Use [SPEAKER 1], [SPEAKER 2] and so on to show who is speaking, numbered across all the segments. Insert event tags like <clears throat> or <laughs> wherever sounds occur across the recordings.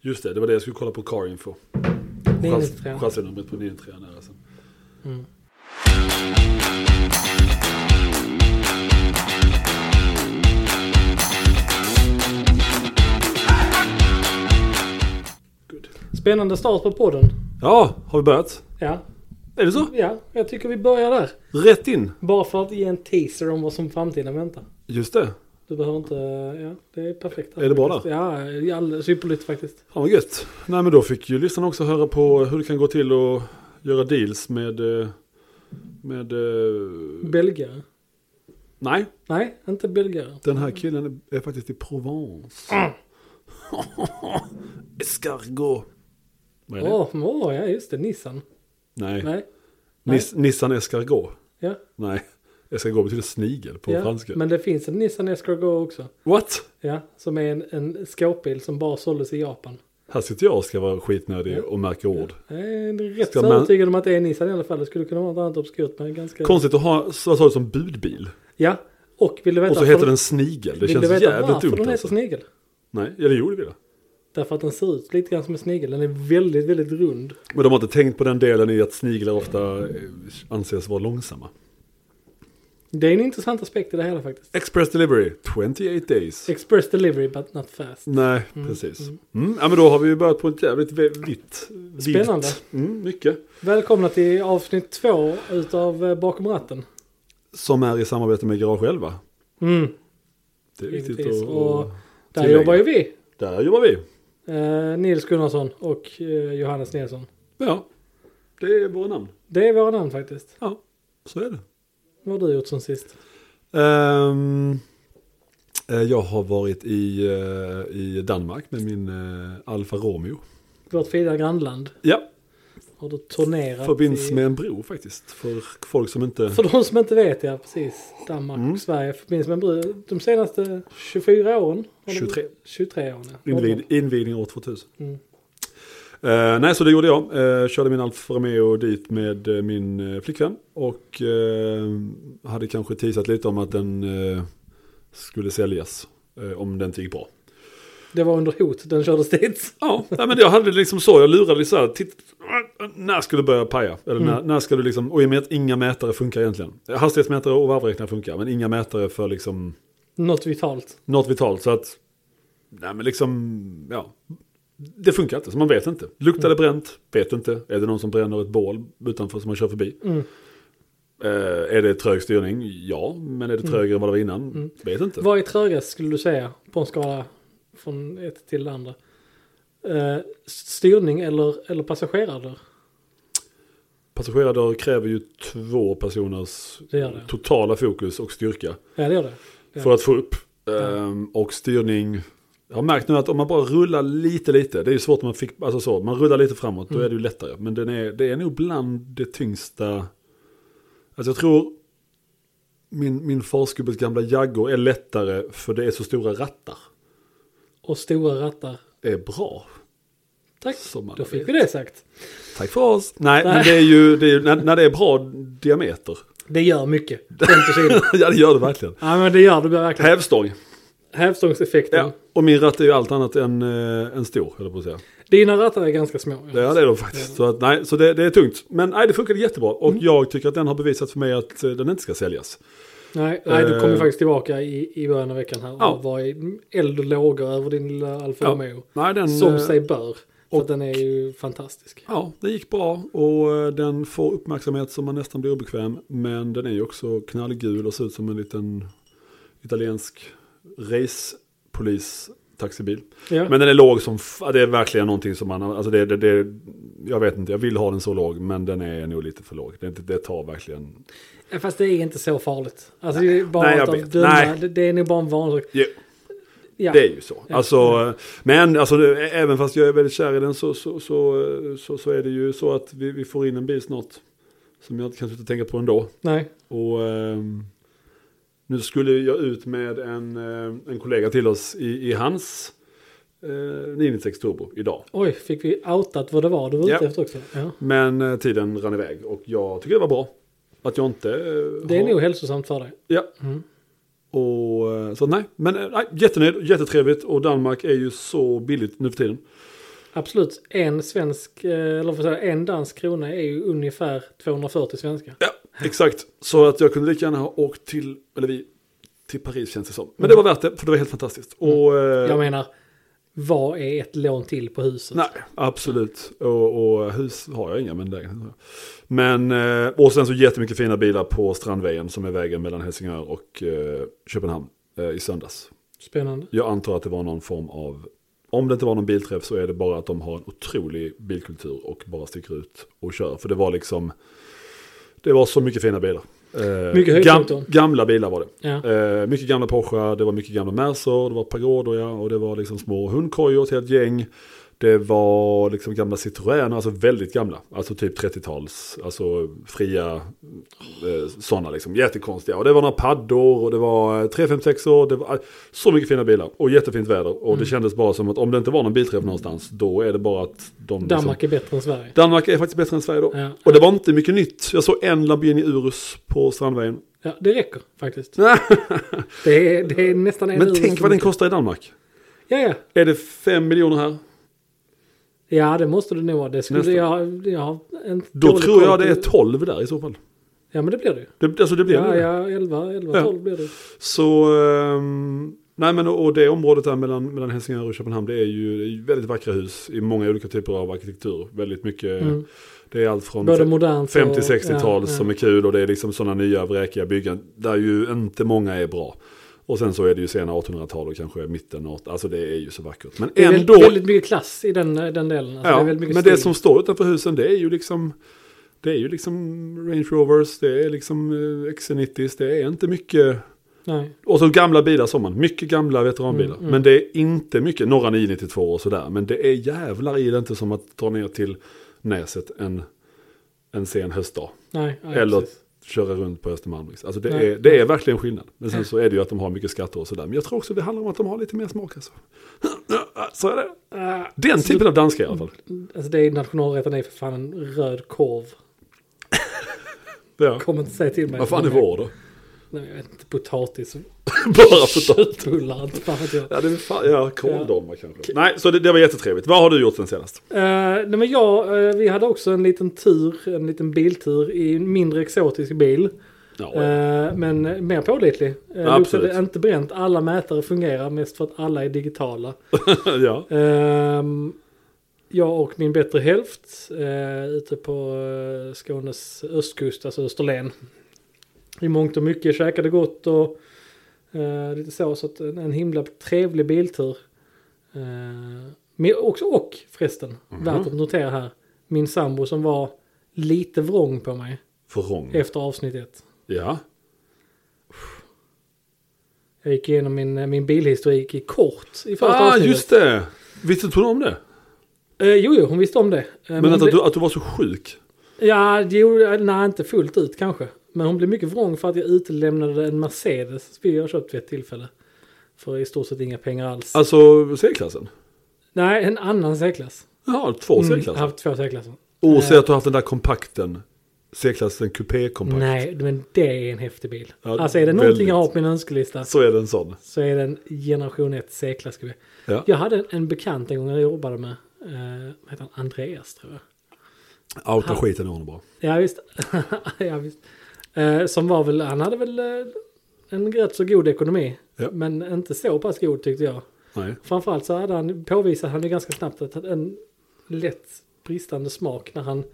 [SPEAKER 1] Just det, det var det jag skulle kolla på Car Info.
[SPEAKER 2] 993.
[SPEAKER 1] Chassinumret på 93 där alltså. sen.
[SPEAKER 2] Mm.
[SPEAKER 1] Good.
[SPEAKER 2] Spännande start på podden.
[SPEAKER 1] Ja, har vi börjat?
[SPEAKER 2] Ja.
[SPEAKER 1] Är det så?
[SPEAKER 2] ja, jag tycker vi börjar där.
[SPEAKER 1] Rätt in!
[SPEAKER 2] Bara för att ge en teaser om vad som framtiden väntar.
[SPEAKER 1] Just det.
[SPEAKER 2] Du behöver inte, ja det är perfekt.
[SPEAKER 1] Är det bra
[SPEAKER 2] där? Ja, det är alldeles ypperligt faktiskt.
[SPEAKER 1] Fan vad gött. Nej men då fick ju lyssnarna också höra på hur det kan gå till att göra deals med... eh, Med... eh,
[SPEAKER 2] Belgare?
[SPEAKER 1] Nej,
[SPEAKER 2] Nej, inte belgare.
[SPEAKER 1] den här killen är faktiskt i Provence. Escargot. Vad är det?
[SPEAKER 2] Åh, åh, ja just det, Nissan.
[SPEAKER 1] Nej,
[SPEAKER 2] Nej,
[SPEAKER 1] Nis- Nissan Escargot.
[SPEAKER 2] ja.
[SPEAKER 1] Nej, escargot betyder snigel på
[SPEAKER 2] ja.
[SPEAKER 1] franska.
[SPEAKER 2] Men det finns en Nissan Escargot också.
[SPEAKER 1] What?
[SPEAKER 2] Ja, som är en, en skåpbil som bara såldes i Japan.
[SPEAKER 1] Här sitter jag och ska vara skitnödig
[SPEAKER 2] Ja.
[SPEAKER 1] och märka ord.
[SPEAKER 2] Jag är rätt
[SPEAKER 1] Ska
[SPEAKER 2] så
[SPEAKER 1] man-
[SPEAKER 2] övertygad om att det är Nissan i alla fall. Det skulle kunna vara något annat obskurt men ganska...
[SPEAKER 1] Konstigt att ha, så sa du som budbil.
[SPEAKER 2] Ja, och vill du veta...
[SPEAKER 1] Och så
[SPEAKER 2] varför
[SPEAKER 1] heter
[SPEAKER 2] den-
[SPEAKER 1] den snigel. Det
[SPEAKER 2] Vill du
[SPEAKER 1] känns
[SPEAKER 2] veta varför
[SPEAKER 1] jävligt
[SPEAKER 2] den
[SPEAKER 1] dumt
[SPEAKER 2] heter
[SPEAKER 1] alltså.
[SPEAKER 2] snigel?
[SPEAKER 1] Nej, eller jo det vill jag.
[SPEAKER 2] Därför att den ser ut lite grann som en snigel. Den är väldigt, väldigt rund.
[SPEAKER 1] Men de har inte tänkt på den delen i att sniglar ofta eh, anses vara långsamma.
[SPEAKER 2] Det är en intressant aspekt i det hela faktiskt.
[SPEAKER 1] Express delivery, 28 days.
[SPEAKER 2] Express delivery but not fast.
[SPEAKER 1] Nej, precis. Mm, ja, men då har vi ju börjat på ett jävligt vä- vitt. vitt.
[SPEAKER 2] Spännande.
[SPEAKER 1] Mm, mycket.
[SPEAKER 2] Välkomna till avsnitt två utav eh, Bakom ratten.
[SPEAKER 1] Som är i samarbete med Garage 11.
[SPEAKER 2] Mm,
[SPEAKER 1] Det är
[SPEAKER 2] Givetvis.
[SPEAKER 1] viktigt att...
[SPEAKER 2] Och där
[SPEAKER 1] tillägga.
[SPEAKER 2] jobbar ju vi.
[SPEAKER 1] Där jobbar vi.
[SPEAKER 2] Eh, Nils Gunnarsson och eh, Johannes Nilsson.
[SPEAKER 1] Ja, det är våra namn.
[SPEAKER 2] Det är våra namn faktiskt.
[SPEAKER 1] Ja, så är det.
[SPEAKER 2] Vad har du gjort sen sist?
[SPEAKER 1] Ehm, eh, jag har varit i, eh, i Danmark med min eh, Alfa Romeo.
[SPEAKER 2] Vårt fina grannland.
[SPEAKER 1] Ja,
[SPEAKER 2] Har du turnerat
[SPEAKER 1] förbinds
[SPEAKER 2] i...
[SPEAKER 1] med en bro faktiskt. För folk som inte...
[SPEAKER 2] För de som inte vet, ja precis. Danmark
[SPEAKER 1] Mm.
[SPEAKER 2] och Sverige förbinds med en bro. De senaste 24 åren. har det
[SPEAKER 1] 23.
[SPEAKER 2] blivit- 23 åren, ja.
[SPEAKER 1] Invigd, invigning år 2000.
[SPEAKER 2] Mm.
[SPEAKER 1] Eh, nej, så det gjorde jag. Eh, körde min Alfa Romeo dit med eh, min eh, flickvän. Och eh, hade kanske teasat lite om att den eh, skulle säljas. Eh, om den inte gick bra.
[SPEAKER 2] Det var under hot, den kördes dit.
[SPEAKER 1] Ja, nej, men jag hade det liksom så. Jag lurade lite så här. Titt, när ska du börja paja? Eller när,
[SPEAKER 2] Mm.
[SPEAKER 1] när ska du liksom... Och i och med att inga mätare funkar egentligen. Hastighetsmätare och varvräknare funkar. Men inga mätare för liksom
[SPEAKER 2] Något vitalt.
[SPEAKER 1] något vitalt. Så att... Nej men liksom... Ja. Det funkar inte, så man vet inte. Luktar
[SPEAKER 2] Mm.
[SPEAKER 1] det bränt? Vet inte. Är det någon som bränner ett bål utanför som man kör förbi?
[SPEAKER 2] Mm.
[SPEAKER 1] Eh, är det trög styrning? Ja, men
[SPEAKER 2] Mm.
[SPEAKER 1] är det trögare än vad det var innan? Vet inte.
[SPEAKER 2] Vad är trögast skulle du säga på en skala från ett till det andra? Eh, styrning eller, eller passagerardörr?
[SPEAKER 1] Passagerardörr kräver ju två personers
[SPEAKER 2] Det gör det.
[SPEAKER 1] totala fokus och styrka.
[SPEAKER 2] Ja, det gör det. Ja.
[SPEAKER 1] för att få upp. Ehm, och styrning. Jag har märkt nu att om man bara rullar lite, lite. Det är ju svårt om man fick, alltså så, man rullar lite framåt,
[SPEAKER 2] Mm.
[SPEAKER 1] då är det ju lättare. Men den är, det är nog bland det tyngsta. Alltså jag tror min, min farsgubbes gamla Jaguar är lättare för det är så stora rattar.
[SPEAKER 2] Och stora rattar.
[SPEAKER 1] Det är bra.
[SPEAKER 2] Tack,
[SPEAKER 1] Som alla
[SPEAKER 2] då fick
[SPEAKER 1] vet.
[SPEAKER 2] vi det sagt.
[SPEAKER 1] Tack för oss. Nej,
[SPEAKER 2] Nej.
[SPEAKER 1] men det är ju, det är, ju- när, när det är bra diameter. <laughs>
[SPEAKER 2] Det gör mycket. 50 kilo.
[SPEAKER 1] ja, det gör det verkligen.
[SPEAKER 2] ja, men det gör det verkligen.
[SPEAKER 1] Hävstång.
[SPEAKER 2] Hävstångseffekten.
[SPEAKER 1] Ja. Och min ratt är ju allt annat än, eh, än stor, höll jag på att säga.
[SPEAKER 2] Dina rattar är ganska små.
[SPEAKER 1] Ja det är de faktiskt. Så, att, nej, så det, det är tungt. Men nej, det funkade jättebra. Och jag tycker att den har bevisat för mig att eh, den inte ska säljas.
[SPEAKER 2] Nej, nej du kom ju
[SPEAKER 1] Eh.
[SPEAKER 2] faktiskt tillbaka i, i början av veckan här och
[SPEAKER 1] Ja.
[SPEAKER 2] var i eld och lågor över din lilla Alfa
[SPEAKER 1] Ja.
[SPEAKER 2] Romeo.
[SPEAKER 1] Nej, den,
[SPEAKER 2] Som
[SPEAKER 1] eh,
[SPEAKER 2] sig bör. För
[SPEAKER 1] och-
[SPEAKER 2] att den är ju fantastisk.
[SPEAKER 1] Ja, det gick bra och eh, den får uppmärksamhet som man nästan blir obekväm. Men den är ju också knallgul och ser ut som en liten italiensk racepolis taxibil.
[SPEAKER 2] Ja.
[SPEAKER 1] Men den är låg som, f- det är verkligen någonting som man, alltså det, det, det, jag vet inte, jag vill ha den så låg men den är nog lite för låg. Det, det tar verkligen,
[SPEAKER 2] Ja, Fast det är inte så farligt. Alltså, det, är bara
[SPEAKER 1] Nej, jag
[SPEAKER 2] att
[SPEAKER 1] vet.
[SPEAKER 2] döma,
[SPEAKER 1] Nej.
[SPEAKER 2] Det, det är nog bara en vanlig sak.
[SPEAKER 1] Ja.
[SPEAKER 2] Ja.
[SPEAKER 1] Det är ju så. Alltså, eh, men alltså, det- ä- även fast jag är väldigt kär i den så, så, så, eh, så, så är det ju så att vi, vi får in en bil snart. Som jag inte kan sluta tänka på ändå.
[SPEAKER 2] Nej.
[SPEAKER 1] Och ehm, nu skulle jag ut med en, eh, en kollega till oss i, i hans eh, 996 Turbo idag.
[SPEAKER 2] Oj, fick vi outat vad det var du var
[SPEAKER 1] Ja.
[SPEAKER 2] ute efter också? Ja.
[SPEAKER 1] Men eh, tiden rann iväg och jag tycker det var bra. Att jag inte... eh,
[SPEAKER 2] Det är
[SPEAKER 1] har-
[SPEAKER 2] nog hälsosamt för dig.
[SPEAKER 1] Ja.
[SPEAKER 2] Mm.
[SPEAKER 1] Och, eh, så nej, men eh, nej, jättenöjd, jättetrevligt och Danmark är ju så billigt nu för tiden.
[SPEAKER 2] Absolut, en svensk, eh, eller vad säger jag, en dansk krona är ju ungefär 240 svenska.
[SPEAKER 1] Ja, exakt. Så att jag kunde lika gärna ha åkt till, eller vi, till Paris känns det som. Men det var värt det, för det var helt fantastiskt. Och, eh,
[SPEAKER 2] Jag menar, vad är ett lån till på huset?
[SPEAKER 1] Nej, absolut. Och, och hus har jag inga, men lägenhet har jag. Men, eh, och sen så jättemycket fina bilar på Strandvägen som är vägen mellan Helsingör och eh, Köpenhamn eh, i söndags.
[SPEAKER 2] Spännande.
[SPEAKER 1] Jag antar att det var någon form av, om det inte var någon bilträff så är det bara att de har en otrolig bilkultur och bara sticker ut och kör. För det var liksom, det var så mycket fina bilar. Eh,
[SPEAKER 2] Mycket höjdpunkter.
[SPEAKER 1] gamla bilar var det.
[SPEAKER 2] Ja.
[SPEAKER 1] Eh, mycket gamla Porsche, det var mycket gamla Mercer, det var Pagoder ja, och det var liksom små hundkojor till ett gäng. Det var liksom gamla Citroëner, alltså väldigt gamla. Alltså typ 30-tals, alltså fria eh, sådana liksom. Jättekonstiga. Och det var några paddor och det var eh, 356 år. Det var eh, så mycket fina bilar och jättefint väder. Och
[SPEAKER 2] Mm.
[SPEAKER 1] det kändes bara som att om det inte var någon bilträff någonstans, då är det bara att de... liksom-
[SPEAKER 2] Danmark är bättre än Sverige.
[SPEAKER 1] Danmark är faktiskt bättre än Sverige då.
[SPEAKER 2] Ja.
[SPEAKER 1] Och det var inte mycket nytt. Jag såg en Lamborghini Urus på
[SPEAKER 2] <laughs>
[SPEAKER 1] Strandvägen.
[SPEAKER 2] Ja, det räcker faktiskt. Det är, det är nästan en
[SPEAKER 1] Men
[SPEAKER 2] ur-
[SPEAKER 1] tänk vad den kostar i Danmark.
[SPEAKER 2] Ja, ja.
[SPEAKER 1] Är det 5 miljoner här?
[SPEAKER 2] ja, det måste det nog vara. Det skulle
[SPEAKER 1] Nästan.
[SPEAKER 2] jag, jag har en
[SPEAKER 1] Då
[SPEAKER 2] dålig
[SPEAKER 1] tror jag
[SPEAKER 2] koll
[SPEAKER 1] det är
[SPEAKER 2] på-
[SPEAKER 1] 12 där i så fall.
[SPEAKER 2] Ja, men det blir det ju.
[SPEAKER 1] Det, alltså det blir
[SPEAKER 2] Ja,
[SPEAKER 1] det.
[SPEAKER 2] ja, 11, 11
[SPEAKER 1] Ja.
[SPEAKER 2] 12 blir det.
[SPEAKER 1] Så, ehm, nej men och det området där mellan, mellan Helsingör och Köpenhamn det är ju det är ju väldigt vackra hus i många olika typer av arkitektur. Väldigt mycket,
[SPEAKER 2] Mm.
[SPEAKER 1] det är allt från
[SPEAKER 2] Både modernt och...
[SPEAKER 1] 50-60-tal
[SPEAKER 2] ja, ja.
[SPEAKER 1] som är kul och det är liksom sådana nya vräkiga byggen där ju inte många är bra. Och sen så är det ju sena 1800-tal och kanske mitten av, alltså det är ju så vackert. Men
[SPEAKER 2] Det är
[SPEAKER 1] ändå,
[SPEAKER 2] ändå... väldigt mycket klass i den, den delen. Alltså, det
[SPEAKER 1] ja,
[SPEAKER 2] är väldigt mycket
[SPEAKER 1] men det
[SPEAKER 2] stil.
[SPEAKER 1] som står utanför husen det är ju liksom det är ju liksom Range Rovers, det är liksom eh, XC90, det är inte mycket.
[SPEAKER 2] Nej.
[SPEAKER 1] Och så gamla bilar som man, mycket gamla veteranbilar.
[SPEAKER 2] Mm,
[SPEAKER 1] Men det är inte mycket, några 992 och sådär. Men det är jävlar i det inte som att ta ner till Näset en, en sen höstdag.
[SPEAKER 2] Nej, nej,
[SPEAKER 1] Eller
[SPEAKER 2] precis.
[SPEAKER 1] köra runt på Östermalm. liksom. Alltså det,
[SPEAKER 2] Nej.
[SPEAKER 1] är, det är verkligen skillnad. Men sen
[SPEAKER 2] Ja.
[SPEAKER 1] så är det ju att de har mycket skatter och sådär. Men jag tror också det handlar om att de har lite mer smak. Alltså. <clears throat> Så är det.
[SPEAKER 2] Ah,
[SPEAKER 1] Den typen av danska i alla fall.
[SPEAKER 2] Alltså det är nationalrätten är för fan en röd korv. <laughs>
[SPEAKER 1] Ja.
[SPEAKER 2] Kom inte säga till mig.
[SPEAKER 1] Vad fan är vår då? <laughs>
[SPEAKER 2] Nej, jag vet inte. Potatis.
[SPEAKER 1] Bara potatis.
[SPEAKER 2] <laughs> Köttbullar. Inte fan vet jag.
[SPEAKER 1] Ja, det är fan, ja, kåldolmar kanske. Nej, så det, det var jättetrevligt. Vad har du gjort sen senast?
[SPEAKER 2] Eh, nej men jag, eh, vi hade också en liten tur, en liten biltur i en mindre exotisk bil.
[SPEAKER 1] Ja,
[SPEAKER 2] Eh, men mer pålitlig. Uh,
[SPEAKER 1] Absolut.
[SPEAKER 2] Inte bränt, alla mätare fungerar mest för att alla är digitala.
[SPEAKER 1] <laughs> ja.
[SPEAKER 2] Ehm, jag och min bättre hälft uh, ute på eh, Skånes östkust, alltså Österlen. I mångt och mycket käkade gott och eh, lite så. Så att en, en himla trevlig biltur. Eh, men också, och förresten,
[SPEAKER 1] Mhm.
[SPEAKER 2] värt att notera här. Min sambo som var lite vrång på mig
[SPEAKER 1] Vrång.
[SPEAKER 2] efter avsnitt ett.
[SPEAKER 1] Ja.
[SPEAKER 2] Jag gick igenom min, min bilhistorik i kort i första
[SPEAKER 1] Ah,
[SPEAKER 2] avsnittet.
[SPEAKER 1] just det. Visste inte hon om det?
[SPEAKER 2] Eh, jo, jo, hon visste om det. Eh,
[SPEAKER 1] Men att,
[SPEAKER 2] hon
[SPEAKER 1] att,
[SPEAKER 2] blev-
[SPEAKER 1] du, att du var så sjuk.
[SPEAKER 2] Ja, det gjorde, nej, inte fullt ut kanske. Men hon blev mycket vrång för att jag utelämnade en Mercedes som jag har köpt vid ett tillfälle. För i stort sett inga pengar alls.
[SPEAKER 1] Alltså C-klassen?
[SPEAKER 2] nej, en annan C-klass.
[SPEAKER 1] Jaha, två
[SPEAKER 2] jag
[SPEAKER 1] C-klasser.
[SPEAKER 2] har Mm, haft två C-klasser.
[SPEAKER 1] Och säg att du har haft den där kompakten. C-klassen kupé-kompakt.
[SPEAKER 2] Nej, men det är en häftig bil.
[SPEAKER 1] Ja,
[SPEAKER 2] alltså är det någonting
[SPEAKER 1] väldigt.
[SPEAKER 2] jag har på min önskelista
[SPEAKER 1] Så är det en sån.
[SPEAKER 2] så är det en generation 1 C-klass. ska vi-
[SPEAKER 1] Ja.
[SPEAKER 2] Jag hade en, en bekant en gång jag jobbade med. Eh, vad heter han? Andreas tror jag.
[SPEAKER 1] Outa skiten ur honom bara.
[SPEAKER 2] Ja visst. <laughs> ja, visst. Eh, som var väl, han hade väl eh, en rätt så god ekonomi.
[SPEAKER 1] Ja.
[SPEAKER 2] Men inte så pass god tyckte jag.
[SPEAKER 1] Nej.
[SPEAKER 2] Framförallt så hade han påvisat han ju ganska snabbt att han hade en lätt bristande smak när han,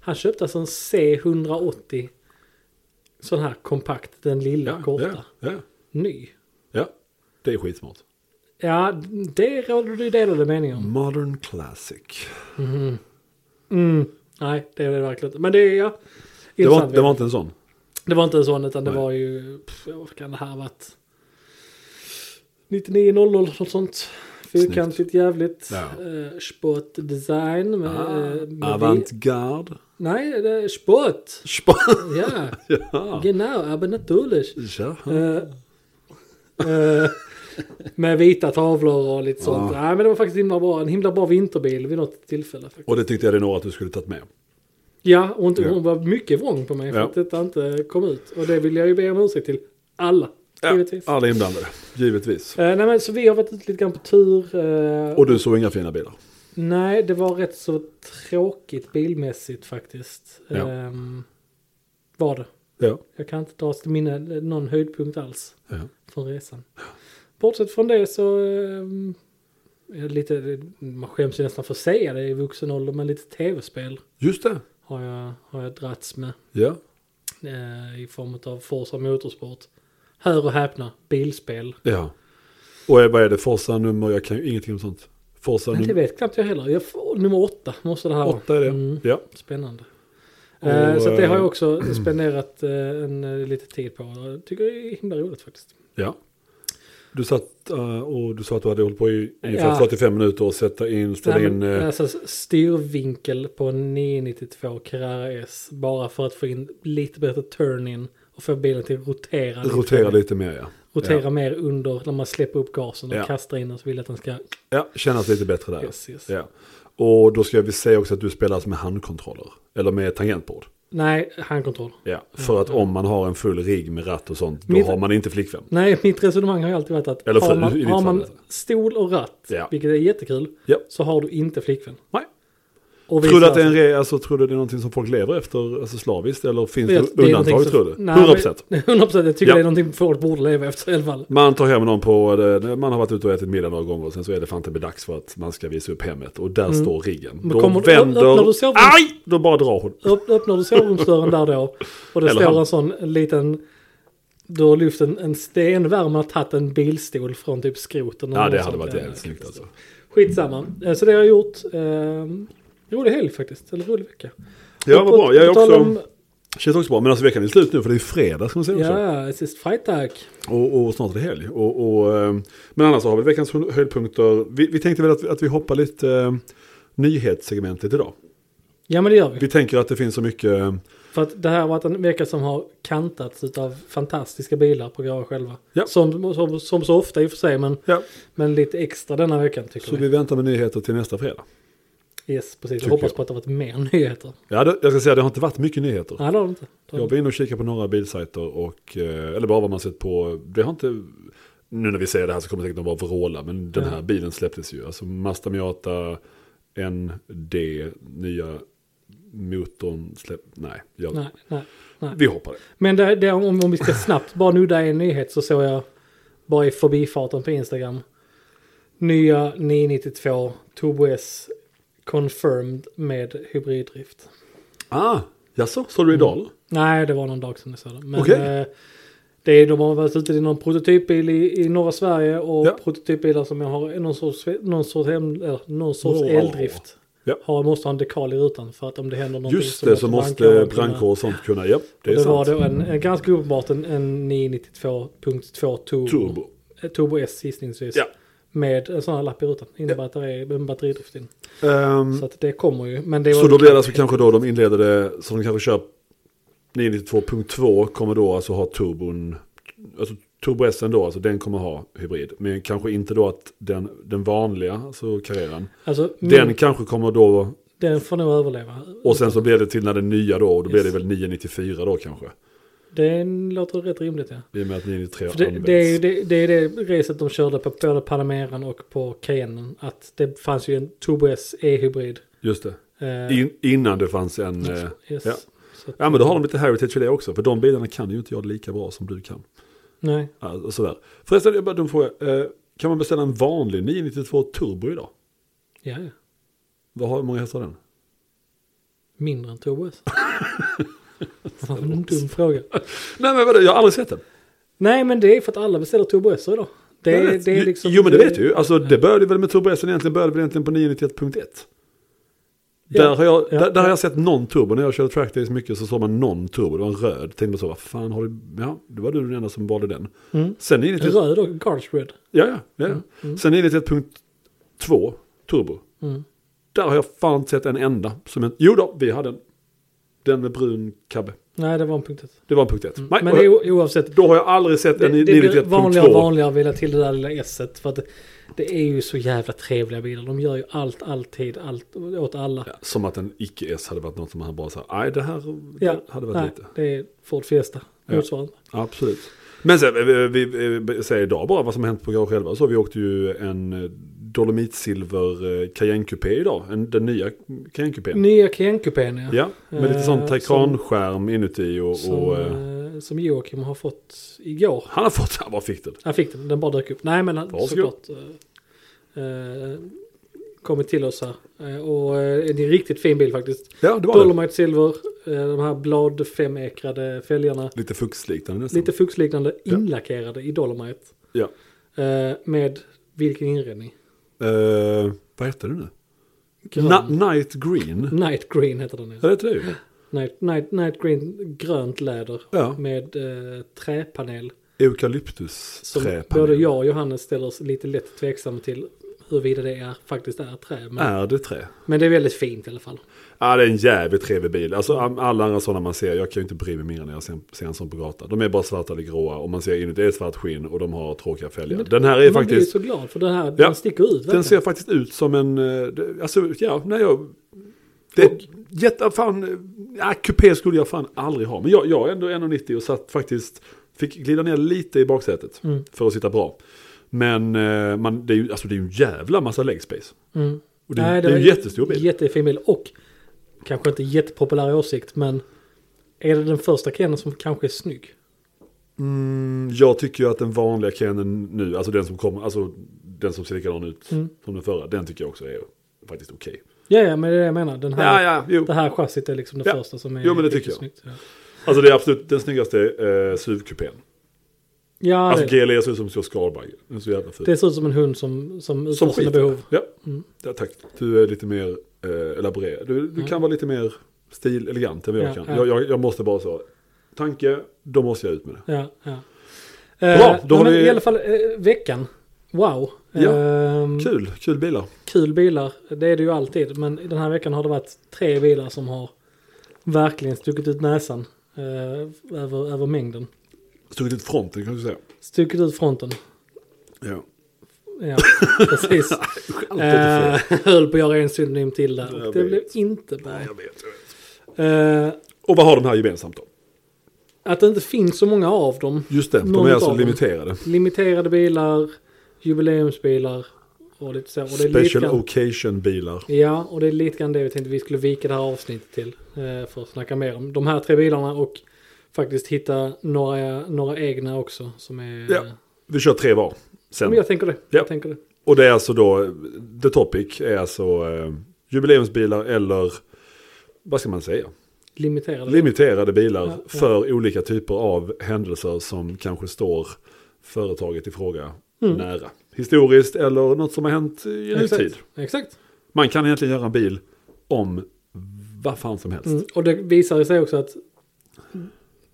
[SPEAKER 2] han köpte alltså en C180. Sån här kompakt, den lilla
[SPEAKER 1] Ja,
[SPEAKER 2] korta.
[SPEAKER 1] ja, ja,
[SPEAKER 2] Ny.
[SPEAKER 1] ja. Det är skitsmart.
[SPEAKER 2] Ja, det råder det ju delade meningar om.
[SPEAKER 1] Modern classic.
[SPEAKER 2] Mm. Nej, det är det verkligen inte. Men det är ja.
[SPEAKER 1] Det var,
[SPEAKER 2] intressant.
[SPEAKER 1] det var inte en sån?
[SPEAKER 2] Det var inte en sån utan det
[SPEAKER 1] Nej.
[SPEAKER 2] var ju, pff, vad kan det här ha varit? 9900 något sånt. Fyrkantigt jävligt.
[SPEAKER 1] Ja. Ah,
[SPEAKER 2] Eh, sportdesign. Med, eh, med vi-
[SPEAKER 1] Avantgarde. <laughs>
[SPEAKER 2] Nej, det är sport.
[SPEAKER 1] Sp-
[SPEAKER 2] Ja,
[SPEAKER 1] ja.
[SPEAKER 2] genau, aber natürlich.
[SPEAKER 1] Ja.
[SPEAKER 2] Eh, eh, med vita tavlor och
[SPEAKER 1] Ah.
[SPEAKER 2] lite sånt. Nej, men det var faktiskt himla bra. en himla bra vinterbil vid något tillfälle. Faktiskt.
[SPEAKER 1] Och det tyckte jag det nog att du skulle tagit med.
[SPEAKER 2] Ja, och inte,
[SPEAKER 1] Ja.
[SPEAKER 2] hon var mycket vrång på mig för
[SPEAKER 1] Ja.
[SPEAKER 2] att detta inte kom ut. Och det vill jag ju be om ursäkt till alla, givetvis.
[SPEAKER 1] alla inblandade, givetvis.
[SPEAKER 2] Eh, nej, men, så vi har varit ute lite grann på tur. eh,
[SPEAKER 1] Och du såg inga fina bilar.
[SPEAKER 2] Nej, det var rätt så tråkigt bilmässigt faktiskt.
[SPEAKER 1] Ja.
[SPEAKER 2] Ehm, var det.
[SPEAKER 1] Ja.
[SPEAKER 2] Jag kan inte dra till minne eh, någon höjdpunkt alls
[SPEAKER 1] Ja.
[SPEAKER 2] från resan. Bortsett från det så ehm, är det lite, man skäms ju nästan för att säga det i vuxen ålder, men lite tv-spel
[SPEAKER 1] Just det.
[SPEAKER 2] har jag, har jag dragits med
[SPEAKER 1] Ja.
[SPEAKER 2] eh, i form av Forza Motorsport. Hör och häpna, bilspel.
[SPEAKER 1] ja. Och eh, vad är det? Forsa nummer? Jag kan ju ingenting om sånt. Forsa
[SPEAKER 2] Men det
[SPEAKER 1] nummer
[SPEAKER 2] vet knappt jag heller. Jag får, nummer åtta måste det här vara.
[SPEAKER 1] åtta är det.
[SPEAKER 2] Mm.
[SPEAKER 1] Ja.
[SPEAKER 2] Spännande.
[SPEAKER 1] Och,
[SPEAKER 2] Eh, så att det har jag
[SPEAKER 1] eh,
[SPEAKER 2] också spenderat eh, en, eh, lite tid på. Jag tycker det är himla roligt faktiskt.
[SPEAKER 1] ja. Du satt eh, och du sa att du hade hållit på i ungefär
[SPEAKER 2] Ja.
[SPEAKER 1] 45 minuter och sätta in, ställa
[SPEAKER 2] Nej,
[SPEAKER 1] in.
[SPEAKER 2] men,
[SPEAKER 1] eh,
[SPEAKER 2] alltså, styrvinkel på en 992 Carrera S bara för att få in lite bättre turn-in och få bilen till att rotera. lite.
[SPEAKER 1] Rotera lite mer ja.
[SPEAKER 2] Rotera
[SPEAKER 1] Ja.
[SPEAKER 2] mer under när man släpper upp gasen och
[SPEAKER 1] Ja.
[SPEAKER 2] kastar in den så vill jag att den ska...
[SPEAKER 1] Ja, kännas lite bättre där.
[SPEAKER 2] Yes, yes.
[SPEAKER 1] Ja. Och då ska jag väl säga också att du spelar alltså med handkontroller. Eller med tangentbord.
[SPEAKER 2] Nej, handkontroll.
[SPEAKER 1] Ja, för att om man har en full rigg med ratt och sånt, då
[SPEAKER 2] Mitt-
[SPEAKER 1] har man inte flickvän.
[SPEAKER 2] Nej, mitt resonemang har ju alltid varit att
[SPEAKER 1] Eller för-
[SPEAKER 2] har
[SPEAKER 1] i
[SPEAKER 2] man,
[SPEAKER 1] ditt
[SPEAKER 2] har
[SPEAKER 1] fall,
[SPEAKER 2] man
[SPEAKER 1] alltså.
[SPEAKER 2] stol och ratt,
[SPEAKER 1] Ja.
[SPEAKER 2] vilket är jättekul,
[SPEAKER 1] Ja.
[SPEAKER 2] så har du inte flickvän.
[SPEAKER 1] Nej.
[SPEAKER 2] Och
[SPEAKER 1] Tror du
[SPEAKER 2] visar
[SPEAKER 1] att det är en
[SPEAKER 2] alltså-
[SPEAKER 1] re, alltså, tror du det är någonting som folk lever efter alltså slaviskt? Eller finns det,
[SPEAKER 2] är
[SPEAKER 1] undantag
[SPEAKER 2] någonting som-
[SPEAKER 1] tror du?
[SPEAKER 2] Nej, men- <laughs>
[SPEAKER 1] 100%.
[SPEAKER 2] 100% jag tycker
[SPEAKER 1] Ja.
[SPEAKER 2] det är någonting folk borde leva efter i alla fall.
[SPEAKER 1] Man tar hem någon på, det- man har varit ute och ätit middag några gånger och sen så är det fan inte dags för att man ska visa upp hemmet. Och där står riggen. Då
[SPEAKER 2] Mm. kommer- öppnar
[SPEAKER 1] vänder,
[SPEAKER 2] du servern?
[SPEAKER 1] aj! Då bara drar hon.
[SPEAKER 2] Öpp- Öppnar du sovrumsdörren där då och det
[SPEAKER 1] Eller
[SPEAKER 2] står
[SPEAKER 1] han.
[SPEAKER 2] en sån liten... Du har lyft en, en stenvärmare och tagit en bilstol från typ skroten. eller
[SPEAKER 1] Ja, det
[SPEAKER 2] något
[SPEAKER 1] hade
[SPEAKER 2] sånt
[SPEAKER 1] varit
[SPEAKER 2] där.
[SPEAKER 1] jävligt snyggt alltså.
[SPEAKER 2] Skitsamma. Eh, Så det har jag gjort. ehm, rolig helg faktiskt, eller rolig vecka.
[SPEAKER 1] Ja,
[SPEAKER 2] Och
[SPEAKER 1] vad
[SPEAKER 2] på-
[SPEAKER 1] bra. Jag är
[SPEAKER 2] på tal
[SPEAKER 1] också,
[SPEAKER 2] om-
[SPEAKER 1] känns också bra. Men alltså veckan är slut nu för det är fredag som man säger också.
[SPEAKER 2] Ja, sist Freitag.
[SPEAKER 1] Och, och snart är det helg. Och, och, ehm, men annars har vi veckans höjdpunkter. Vi, vi tänkte väl att, att vi hoppar lite eh, nyhetssegmentet idag.
[SPEAKER 2] Ja, men det gör vi.
[SPEAKER 1] Vi tänker att det finns så mycket. eh,
[SPEAKER 2] För att det här har varit en vecka som har kantats av fantastiska bilar på Grava själva.
[SPEAKER 1] Ja.
[SPEAKER 2] Som, som, som så ofta i och för sig, men,
[SPEAKER 1] Ja,
[SPEAKER 2] men lite extra denna veckan tycker
[SPEAKER 1] så
[SPEAKER 2] vi.
[SPEAKER 1] vi väntar med nyheter till nästa fredag.
[SPEAKER 2] Yes, precis. Jag
[SPEAKER 1] Tycker
[SPEAKER 2] hoppas
[SPEAKER 1] jag.
[SPEAKER 2] på att det har varit mer <laughs> nyheter.
[SPEAKER 1] Ja, det, jag ska säga att det har inte varit mycket nyheter.
[SPEAKER 2] Nej, det har det inte. Det har
[SPEAKER 1] Jag
[SPEAKER 2] det
[SPEAKER 1] var inne och kikade på några bilsajter och, eh, eller bara vad man sett på, det har inte, nu när vi säger det här så kommer det säkert att bara vråla, men den
[SPEAKER 2] Ja.
[SPEAKER 1] här bilen släpptes ju. Alltså Mazda Miata ND, nya motorn släpp, nej, jag,
[SPEAKER 2] inte. Nej, nej, nej.
[SPEAKER 1] vi hoppar det.
[SPEAKER 2] Men det, det, om, om vi ska snabbt bara nudda en nyhet så såg jag bara i förbifarten på Instagram. Nya 992 Turbo S confirmed med hybriddrift.
[SPEAKER 1] Ah, jaså, såg
[SPEAKER 2] Mm.
[SPEAKER 1] du idag eller?
[SPEAKER 2] Nej, det var någon dag sedan jag såg det. Men
[SPEAKER 1] Okej.
[SPEAKER 2] eh, det är, de har varit ute i någon prototypbil i, i norra Sverige och
[SPEAKER 1] Ja. prototypbilar
[SPEAKER 2] prototypbilar som jag har någon sorts, någon sorts, hem, eller, någon sorts
[SPEAKER 1] Wow.
[SPEAKER 2] eldrift.
[SPEAKER 1] Ja.
[SPEAKER 2] har, måste ha en dekal i rutan för att om det händer någonting
[SPEAKER 1] Just det, så måste brandkår och sånt kunna, ja, det
[SPEAKER 2] Det,
[SPEAKER 1] är
[SPEAKER 2] det
[SPEAKER 1] sant.
[SPEAKER 2] var då en, en ganska uppenbart en, en 992.2 turbo,
[SPEAKER 1] Turbo.
[SPEAKER 2] eh, turbo S gissningsvis.
[SPEAKER 1] Ja.
[SPEAKER 2] Med en sån här lapp i rutan. Innebär att det är en batteridrift in.
[SPEAKER 1] Ehm,
[SPEAKER 2] Så att det kommer ju. Men det var
[SPEAKER 1] Så då blir det alltså kanske då de inleder det, så de kanske kör 992.2 kommer då alltså ha turbon, alltså Turbo S då, alltså den kommer ha hybrid. Men kanske inte då att den, den vanliga, alltså Carreran,
[SPEAKER 2] alltså,
[SPEAKER 1] den
[SPEAKER 2] den,
[SPEAKER 1] kanske kommer då,
[SPEAKER 2] den får nog överleva.
[SPEAKER 1] och sen så blir det till när den nya då, och då blir det
[SPEAKER 2] Yes.
[SPEAKER 1] väl 994 då kanske.
[SPEAKER 2] Det låter rätt rimligt ja.
[SPEAKER 1] I och med att 993
[SPEAKER 2] För det,
[SPEAKER 1] används.
[SPEAKER 2] det, är ju det, det är det reset de körde på både Panameran och på Cayennen. Att det fanns ju en Turbo S E-hybrid.
[SPEAKER 1] Just det.
[SPEAKER 2] Eh,
[SPEAKER 1] In, innan det fanns en... eh,
[SPEAKER 2] yes.
[SPEAKER 1] ja.
[SPEAKER 2] Så att-
[SPEAKER 1] Ja men då har de lite heritage i det också, för de bilarna kan ju inte jag lika bra som du kan.
[SPEAKER 2] Nej.
[SPEAKER 1] Ja, och sådär. Förresten, jag bara dum fråga. Eh, kan man beställa en vanlig 992 Turbo idag?
[SPEAKER 2] Ja, ja.
[SPEAKER 1] Vad har, hur många hästar har den?
[SPEAKER 2] Mindre än Turbo
[SPEAKER 1] <laughs>
[SPEAKER 2] S. Fan, en dum fråga.
[SPEAKER 1] Nej men vadå, jag har aldrig sett den.
[SPEAKER 2] Nej, men det är för att alla beställer Turbo S idag. Det,
[SPEAKER 1] Jag
[SPEAKER 2] är-
[SPEAKER 1] vet.
[SPEAKER 2] det är liksom...
[SPEAKER 1] Jo men det vet du ju. Alltså det började väl med Turbo S, egentligen började väl egentligen på 991.1.
[SPEAKER 2] Ja,
[SPEAKER 1] Där, har jag,
[SPEAKER 2] ja,
[SPEAKER 1] där, där har
[SPEAKER 2] ja.
[SPEAKER 1] jag sett någon turbo. När jag körde trackdays mycket så såg man någon turbo. Det var en röd. Tänkte man så, vad fan har du? Ja, det var du den enda som valde den.
[SPEAKER 2] Mm.
[SPEAKER 1] Sen 991,
[SPEAKER 2] Röd och Garage Red.
[SPEAKER 1] ja, ja, ja. Sen 991.2 turbo.
[SPEAKER 2] Mm.
[SPEAKER 1] Där har jag fan inte sett en enda. Som en, jo då, vi hade en. Den med brun kabbe.
[SPEAKER 2] Nej, det var en punkt ett.
[SPEAKER 1] Det var en punkt ett. Nej,
[SPEAKER 2] Mm. Men
[SPEAKER 1] och
[SPEAKER 2] det är
[SPEAKER 1] jag-
[SPEAKER 2] o- oavsett.
[SPEAKER 1] Då har jag aldrig sett
[SPEAKER 2] Det,
[SPEAKER 1] en
[SPEAKER 2] det blir vanligare
[SPEAKER 1] 991.2.
[SPEAKER 2] och vanligare att vilja till det där lilla S-et. För att det, det är ju så jävla trevliga bilar. De gör ju allt, alltid, allt åt alla.
[SPEAKER 1] Ja, Som att en icke-S hade varit något som han bara sa, nej det här
[SPEAKER 2] Ja,
[SPEAKER 1] hade varit
[SPEAKER 2] nej,
[SPEAKER 1] lite.
[SPEAKER 2] det är Ford Fiesta.
[SPEAKER 1] Ja.
[SPEAKER 2] Motsvarande.
[SPEAKER 1] Absolut. Men sen, vi, vi, vi säger idag bara vad som har hänt på Garage själva. Så vi åkte ju en dolomitsilver eh, Cayenne Coupé idag. En, den nya Cayenne Coupén.
[SPEAKER 2] Nya Cayenne-kupén ja.
[SPEAKER 1] Ja, med lite
[SPEAKER 2] Eh,
[SPEAKER 1] sån
[SPEAKER 2] som-
[SPEAKER 1] tekranskärm inuti och...
[SPEAKER 2] som,
[SPEAKER 1] och eh,
[SPEAKER 2] eh, som Joakim har fått igår.
[SPEAKER 1] han har fått, han bara fick den.
[SPEAKER 2] Han fick den, den bara dök upp. Nej men han,
[SPEAKER 1] Varsågod.
[SPEAKER 2] såklart. eh, eh, kommit till oss här. Eh, och eh, det är en riktigt fin bil faktiskt.
[SPEAKER 1] Ja, det var det.
[SPEAKER 2] Dolomite Silver, eh, de här bladfemekrade fälgarna.
[SPEAKER 1] Lite fuxliknande nästan.
[SPEAKER 2] Lite fuxliknande,
[SPEAKER 1] Ja.
[SPEAKER 2] inlackerade i Dolomite.
[SPEAKER 1] Ja.
[SPEAKER 2] Eh, med vilken inredning?
[SPEAKER 1] Eh, vad heter det nu?
[SPEAKER 2] Grön.
[SPEAKER 1] Na- Night Green.
[SPEAKER 2] Night Green heter den.
[SPEAKER 1] Ja,
[SPEAKER 2] Ja.
[SPEAKER 1] det heter det ju.
[SPEAKER 2] Night, night, night Green, grönt läder.
[SPEAKER 1] Ja,
[SPEAKER 2] Med eh, träpanel.
[SPEAKER 1] eukalyptus
[SPEAKER 2] Som
[SPEAKER 1] träpanel.
[SPEAKER 2] både jag och Johannes ställer oss lite lätt tveksam till huruvida det är, faktiskt är trä. Men,
[SPEAKER 1] Är det trä?
[SPEAKER 2] men det är väldigt fint i alla fall.
[SPEAKER 1] Ja, det är en jävligt trevlig bil. Alltså alla andra sådana man ser, jag kan ju inte bry mig mer när jag ser, ser en sån på gatan. De är bara svarta eller gråa och man ser inuti är svart skinn och de har tråkiga fälgar.
[SPEAKER 2] Men-
[SPEAKER 1] Den här är
[SPEAKER 2] Man blir ju
[SPEAKER 1] faktiskt,
[SPEAKER 2] så glad för den här,
[SPEAKER 1] Ja.
[SPEAKER 2] den sticker ut.
[SPEAKER 1] den
[SPEAKER 2] verkligen.
[SPEAKER 1] ser faktiskt ut som en, eh, det- alltså ja, nej jag, det är jätte, fan, äh, kupé skulle jag fan aldrig ha. Men jag, jag är ändå 1,90 och satt faktiskt, fick glida ner lite i baksätet
[SPEAKER 2] Mm.
[SPEAKER 1] för att sitta bra. Men eh, man, det är ju, alltså det är ju en jävla massa leg space.
[SPEAKER 2] Mm.
[SPEAKER 1] Och det, är-
[SPEAKER 2] Nej,
[SPEAKER 1] det är en
[SPEAKER 2] var
[SPEAKER 1] jättestor bil.
[SPEAKER 2] Jättefin bil och kanske inte jättepopulär åsikt men är det den första Kenen som kanske är snygg?
[SPEAKER 1] Mm, jag tycker ju att den vanliga Kenen nu, alltså den som kommer, alltså den som ser likadan ut
[SPEAKER 2] Mm.
[SPEAKER 1] som den förra, den tycker jag också är faktiskt okej.
[SPEAKER 2] Ja, ja, men det är det jag menar. Den här,
[SPEAKER 1] Ja, ja, jo.
[SPEAKER 2] Det här chassit är liksom det
[SPEAKER 1] Ja.
[SPEAKER 2] första som är
[SPEAKER 1] Jo, men det
[SPEAKER 2] riktigt
[SPEAKER 1] tycker jag.
[SPEAKER 2] snyggt. Ja,
[SPEAKER 1] Alltså det är absolut den snyggaste eh, SUV-kupén.
[SPEAKER 2] ja
[SPEAKER 1] alltså
[SPEAKER 2] det,
[SPEAKER 1] GLE ser ut som en stor skalbagge. Den är så jävla ful.
[SPEAKER 2] det ser ut som en hund som, som utan sina
[SPEAKER 1] skiter.
[SPEAKER 2] behov.
[SPEAKER 1] Ja.
[SPEAKER 2] Mm.
[SPEAKER 1] ja, tack. Du är lite mer eh, elaborerad. Du, du
[SPEAKER 2] Ja.
[SPEAKER 1] kan vara lite mer stil, elegant än vad jag
[SPEAKER 2] Ja,
[SPEAKER 1] kan.
[SPEAKER 2] ja.
[SPEAKER 1] Jag, jag, jag måste bara så. Tanke, då måste jag ut med det.
[SPEAKER 2] Ja, ja.
[SPEAKER 1] Bra,
[SPEAKER 2] Eh,
[SPEAKER 1] då har
[SPEAKER 2] men
[SPEAKER 1] vi-
[SPEAKER 2] I alla fall eh, veckan. Wow.
[SPEAKER 1] Ja,
[SPEAKER 2] Ehm,
[SPEAKER 1] Kul, kul bilar.
[SPEAKER 2] kul bilar, det är det ju alltid. Men den här veckan har det varit tre bilar som har verkligen stuckit ut näsan eh, över, över mängden.
[SPEAKER 1] Stuckit ut fronten kan du säga.
[SPEAKER 2] Stuckit ut fronten.
[SPEAKER 1] Ja. <laughs>
[SPEAKER 2] Ja, precis.
[SPEAKER 1] Allt är fel.
[SPEAKER 2] eh, <laughs> höll på att göra en synonym till där.
[SPEAKER 1] Jag
[SPEAKER 2] Och det
[SPEAKER 1] vet.
[SPEAKER 2] blev inte bra.
[SPEAKER 1] Nej, jag vet, jag vet.
[SPEAKER 2] Eh,
[SPEAKER 1] Och vad har de här gemensamt då?
[SPEAKER 2] att det inte finns så många av dem.
[SPEAKER 1] Just det,
[SPEAKER 2] Någon
[SPEAKER 1] de är
[SPEAKER 2] av
[SPEAKER 1] alltså
[SPEAKER 2] dem.
[SPEAKER 1] limiterade.
[SPEAKER 2] Limiterade bilar, jubileumsbilar och lite så. Och det är lite
[SPEAKER 1] Special
[SPEAKER 2] grann-
[SPEAKER 1] occasion bilar.
[SPEAKER 2] Ja, och det är lite grann det vi tänkte vi skulle vika det här avsnittet till. eh, För att snacka mer om de här tre bilarna och faktiskt hitta några, några egna också. Som är...
[SPEAKER 1] Ja, Vi kör tre var.
[SPEAKER 2] Men
[SPEAKER 1] Sen.
[SPEAKER 2] jag tänker det.
[SPEAKER 1] Ja.
[SPEAKER 2] Jag tänker det.
[SPEAKER 1] Och det är alltså då, the topic är alltså eh, jubileumsbilar eller vad ska man säga?
[SPEAKER 2] Limiterade.
[SPEAKER 1] Limiterade bilar
[SPEAKER 2] Ja, ja.
[SPEAKER 1] för olika typer av händelser som kanske står företaget i fråga
[SPEAKER 2] Mm.
[SPEAKER 1] nära. Historiskt eller något som har hänt i nutid.
[SPEAKER 2] Exakt. Exakt.
[SPEAKER 1] Man kan egentligen göra en bil om vad fan som helst.
[SPEAKER 2] Mm. Och det visar sig också att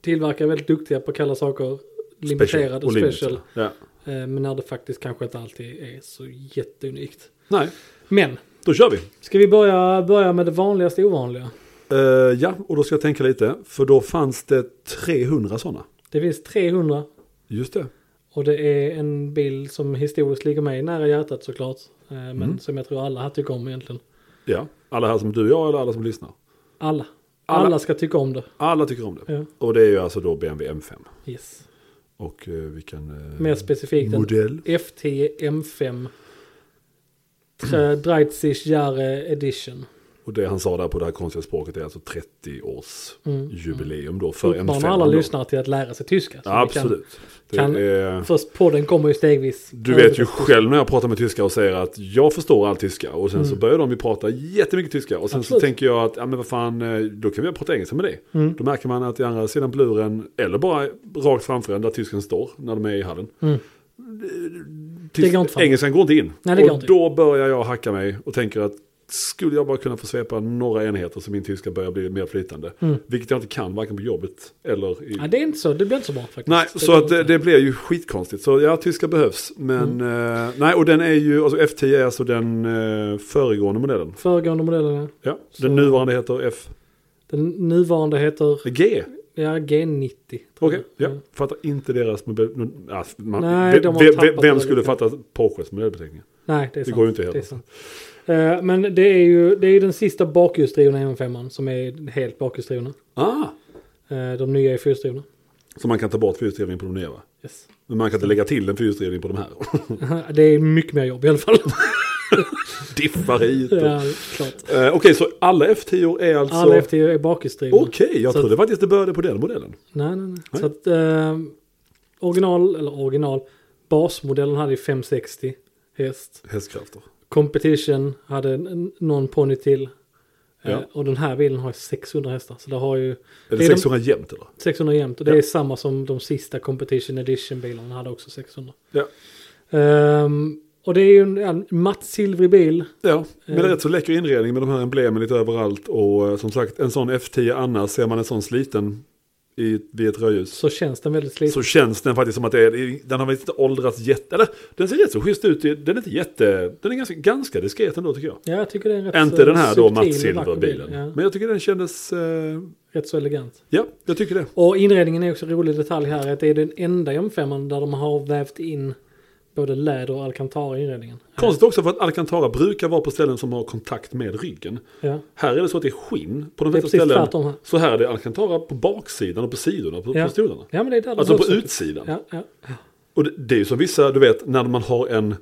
[SPEAKER 2] tillverkare är väldigt duktiga på att kalla saker limiterad och
[SPEAKER 1] limiterad.
[SPEAKER 2] special.
[SPEAKER 1] Ja.
[SPEAKER 2] eh, Men när det faktiskt kanske inte alltid är så jätteunikt.
[SPEAKER 1] Nej,
[SPEAKER 2] Men,
[SPEAKER 1] då kör vi.
[SPEAKER 2] ska vi börja, börja med det vanligaste ovanliga?
[SPEAKER 1] Eh, ja, och då ska jag tänka lite. För då fanns det 300 sådana.
[SPEAKER 2] Det finns 300
[SPEAKER 1] Just det.
[SPEAKER 2] Och det är en bil som historiskt ligger mig nära hjärtat såklart. Eh, Men
[SPEAKER 1] Mm.
[SPEAKER 2] som jag tror alla här tycker om egentligen.
[SPEAKER 1] Ja, alla här som du och jag eller alla som lyssnar.
[SPEAKER 2] Alla.
[SPEAKER 1] Alla.
[SPEAKER 2] Alla, ska tycka om det.
[SPEAKER 1] Alla tycker om det.
[SPEAKER 2] Ja.
[SPEAKER 1] Och det är ju alltså då BMW M5.
[SPEAKER 2] Yes.
[SPEAKER 1] Och eh, vilken eh,
[SPEAKER 2] Mer specifikt än
[SPEAKER 1] modell.
[SPEAKER 2] F10 M5
[SPEAKER 1] Mm.
[SPEAKER 2] Tre- Dreizig Jahre Edition.
[SPEAKER 1] Och det han sa där på det här konstiga språket är alltså 30 års
[SPEAKER 2] Mm.
[SPEAKER 1] jubileum då för M5.
[SPEAKER 2] Uppmanar alla
[SPEAKER 1] då.
[SPEAKER 2] lyssnare till att lära sig tyska. så
[SPEAKER 1] Ja,
[SPEAKER 2] vi kan-
[SPEAKER 1] absolut. Det
[SPEAKER 2] kan-
[SPEAKER 1] är,
[SPEAKER 2] Först podden kommer ju stegvis.
[SPEAKER 1] du vet ju själv när jag pratar med tyskar och säger att jag förstår all tyska. Och sen så börjar de ju prata jättemycket tyska. Och sen
[SPEAKER 2] Mm. Absolut.
[SPEAKER 1] så tänker jag att, ja men vad fan, eh, då kan vi prata engelska med dig.
[SPEAKER 2] Mm.
[SPEAKER 1] Då märker man att i andra sidan bluren, eller bara rakt framför en där tysken står när de är i hallen.
[SPEAKER 2] Mm.
[SPEAKER 1] Tysk,
[SPEAKER 2] går inte fram.
[SPEAKER 1] engelskan går inte in.
[SPEAKER 2] Nej, det
[SPEAKER 1] och
[SPEAKER 2] går inte.
[SPEAKER 1] då börjar jag hacka mig och tänker att skulle jag bara kunna få svepa några enheter så min tyska börjar bli mer flytande.
[SPEAKER 2] Mm.
[SPEAKER 1] Vilket jag inte kan, varken på jobbet eller i...
[SPEAKER 2] Ja, det är inte så. Det blir inte så bra faktiskt.
[SPEAKER 1] Nej,
[SPEAKER 2] Det
[SPEAKER 1] så
[SPEAKER 2] går
[SPEAKER 1] att eh, det,
[SPEAKER 2] inte.
[SPEAKER 1] det blir ju skitkonstigt. Så ja, tyska behövs. Men eh, nej, och den är ju, alltså F10 är alltså den eh, föregående modellen.
[SPEAKER 2] Föregående modellen.
[SPEAKER 1] Ja,
[SPEAKER 2] Så-
[SPEAKER 1] den nuvarande heter F...
[SPEAKER 2] Den nuvarande heter
[SPEAKER 1] G. Mm.
[SPEAKER 2] ja, G90. tror
[SPEAKER 1] Okej,
[SPEAKER 2] jag.
[SPEAKER 1] ja. Fattar inte deras mobil... Ja, man,
[SPEAKER 2] Nej, de har
[SPEAKER 1] vem,
[SPEAKER 2] tappat
[SPEAKER 1] vem, vem
[SPEAKER 2] det
[SPEAKER 1] skulle
[SPEAKER 2] lite.
[SPEAKER 1] fatta Porsches modellbeteckning?
[SPEAKER 2] Nej, det är
[SPEAKER 1] Det
[SPEAKER 2] sant.
[SPEAKER 1] går ju inte heller.
[SPEAKER 2] Det är sant. Eh, men det är ju det är ju den sista bakhjulsdrivna M5 som är helt bakhjulsdrivna.
[SPEAKER 1] Ah!
[SPEAKER 2] Eh, de nya är fyrhjulsdrivna.
[SPEAKER 1] Så man kan ta bort fyrhjulsdrivningen på de nya va?
[SPEAKER 2] Yes. <laughs>
[SPEAKER 1] Men man kan inte lägga till en fyrhjulsdrivning på de här. <laughs>
[SPEAKER 2] det är mycket mer jobb i alla fall.
[SPEAKER 1] Diffar hit. Och...
[SPEAKER 2] <laughs> Ja, klart.
[SPEAKER 1] Eh, Okej, så alla F10 är alltså...
[SPEAKER 2] Alla FTU är bakhjulsdrivna.
[SPEAKER 1] Okej, jag
[SPEAKER 2] Så att-
[SPEAKER 1] trodde faktiskt det började på den modellen.
[SPEAKER 2] Nej, nej, nej.
[SPEAKER 1] Nej.
[SPEAKER 2] Så att eh, original, eller original, basmodellen hade ju 560 häst.
[SPEAKER 1] Hästkrafter.
[SPEAKER 2] Competition hade en- en- någon ponny till. Eh,
[SPEAKER 1] Ja.
[SPEAKER 2] Och den här bilen har ju 600 hästar. Så det har ju
[SPEAKER 1] Är
[SPEAKER 2] Det
[SPEAKER 1] det
[SPEAKER 2] är de-
[SPEAKER 1] 600 jämnt eller?
[SPEAKER 2] 600 jämt. Och det
[SPEAKER 1] Ja.
[SPEAKER 2] är samma som de sista Competition Edition bilarna hade också 600.
[SPEAKER 1] Ja.
[SPEAKER 2] Ehm, och det är ju en, en matt silvrig bil.
[SPEAKER 1] Ja, men det är
[SPEAKER 2] Eh.
[SPEAKER 1] rätt så läcker inredning med de här emblemen lite överallt. Och eh, som sagt, en sån F10 annars, ser man en sån sliten i, vid ett rödljus.
[SPEAKER 2] Så känns den väldigt sliten.
[SPEAKER 1] Så känns den faktiskt som att det är, den har väl inte åldrats jätte, eller den ser rätt så schysst ut, den är inte jätte, den är ganska, ganska diskret ändå tycker jag.
[SPEAKER 2] Ja, jag tycker det är en rätt så
[SPEAKER 1] inte den här då
[SPEAKER 2] Alltså, subtil
[SPEAKER 1] matt
[SPEAKER 2] och vacker bil.
[SPEAKER 1] silverbilen.
[SPEAKER 2] Ja,
[SPEAKER 1] Men jag tycker den kändes, eh,
[SPEAKER 2] Rätt så elegant.
[SPEAKER 1] ja jag tycker det.
[SPEAKER 2] Och inredningen är också en rolig detalj här. Att det är den enda M5 där de har vävt in både läder och alcantara i inredningen.
[SPEAKER 1] Konstigt också för att Alcantara brukar vara på ställen som har kontakt med ryggen.
[SPEAKER 2] Ja.
[SPEAKER 1] Här är det så att det är skinn på de
[SPEAKER 2] Det är
[SPEAKER 1] flesta
[SPEAKER 2] precis
[SPEAKER 1] ställen.
[SPEAKER 2] tvärtom här.
[SPEAKER 1] Så här är det Alcantara på baksidan och på sidorna på,
[SPEAKER 2] Ja.
[SPEAKER 1] på stolarna.
[SPEAKER 2] Ja, men det är där de
[SPEAKER 1] Alltså på
[SPEAKER 2] också-
[SPEAKER 1] utsidan.
[SPEAKER 2] Ja, ja.
[SPEAKER 1] Och det, det är ju som vissa, du vet, när man har en,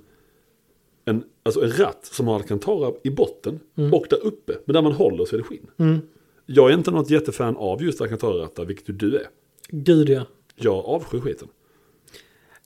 [SPEAKER 1] en, alltså en ratt som har Alcantara i botten och där uppe. Men där man håller så är det skinn.
[SPEAKER 2] Mm.
[SPEAKER 1] Jag är inte något jättefan av just Alcantara-rattar, vilket ju du är.
[SPEAKER 2] Gud ja.
[SPEAKER 1] Jag avskyr skiten.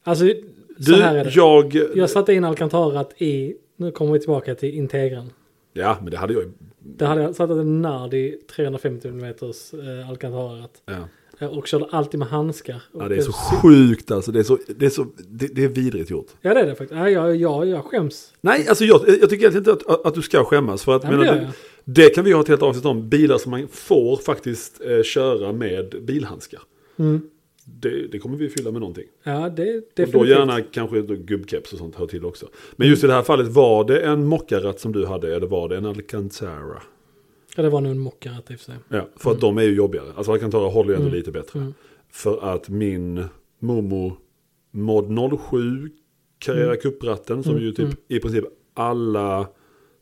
[SPEAKER 2] Alltså,
[SPEAKER 1] Du,
[SPEAKER 2] så här är det. Jag,
[SPEAKER 1] jag...
[SPEAKER 2] satte in alcantarat i, nu kommer vi tillbaka till integran.
[SPEAKER 1] Ja, men det hade jag ju...
[SPEAKER 2] Där hade jag satt en Nardi 350 mm eh, alcantarat.
[SPEAKER 1] Ja.
[SPEAKER 2] Ja, Och körde alltid med handskar. Och
[SPEAKER 1] Ja, det är så sjukt alltså. Det är så, det är så, det, det är vidrigt gjort.
[SPEAKER 2] Ja, det är det faktiskt. Ja, jag, jag, jag skäms.
[SPEAKER 1] Nej, alltså jag, jag tycker egentligen inte att, att du ska skämmas. För att,
[SPEAKER 2] Nej, men
[SPEAKER 1] menar,
[SPEAKER 2] det gör
[SPEAKER 1] det, det kan vi ha ett helt avsnitt om. Bilar som man får faktiskt eh, köra med bilhandskar.
[SPEAKER 2] Mm.
[SPEAKER 1] Det, det kommer vi fylla med någonting.
[SPEAKER 2] Ja, det är
[SPEAKER 1] Och då
[SPEAKER 2] definitivt.
[SPEAKER 1] gärna kanske då gubbkeps och sånt hör till också. Men just i det här fallet, var det en mockaratt som du hade eller var det en Alcantara?
[SPEAKER 2] Ja, det var nog en mockarat i och för sig.
[SPEAKER 1] Ja, för att de är ju jobbigare. Alltså Alcantara håller ju ändå lite bättre.
[SPEAKER 2] Mm.
[SPEAKER 1] För att min mormor Mod 07 Carrera
[SPEAKER 2] Mm.
[SPEAKER 1] Cup-ratten som ju typ i princip alla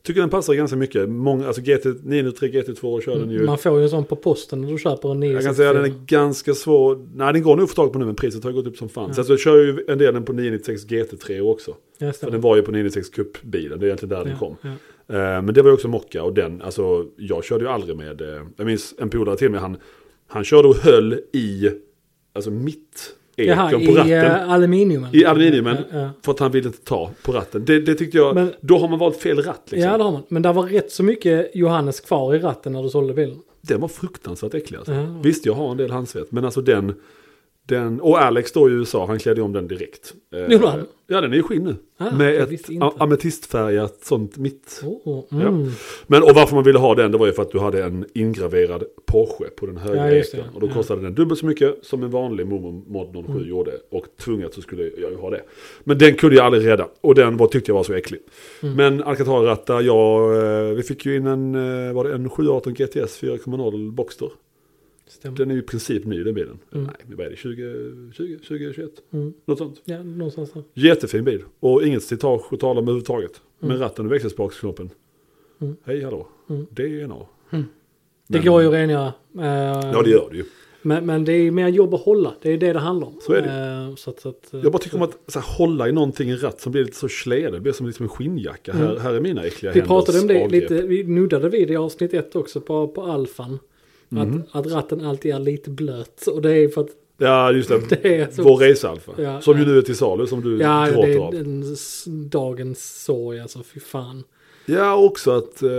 [SPEAKER 1] tycker den passar ganska mycket. Många, alltså GT 903, GT2 kör den ju.
[SPEAKER 2] Man får ju en sån på posten när du köper en 964.
[SPEAKER 1] Jag kan säga att den är ganska svår. Nej, den går nog att få tag på nu men priset har gått upp som fan.
[SPEAKER 2] Ja.
[SPEAKER 1] Sen så kör jag ju en del den på 996 GT3 också.
[SPEAKER 2] Ja,
[SPEAKER 1] För
[SPEAKER 2] stämmer.
[SPEAKER 1] den var ju på 996 Cup-bilen, det är egentligen där den
[SPEAKER 2] Ja,
[SPEAKER 1] kom.
[SPEAKER 2] ja.
[SPEAKER 1] Eh, Men det var ju också mocka och den, alltså jag körde ju aldrig med, eh, jag minns en polare till mig, han, han körde och höll i, alltså mitt
[SPEAKER 2] Jaha,
[SPEAKER 1] ekon på
[SPEAKER 2] i
[SPEAKER 1] ratten.
[SPEAKER 2] eh, aluminium. eller?
[SPEAKER 1] I aluminiumen.
[SPEAKER 2] Ja, ja.
[SPEAKER 1] För att han ville inte ta på ratten. Det, det tyckte jag,
[SPEAKER 2] Men-
[SPEAKER 1] då har man valt fel ratt liksom.
[SPEAKER 2] Ja, det har man. Men det var rätt så mycket Johannes kvar i ratten när du sålde bilen.
[SPEAKER 1] Den var fruktansvärt äcklig alltså.
[SPEAKER 2] Ja.
[SPEAKER 1] Visst, jag har en del handsvett, men alltså den, den, och Alex då i USA, han klädde ju om den direkt. Eh,
[SPEAKER 2] Gjorde han?
[SPEAKER 1] Ja, den är i skinn nu.
[SPEAKER 2] Ah, jag
[SPEAKER 1] med ett
[SPEAKER 2] visste inte.
[SPEAKER 1] a- ametistfärgat sånt mitt.
[SPEAKER 2] Oh, mm. ja.
[SPEAKER 1] Men och varför man ville ha den, det var ju för att du hade en ingraverad Porsche på den högra
[SPEAKER 2] Ja, just det.
[SPEAKER 1] eken. Och då
[SPEAKER 2] Ja. Mm.
[SPEAKER 1] kostade den dubbelt så mycket som en vanlig Momo Mod 07 gjorde. Och tvunget så skulle jag ju ha det. Men den kunde jag aldrig rädda. Och den var, tyckte jag var så äcklig.
[SPEAKER 2] Mm.
[SPEAKER 1] Men Alcantara-rattar, ja, eh, vi fick ju in en, eh, var det en 718 GTS 4.0 Boxster.
[SPEAKER 2] Stämmer.
[SPEAKER 1] Den är ju i princip ny den bilen.
[SPEAKER 2] Mm.
[SPEAKER 1] Nej, men vad är det, 20, 20, 20, 21?
[SPEAKER 2] Mm.
[SPEAKER 1] Något sånt.
[SPEAKER 2] Ja, någonstans där.
[SPEAKER 1] Jättefin bil. Och inget slitage att tala om överhuvudtaget. Men ratten och växelspaksknoppen.
[SPEAKER 2] Mm.
[SPEAKER 1] Hej hallå.
[SPEAKER 2] Mm.
[SPEAKER 1] Det är en A.
[SPEAKER 2] Det
[SPEAKER 1] Men-
[SPEAKER 2] går ju att rengöra. eh,
[SPEAKER 1] Ja det gör det ju.
[SPEAKER 2] men, men det är ju mer jobb att hålla. Det är det det handlar om.
[SPEAKER 1] Så är det.
[SPEAKER 2] Eh, så att, så att, eh,
[SPEAKER 1] Jag bara tycker om att så här, hålla i någonting i en ratt som blir lite så släde. Det blir som liksom en skinnjacka. Här, här är mina äckliga
[SPEAKER 2] Mm. Vi
[SPEAKER 1] händers
[SPEAKER 2] pratade om det
[SPEAKER 1] avgrepp.
[SPEAKER 2] lite, vi nuddade vid det i avsnitt ett också på, på alfan.
[SPEAKER 1] Mm.
[SPEAKER 2] Att, att ratten alltid är lite blöt. Och det är för att,
[SPEAKER 1] Ja just det.
[SPEAKER 2] <laughs> Det är så-
[SPEAKER 1] Vår racealfa.
[SPEAKER 2] Ja,
[SPEAKER 1] som ju
[SPEAKER 2] ja.
[SPEAKER 1] nu är till salu som du
[SPEAKER 2] ja det
[SPEAKER 1] gråter
[SPEAKER 2] är
[SPEAKER 1] av.
[SPEAKER 2] en, s- dagens sorg alltså, fy fan.
[SPEAKER 1] Ja också att eh,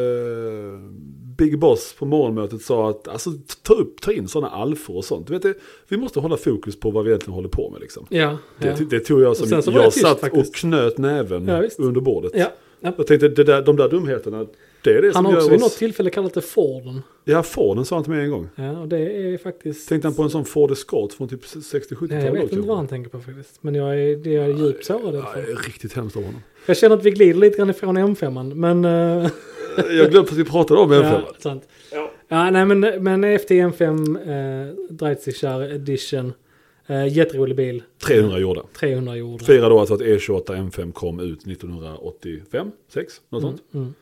[SPEAKER 1] Big Boss på morgonmötet sa att alltså, ta, upp, ta in sådana alfor och sånt. Du vet, det, vi måste hålla fokus på vad vi egentligen håller på med liksom.
[SPEAKER 2] Ja,
[SPEAKER 1] Det,
[SPEAKER 2] ja.
[SPEAKER 1] det tog jag som,
[SPEAKER 2] sen så var det
[SPEAKER 1] jag
[SPEAKER 2] tyst,
[SPEAKER 1] satt
[SPEAKER 2] faktiskt.
[SPEAKER 1] och knöt näven
[SPEAKER 2] Ja, visst.
[SPEAKER 1] under bordet.
[SPEAKER 2] ja. ja.
[SPEAKER 1] Jag tänkte, det där, de där dumheterna, det är det
[SPEAKER 2] Han
[SPEAKER 1] som
[SPEAKER 2] har också
[SPEAKER 1] gör
[SPEAKER 2] vid
[SPEAKER 1] oss...
[SPEAKER 2] något tillfälle kallat det Forden.
[SPEAKER 1] Ja, Forden sa han till mig en gång.
[SPEAKER 2] Ja, och det är faktiskt...
[SPEAKER 1] Tänkte han på en sån Ford Escort från typ 60-70-talet?
[SPEAKER 2] Nej, jag vet inte vad han tänker på faktiskt. Men jag är, det är djupt sårad i alla
[SPEAKER 1] Ja, det
[SPEAKER 2] fall.
[SPEAKER 1] är riktigt hemskt av honom.
[SPEAKER 2] Jag känner att vi glider lite grann ifrån M5. Men... eh,
[SPEAKER 1] Jag glömde att vi pratade om en
[SPEAKER 2] ja,
[SPEAKER 1] ja.
[SPEAKER 2] sant.
[SPEAKER 1] Ja.
[SPEAKER 2] Ja, nej men, men FTM5 eh, Dreizischer Edition. Eh, jätterolig bil.
[SPEAKER 1] 300 gjorda.
[SPEAKER 2] 300 gjorda.
[SPEAKER 1] Fira då alltså att E28 M5 kom ut 1985, 6, något sånt.
[SPEAKER 2] Mm.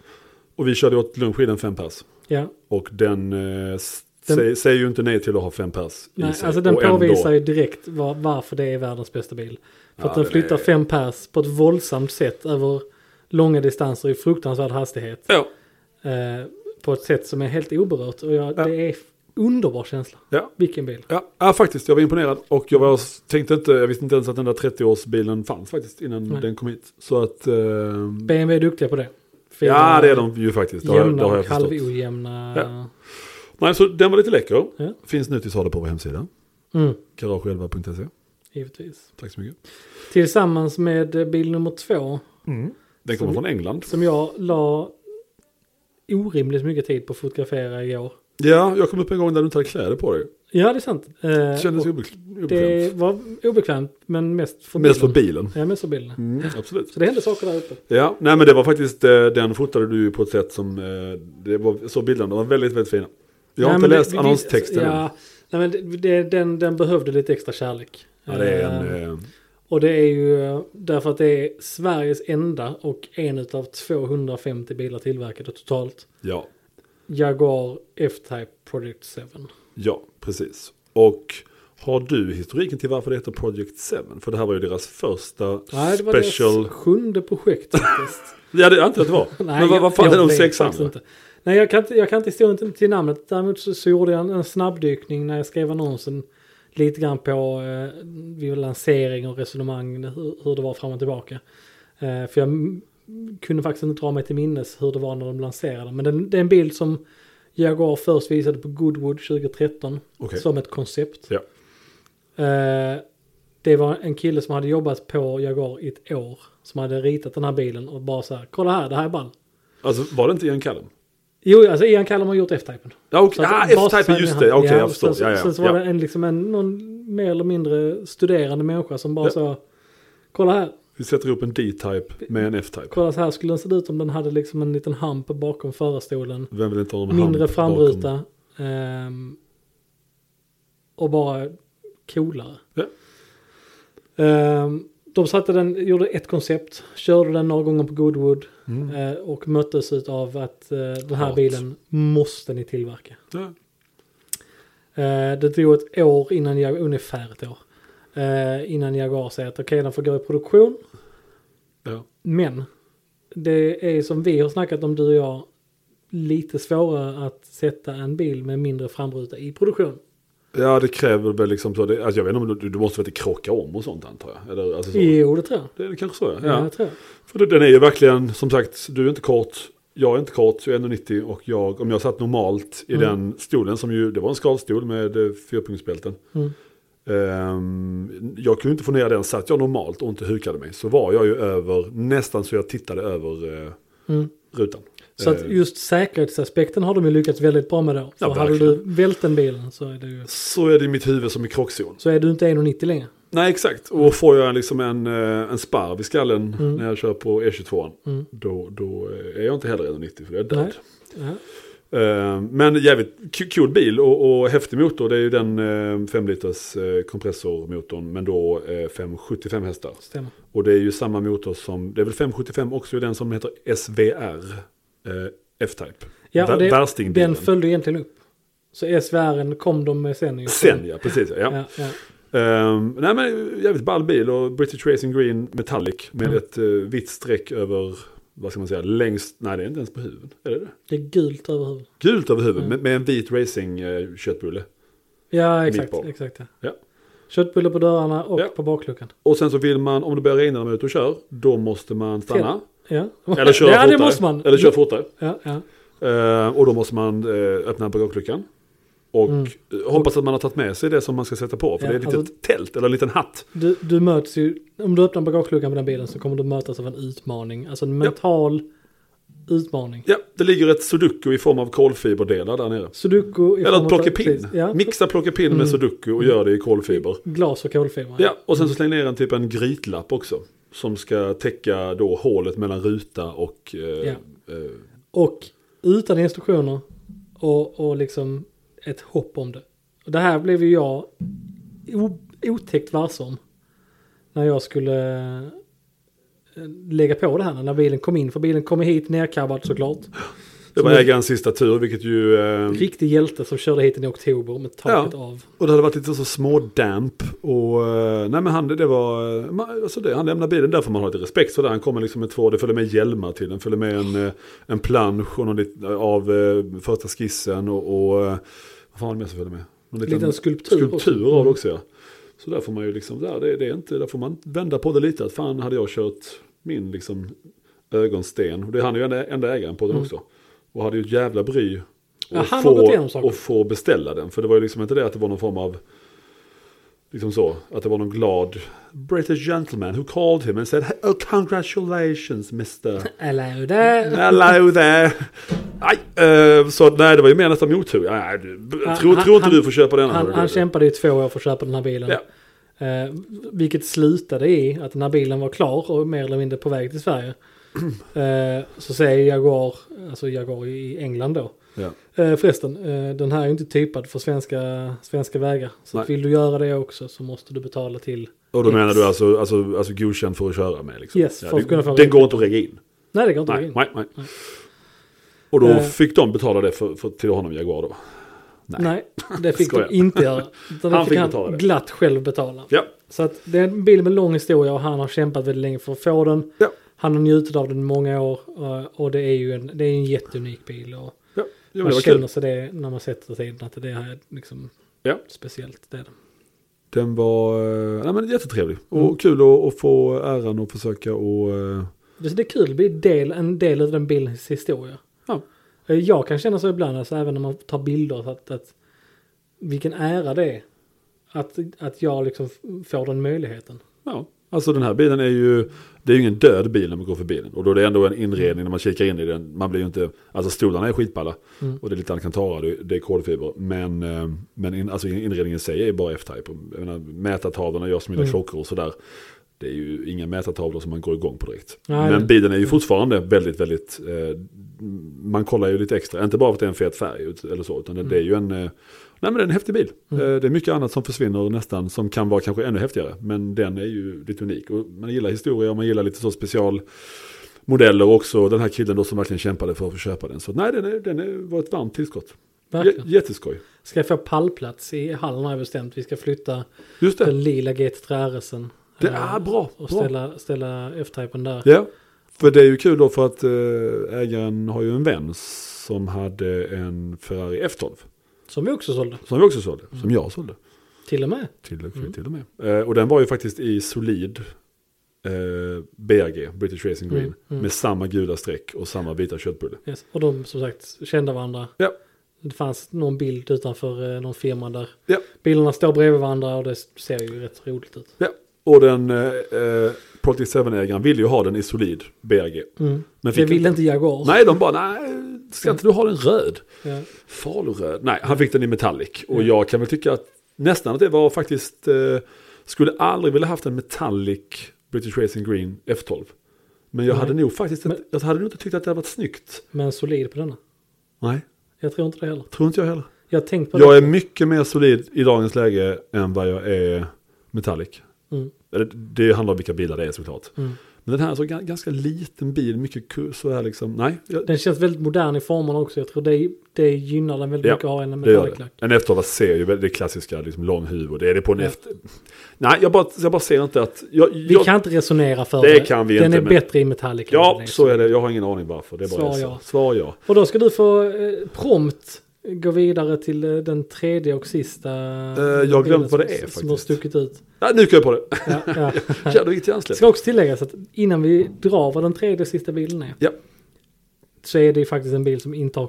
[SPEAKER 1] Och vi körde åt lunch i den fem pers.
[SPEAKER 2] Ja,
[SPEAKER 1] Och den, eh, s-
[SPEAKER 2] Den-
[SPEAKER 1] Säger, säger ju inte nej till att ha fem pers i
[SPEAKER 2] nej,
[SPEAKER 1] sig.
[SPEAKER 2] alltså den
[SPEAKER 1] Och ändå-
[SPEAKER 2] påvisar ju direkt var, varför det är världens bästa bil. För
[SPEAKER 1] Ja,
[SPEAKER 2] att den
[SPEAKER 1] den
[SPEAKER 2] flyttar
[SPEAKER 1] är-
[SPEAKER 2] fem pers på ett våldsamt sätt över långa distanser i fruktansvärd hastighet.
[SPEAKER 1] Ja.
[SPEAKER 2] Eh, på ett sätt som är helt oberört. Och jag,
[SPEAKER 1] Ja.
[SPEAKER 2] det är underbar känsla.
[SPEAKER 1] Ja.
[SPEAKER 2] Vilken bil.
[SPEAKER 1] Ja, ja, faktiskt. Jag var imponerad och jag var, tänkte inte, jag visste inte ens att den där 30-årsbilen fanns faktiskt innan
[SPEAKER 2] Nej.
[SPEAKER 1] den kom hit. Så att... eh,
[SPEAKER 2] BMW är duktiga på det. Fina,
[SPEAKER 1] ja, det är de ju faktiskt. Det har, jag- det
[SPEAKER 2] Jämna
[SPEAKER 1] har
[SPEAKER 2] och
[SPEAKER 1] jag förstått.
[SPEAKER 2] halvojämna.
[SPEAKER 1] Nej, så den var lite läcker.
[SPEAKER 2] Ja.
[SPEAKER 1] Finns nu till salu på vår hemsida.
[SPEAKER 2] Mm,
[SPEAKER 1] Garage11.se.
[SPEAKER 2] givetvis.
[SPEAKER 1] Tack så mycket.
[SPEAKER 2] Tillsammans med eh, bil nummer två.
[SPEAKER 1] Den kommer
[SPEAKER 2] Så-
[SPEAKER 1] från England.
[SPEAKER 2] Som jag la orimligt mycket tid på att fotografera igår.
[SPEAKER 1] Ja, jag kom upp en gång där du inte hade kläder på dig.
[SPEAKER 2] Ja, det är sant. Eh,
[SPEAKER 1] Det kändes
[SPEAKER 2] och
[SPEAKER 1] obek-
[SPEAKER 2] det
[SPEAKER 1] obekvämt.
[SPEAKER 2] var obekvämt, men mest för
[SPEAKER 1] Mest för
[SPEAKER 2] bilden.
[SPEAKER 1] bilen.
[SPEAKER 2] Ja, mest för bilden.
[SPEAKER 1] Mm, absolut.
[SPEAKER 2] Så det hände saker där uppe.
[SPEAKER 1] Ja, nej men det var faktiskt, eh, den fotade du ju på ett sätt som, eh, det var så bilderna, de var väldigt, väldigt fina. Jag har
[SPEAKER 2] Nej,
[SPEAKER 1] inte
[SPEAKER 2] men det-
[SPEAKER 1] läst
[SPEAKER 2] det-
[SPEAKER 1] annonstexten än.
[SPEAKER 2] Ja, nej, men det, det, den, den behövde lite extra kärlek.
[SPEAKER 1] Ja, det är en...
[SPEAKER 2] Eh,
[SPEAKER 1] eh,
[SPEAKER 2] Och det är ju eh, därför att det är Sveriges enda och en av 250 bilar tillverkade totalt.
[SPEAKER 1] Ja,
[SPEAKER 2] Jaguar F-Type Project 7.
[SPEAKER 1] ja, precis. Och har du historiken till varför det heter Project 7? För det här var ju deras första
[SPEAKER 2] Nej, det var
[SPEAKER 1] special...
[SPEAKER 2] deras
[SPEAKER 1] <laughs>
[SPEAKER 2] sjunde projekt faktiskt.
[SPEAKER 1] Ja, det antar jag att det var.
[SPEAKER 2] <laughs> Nej,
[SPEAKER 1] men vad, vad fan
[SPEAKER 2] jag
[SPEAKER 1] är de
[SPEAKER 2] vet
[SPEAKER 1] sex
[SPEAKER 2] faktiskt
[SPEAKER 1] andra?
[SPEAKER 2] inte. Nej, jag kan inte, jag kan inte stå inte till namnet. Däremot så, så gjorde jag en, en snabbdykning när jag skrev annonsen. Lite grann på eh, vid lansering och resonemang, hur, hur det var fram och tillbaka. Eh, för jag mm, kunde faktiskt inte dra mig till minnes hur det var när de lanserade. Men den, det är en bild som Jaguar först visade på Goodwood 2013.
[SPEAKER 1] Okej.
[SPEAKER 2] Som ett koncept.
[SPEAKER 1] Ja.
[SPEAKER 2] Eh, det var en kille som hade jobbat på Jaguar i ett år. Som hade ritat den här bilen och bara så här, kolla här, det här är ball.
[SPEAKER 1] Alltså var det inte Ian Callum?
[SPEAKER 2] Jo, alltså Ian Callum har gjort F-Typen.
[SPEAKER 1] Ja,
[SPEAKER 2] Så
[SPEAKER 1] okay.
[SPEAKER 2] att
[SPEAKER 1] ah,
[SPEAKER 2] Bas
[SPEAKER 1] F-Type,
[SPEAKER 2] hade
[SPEAKER 1] just
[SPEAKER 2] han-
[SPEAKER 1] det. Okej, jag
[SPEAKER 2] sen-
[SPEAKER 1] förstår. Ja, ja,
[SPEAKER 2] Sen så
[SPEAKER 1] ja.
[SPEAKER 2] var det en, liksom en, någon mer eller mindre studerande människa som bara
[SPEAKER 1] Ja.
[SPEAKER 2] sa Kolla här,
[SPEAKER 1] Vi sätter upp en D-Type med en F-Type.
[SPEAKER 2] kolla så här skulle den se ut om den hade liksom en liten hamp bakom förarstolen.
[SPEAKER 1] Vem vill inte ha en
[SPEAKER 2] Mindre
[SPEAKER 1] hand
[SPEAKER 2] framruta.
[SPEAKER 1] bakom?
[SPEAKER 2] ehm, och bara coolare.
[SPEAKER 1] Ja.
[SPEAKER 2] Ehm, de satte den, gjorde ett koncept, körde den några gånger på Goodwood
[SPEAKER 1] Mm.
[SPEAKER 2] eh, och möttes av att eh, den här
[SPEAKER 1] Hat.
[SPEAKER 2] bilen måste ni tillverka.
[SPEAKER 1] Ja.
[SPEAKER 2] Eh, det tog ett år innan jag, ungefär ett år, eh, innan Jaguar säger att okej den får gå i produktion.
[SPEAKER 1] Ja.
[SPEAKER 2] Men det är som vi har snackat om du och jag lite svårare att sätta en bil med mindre framruta i produktion.
[SPEAKER 1] ja, det kräver väl liksom så. Det, alltså, jag vet inte om du, du måste väl inte krocka om och sånt antar jag? Eller, alltså, så.
[SPEAKER 2] Jo det tror jag.
[SPEAKER 1] Det är kanske så, ja.
[SPEAKER 2] Ja.
[SPEAKER 1] ja.
[SPEAKER 2] det tror jag.
[SPEAKER 1] För det- den är ju verkligen, som sagt, du är inte kort, jag är inte kort, jag är 1,90 och jag, om jag satt normalt i
[SPEAKER 2] Mm.
[SPEAKER 1] den stolen som ju, det var en skalstol med eh, fyrpunktsbälten.
[SPEAKER 2] Mm.
[SPEAKER 1] Ehm, jag kunde inte få ner den, satt jag normalt och inte hukade mig så var jag ju över, nästan så jag tittade över eh,
[SPEAKER 2] Mm.
[SPEAKER 1] rutan.
[SPEAKER 2] Så att
[SPEAKER 1] Eh,
[SPEAKER 2] just säkerhetsaspekten har de ju lyckats väldigt bra med då. För
[SPEAKER 1] Ja,
[SPEAKER 2] hade du
[SPEAKER 1] verkligen.
[SPEAKER 2] vält den bilen så är, det ju,
[SPEAKER 1] så är det i mitt huvud som i krockzon.
[SPEAKER 2] så är du inte 1,90 längre.
[SPEAKER 1] Nej, exakt. Och får jag liksom en, eh, en sparv i skallen när jag kör på E22,
[SPEAKER 2] Mm.
[SPEAKER 1] då, då eh, är jag inte heller 1,90 för då är jag
[SPEAKER 2] Nej.
[SPEAKER 1] död.
[SPEAKER 2] Ja.
[SPEAKER 1] Eh, Men jävligt k- cool bil och, och häftig motor. Det är ju den 5 liters eh, kompressormotorn men då eh, 575 hästar.
[SPEAKER 2] Stämmer.
[SPEAKER 1] Och det är ju samma motor som, det är väl 575 också i den som heter SVR eh, F-Type.
[SPEAKER 2] Ja, och
[SPEAKER 1] Vär-
[SPEAKER 2] det,
[SPEAKER 1] Värstingbilen.
[SPEAKER 2] den följde egentligen upp. Så SVR kom de med sen. ju.
[SPEAKER 1] Sen ja, precis. Ja.
[SPEAKER 2] Ja, ja.
[SPEAKER 1] Ehm, nej men jävligt ball bil och British Racing Green Metallic med
[SPEAKER 2] Mm.
[SPEAKER 1] ett eh, vitt streck över, vad ska man säga, längst, nej det är inte ens på huvudet. Är det det?
[SPEAKER 2] Det är gult över huvudet.
[SPEAKER 1] Gult över huvudet
[SPEAKER 2] Mm.
[SPEAKER 1] med, med en vit racing eh, köttbulle.
[SPEAKER 2] Ja, exakt.
[SPEAKER 1] Meatball.
[SPEAKER 2] exakt ja.
[SPEAKER 1] Ja.
[SPEAKER 2] Köttbullar på dörrarna och
[SPEAKER 1] Ja.
[SPEAKER 2] på bakluckan.
[SPEAKER 1] Och sen så vill man, om det börjar regna när man är ute och kör, då måste man stanna.
[SPEAKER 2] Ja,
[SPEAKER 1] <laughs> Eller köra
[SPEAKER 2] <laughs> ja det
[SPEAKER 1] fortare.
[SPEAKER 2] måste man.
[SPEAKER 1] Eller köra fortare.
[SPEAKER 2] ja, ja.
[SPEAKER 1] Eh, och då måste man eh, öppna bakluckan. Och
[SPEAKER 2] Mm.
[SPEAKER 1] eh, hoppas att man har tagit med sig det som man ska sätta på. För
[SPEAKER 2] Ja,
[SPEAKER 1] det är ett litet
[SPEAKER 2] alltså-
[SPEAKER 1] tält eller en liten hatt.
[SPEAKER 2] Du, du möts ju, om du öppnar bagageluckan på den bilen så kommer du mötas av en utmaning. Alltså en mental utmaning.
[SPEAKER 1] Ja, det ligger ett sudoku i form av kolfiberdelar där nere.
[SPEAKER 2] Sudoku i form
[SPEAKER 1] Eller
[SPEAKER 2] av-
[SPEAKER 1] ett plockepinn.
[SPEAKER 2] precis, Ja. Mm.
[SPEAKER 1] Mixa plockepinn med sudoku och gör det i kolfiber.
[SPEAKER 2] Glas och kolfiber.
[SPEAKER 1] Ja, och sen så släng ner en typ en grytlapp också. Som ska täcka då hålet mellan ruta och... Eh, eh,
[SPEAKER 2] Och utan instruktioner och, och liksom ett hopp om det. Och det här blev ju jag o, otäckt varse om. När jag skulle eh, lägga på det här när bilen kom in. För bilen kom hit nerkabbad såklart.
[SPEAKER 1] Det var
[SPEAKER 2] Som-
[SPEAKER 1] ägarens sista tur, vilket ju... eh,
[SPEAKER 2] Riktig hjälte som körde hit den i oktober med taket av.
[SPEAKER 1] Och det hade varit lite så smådamp. Och eh, nej men han, det var, eh, man- alltså det, han lämnade bilen där får man ha lite respekt för det. Han kommer liksom med två, det följer med hjälmar till den, följer med en, eh, en plansch och någon lit, av eh, första skissen och, och eh, vad fan var det mer som följde med? Någon
[SPEAKER 2] En liten skulptur.
[SPEAKER 1] skulptur
[SPEAKER 2] också.
[SPEAKER 1] av det också ja. Så där får man ju liksom, där, det, det är inte, där får man vända på det lite. Att fan hade jag kört min liksom ögonsten. Och det är han ju enda, enda ägaren på den
[SPEAKER 2] Mm.
[SPEAKER 1] också. Och hade ju ett jävla bry.
[SPEAKER 2] Ja,
[SPEAKER 1] att
[SPEAKER 2] han har
[SPEAKER 1] få-
[SPEAKER 2] gått igenom saker.
[SPEAKER 1] Och få beställa den. För det var ju liksom inte det att det var någon form av, liksom så, att det var någon glad British gentleman who called him and said oh, congratulations
[SPEAKER 2] <laughs>
[SPEAKER 1] mister.
[SPEAKER 2] Hello
[SPEAKER 1] Mm.
[SPEAKER 2] there.
[SPEAKER 1] Hello there. Nej, eh, så att, nej det var ju mer nästan otur. Ja, nej, du- b-
[SPEAKER 2] Han-
[SPEAKER 1] Tror
[SPEAKER 2] han-
[SPEAKER 1] tror inte
[SPEAKER 2] han-
[SPEAKER 1] du får köpa den. här,
[SPEAKER 2] Han,
[SPEAKER 1] hörru
[SPEAKER 2] han
[SPEAKER 1] du.
[SPEAKER 2] kämpade i två år för att köpa den här bilen.
[SPEAKER 1] Ja.
[SPEAKER 2] Eh, vilket slutade i att när bilen var klar och mer eller mindre på väg
[SPEAKER 1] <clears throat>
[SPEAKER 2] till Sverige. eh, så säger Jaguar, alltså Jaguar i England då.
[SPEAKER 1] Ja.
[SPEAKER 2] Eh, förresten, eh, den här är ju inte typad för svenska, svenska vägar. Så
[SPEAKER 1] Nej.
[SPEAKER 2] att vill du göra det också så måste du betala till.
[SPEAKER 1] Och då
[SPEAKER 2] Yes.
[SPEAKER 1] menar du alltså, alltså, alltså godkänd för att köra med? Liksom.
[SPEAKER 2] Yes, för att kunna få
[SPEAKER 1] det, den
[SPEAKER 2] reda
[SPEAKER 1] går inte att regga in?
[SPEAKER 2] Nej det går inte att gå
[SPEAKER 1] Nej,
[SPEAKER 2] in.
[SPEAKER 1] nej, nej. Och då
[SPEAKER 2] Eh.
[SPEAKER 1] fick de betala det för, för, till honom Jaguar då? nej.
[SPEAKER 2] Nej, det fick de
[SPEAKER 1] Skojar.
[SPEAKER 2] inte
[SPEAKER 1] <laughs>
[SPEAKER 2] göra. Utan det
[SPEAKER 1] Han
[SPEAKER 2] fick
[SPEAKER 1] fick
[SPEAKER 2] han
[SPEAKER 1] betala det.
[SPEAKER 2] glatt själv betala.
[SPEAKER 1] Ja,
[SPEAKER 2] Så att det är en bil med lång historia och han har kämpat väldigt länge för att få den.
[SPEAKER 1] Ja.
[SPEAKER 2] Han har njutit av den i många år eh, och det är ju en, det är en jätteunik bil. Och
[SPEAKER 1] ja. ja men
[SPEAKER 2] man
[SPEAKER 1] det var
[SPEAKER 2] känner
[SPEAKER 1] kul.
[SPEAKER 2] sig det när man sätter sig i den att det här är liksom
[SPEAKER 1] Ja.
[SPEAKER 2] speciellt. Det är det.
[SPEAKER 1] Den var eh, nej, men jättetrevlig. Och kul att, att få äran att försöka och... eh,
[SPEAKER 2] Det det är kul, det blir del, en del av den bilens historia.
[SPEAKER 1] Ja.
[SPEAKER 2] Eh, Jag kan känna så ibland, alltså, även när man tar bilder, så att, att vilken ära det är att, att jag liksom f- får den möjligheten.
[SPEAKER 1] Ja, alltså den här bilen är ju, det är ju ingen död bil när man går förbi den. Och då är det ändå en inredning när man kikar in i den. Man blir ju inte, alltså stolarna är skitballa.
[SPEAKER 2] Mm.
[SPEAKER 1] Och det är lite alcantara, det, det är kolfiber. Men, eh, men in, alltså inredningen i sig är bara F-Type. Jag menar, mätartavlorna görs med mina
[SPEAKER 2] Mm.
[SPEAKER 1] klockor och sådär. Det är ju inga mätartavlor som man går igång på direkt.
[SPEAKER 2] Nej,
[SPEAKER 1] men
[SPEAKER 2] nej.
[SPEAKER 1] bilen är ju fortfarande väldigt, väldigt, eh, man kollar ju lite extra. Inte bara för att det är en fet färg ut- eller så, utan det, det är ju en, eh, Nej men det är en häftig bil.
[SPEAKER 2] Mm.
[SPEAKER 1] Eh, Det är mycket annat som försvinner nästan som kan vara kanske ännu häftigare. Men den är ju lite unik. Och man gillar historia och man gillar lite så specialmodeller också. Den här killen då som verkligen kämpade för att få köpa den. Så nej den, är, den är, var ett varmt tillskott. J-
[SPEAKER 2] Verkligen.
[SPEAKER 1] jätteskoj.
[SPEAKER 2] Ska jag få pallplats i hallen har jag bestämt. Vi ska flytta
[SPEAKER 1] Just det.
[SPEAKER 2] den lila GT3 RSen.
[SPEAKER 1] Det
[SPEAKER 2] eh,
[SPEAKER 1] är bra.
[SPEAKER 2] Och
[SPEAKER 1] bra.
[SPEAKER 2] ställa, ställa F-Typen där.
[SPEAKER 1] Ja. För det är ju kul då för att eh, ägaren har ju en vän som hade en Ferrari F12.
[SPEAKER 2] Som vi också sålde.
[SPEAKER 1] Som vi också sålde.
[SPEAKER 2] Mm.
[SPEAKER 1] Som jag sålde.
[SPEAKER 2] Till och med.
[SPEAKER 1] Till, till och med. Eh, och den var ju faktiskt i solid eh, BRG, British Racing Green,
[SPEAKER 2] Mm, mm.
[SPEAKER 1] med samma gula streck och samma vita köttbulle.
[SPEAKER 2] Yes. Och de som sagt kände varandra.
[SPEAKER 1] Ja,
[SPEAKER 2] Det fanns någon bild utanför eh, någon firma där
[SPEAKER 1] ja,
[SPEAKER 2] bilarna står bredvid varandra och det ser ju rätt roligt ut.
[SPEAKER 1] ja. Och den eh, eh, Project 7-ägaren ville ju ha den i solid BRG.
[SPEAKER 2] Mm.
[SPEAKER 1] Men
[SPEAKER 2] Det
[SPEAKER 1] fick
[SPEAKER 2] ville Mm. inte Jaguar.
[SPEAKER 1] Nej, de bara, nej, ska inte du ha den röd?
[SPEAKER 2] Ja.
[SPEAKER 1] Faluröd. Nej, han fick den i metallic. Och
[SPEAKER 2] Mm.
[SPEAKER 1] jag kan väl tycka att nästan att det var faktiskt, eh, skulle aldrig vilja haft en metallic British Racing Green F12. Men jag
[SPEAKER 2] Nej.
[SPEAKER 1] hade nog faktiskt inte,
[SPEAKER 2] Men-
[SPEAKER 1] jag hade nog inte tyckt att det hade varit snyggt.
[SPEAKER 2] Men solid på denna.
[SPEAKER 1] Nej,
[SPEAKER 2] Jag tror inte det heller.
[SPEAKER 1] tror inte jag heller.
[SPEAKER 2] Jag har tänkt på
[SPEAKER 1] Jag
[SPEAKER 2] det.
[SPEAKER 1] är mycket mer solid i dagens läge än vad jag är metallic.
[SPEAKER 2] Mm.
[SPEAKER 1] Eller, Det handlar om vilka bilar det är såklart.
[SPEAKER 2] Mm.
[SPEAKER 1] Men den här är så ga- ganska liten bil, mycket ku- så här liksom. Nej, jag,
[SPEAKER 2] Den känns väldigt modern i formerna också. Jag tror det, det gynnar den väldigt
[SPEAKER 1] Ja,
[SPEAKER 2] mycket att ha en
[SPEAKER 1] det gör
[SPEAKER 2] metallic
[SPEAKER 1] det.
[SPEAKER 2] lack.
[SPEAKER 1] En F12 ser ju väldigt- det klassiska, liksom lång huvud. Det är det på en
[SPEAKER 2] Ja.
[SPEAKER 1] F... Nej, jag bara, jag bara ser inte att... Jag,
[SPEAKER 2] Vi
[SPEAKER 1] jag,
[SPEAKER 2] kan inte resonera för
[SPEAKER 1] Det kan vi
[SPEAKER 2] Den
[SPEAKER 1] inte,
[SPEAKER 2] är
[SPEAKER 1] men-
[SPEAKER 2] bättre i metallic. än
[SPEAKER 1] ja,
[SPEAKER 2] den
[SPEAKER 1] så är det. Jag har ingen aning varför. Det är bara
[SPEAKER 2] Svar
[SPEAKER 1] så.
[SPEAKER 2] ja.
[SPEAKER 1] Svar ja.
[SPEAKER 2] Och då ska du få eh, prompt gå vidare till eh, den tredje och sista.
[SPEAKER 1] Eh, jag har glömt
[SPEAKER 2] bilden
[SPEAKER 1] vad
[SPEAKER 2] som-
[SPEAKER 1] det är
[SPEAKER 2] Som
[SPEAKER 1] faktiskt.
[SPEAKER 2] har
[SPEAKER 1] <laughs>
[SPEAKER 2] stuckit ut.
[SPEAKER 1] Nej, nu kan jag på det.
[SPEAKER 2] <laughs> Ja, ja.
[SPEAKER 1] Jävlar, vilket
[SPEAKER 2] Det
[SPEAKER 1] hjärnsläpp.
[SPEAKER 2] ska också tilläggas att innan vi drar vad den tredje och sista bilden är.
[SPEAKER 1] Ja.
[SPEAKER 2] Så är det ju faktiskt en bil som inte har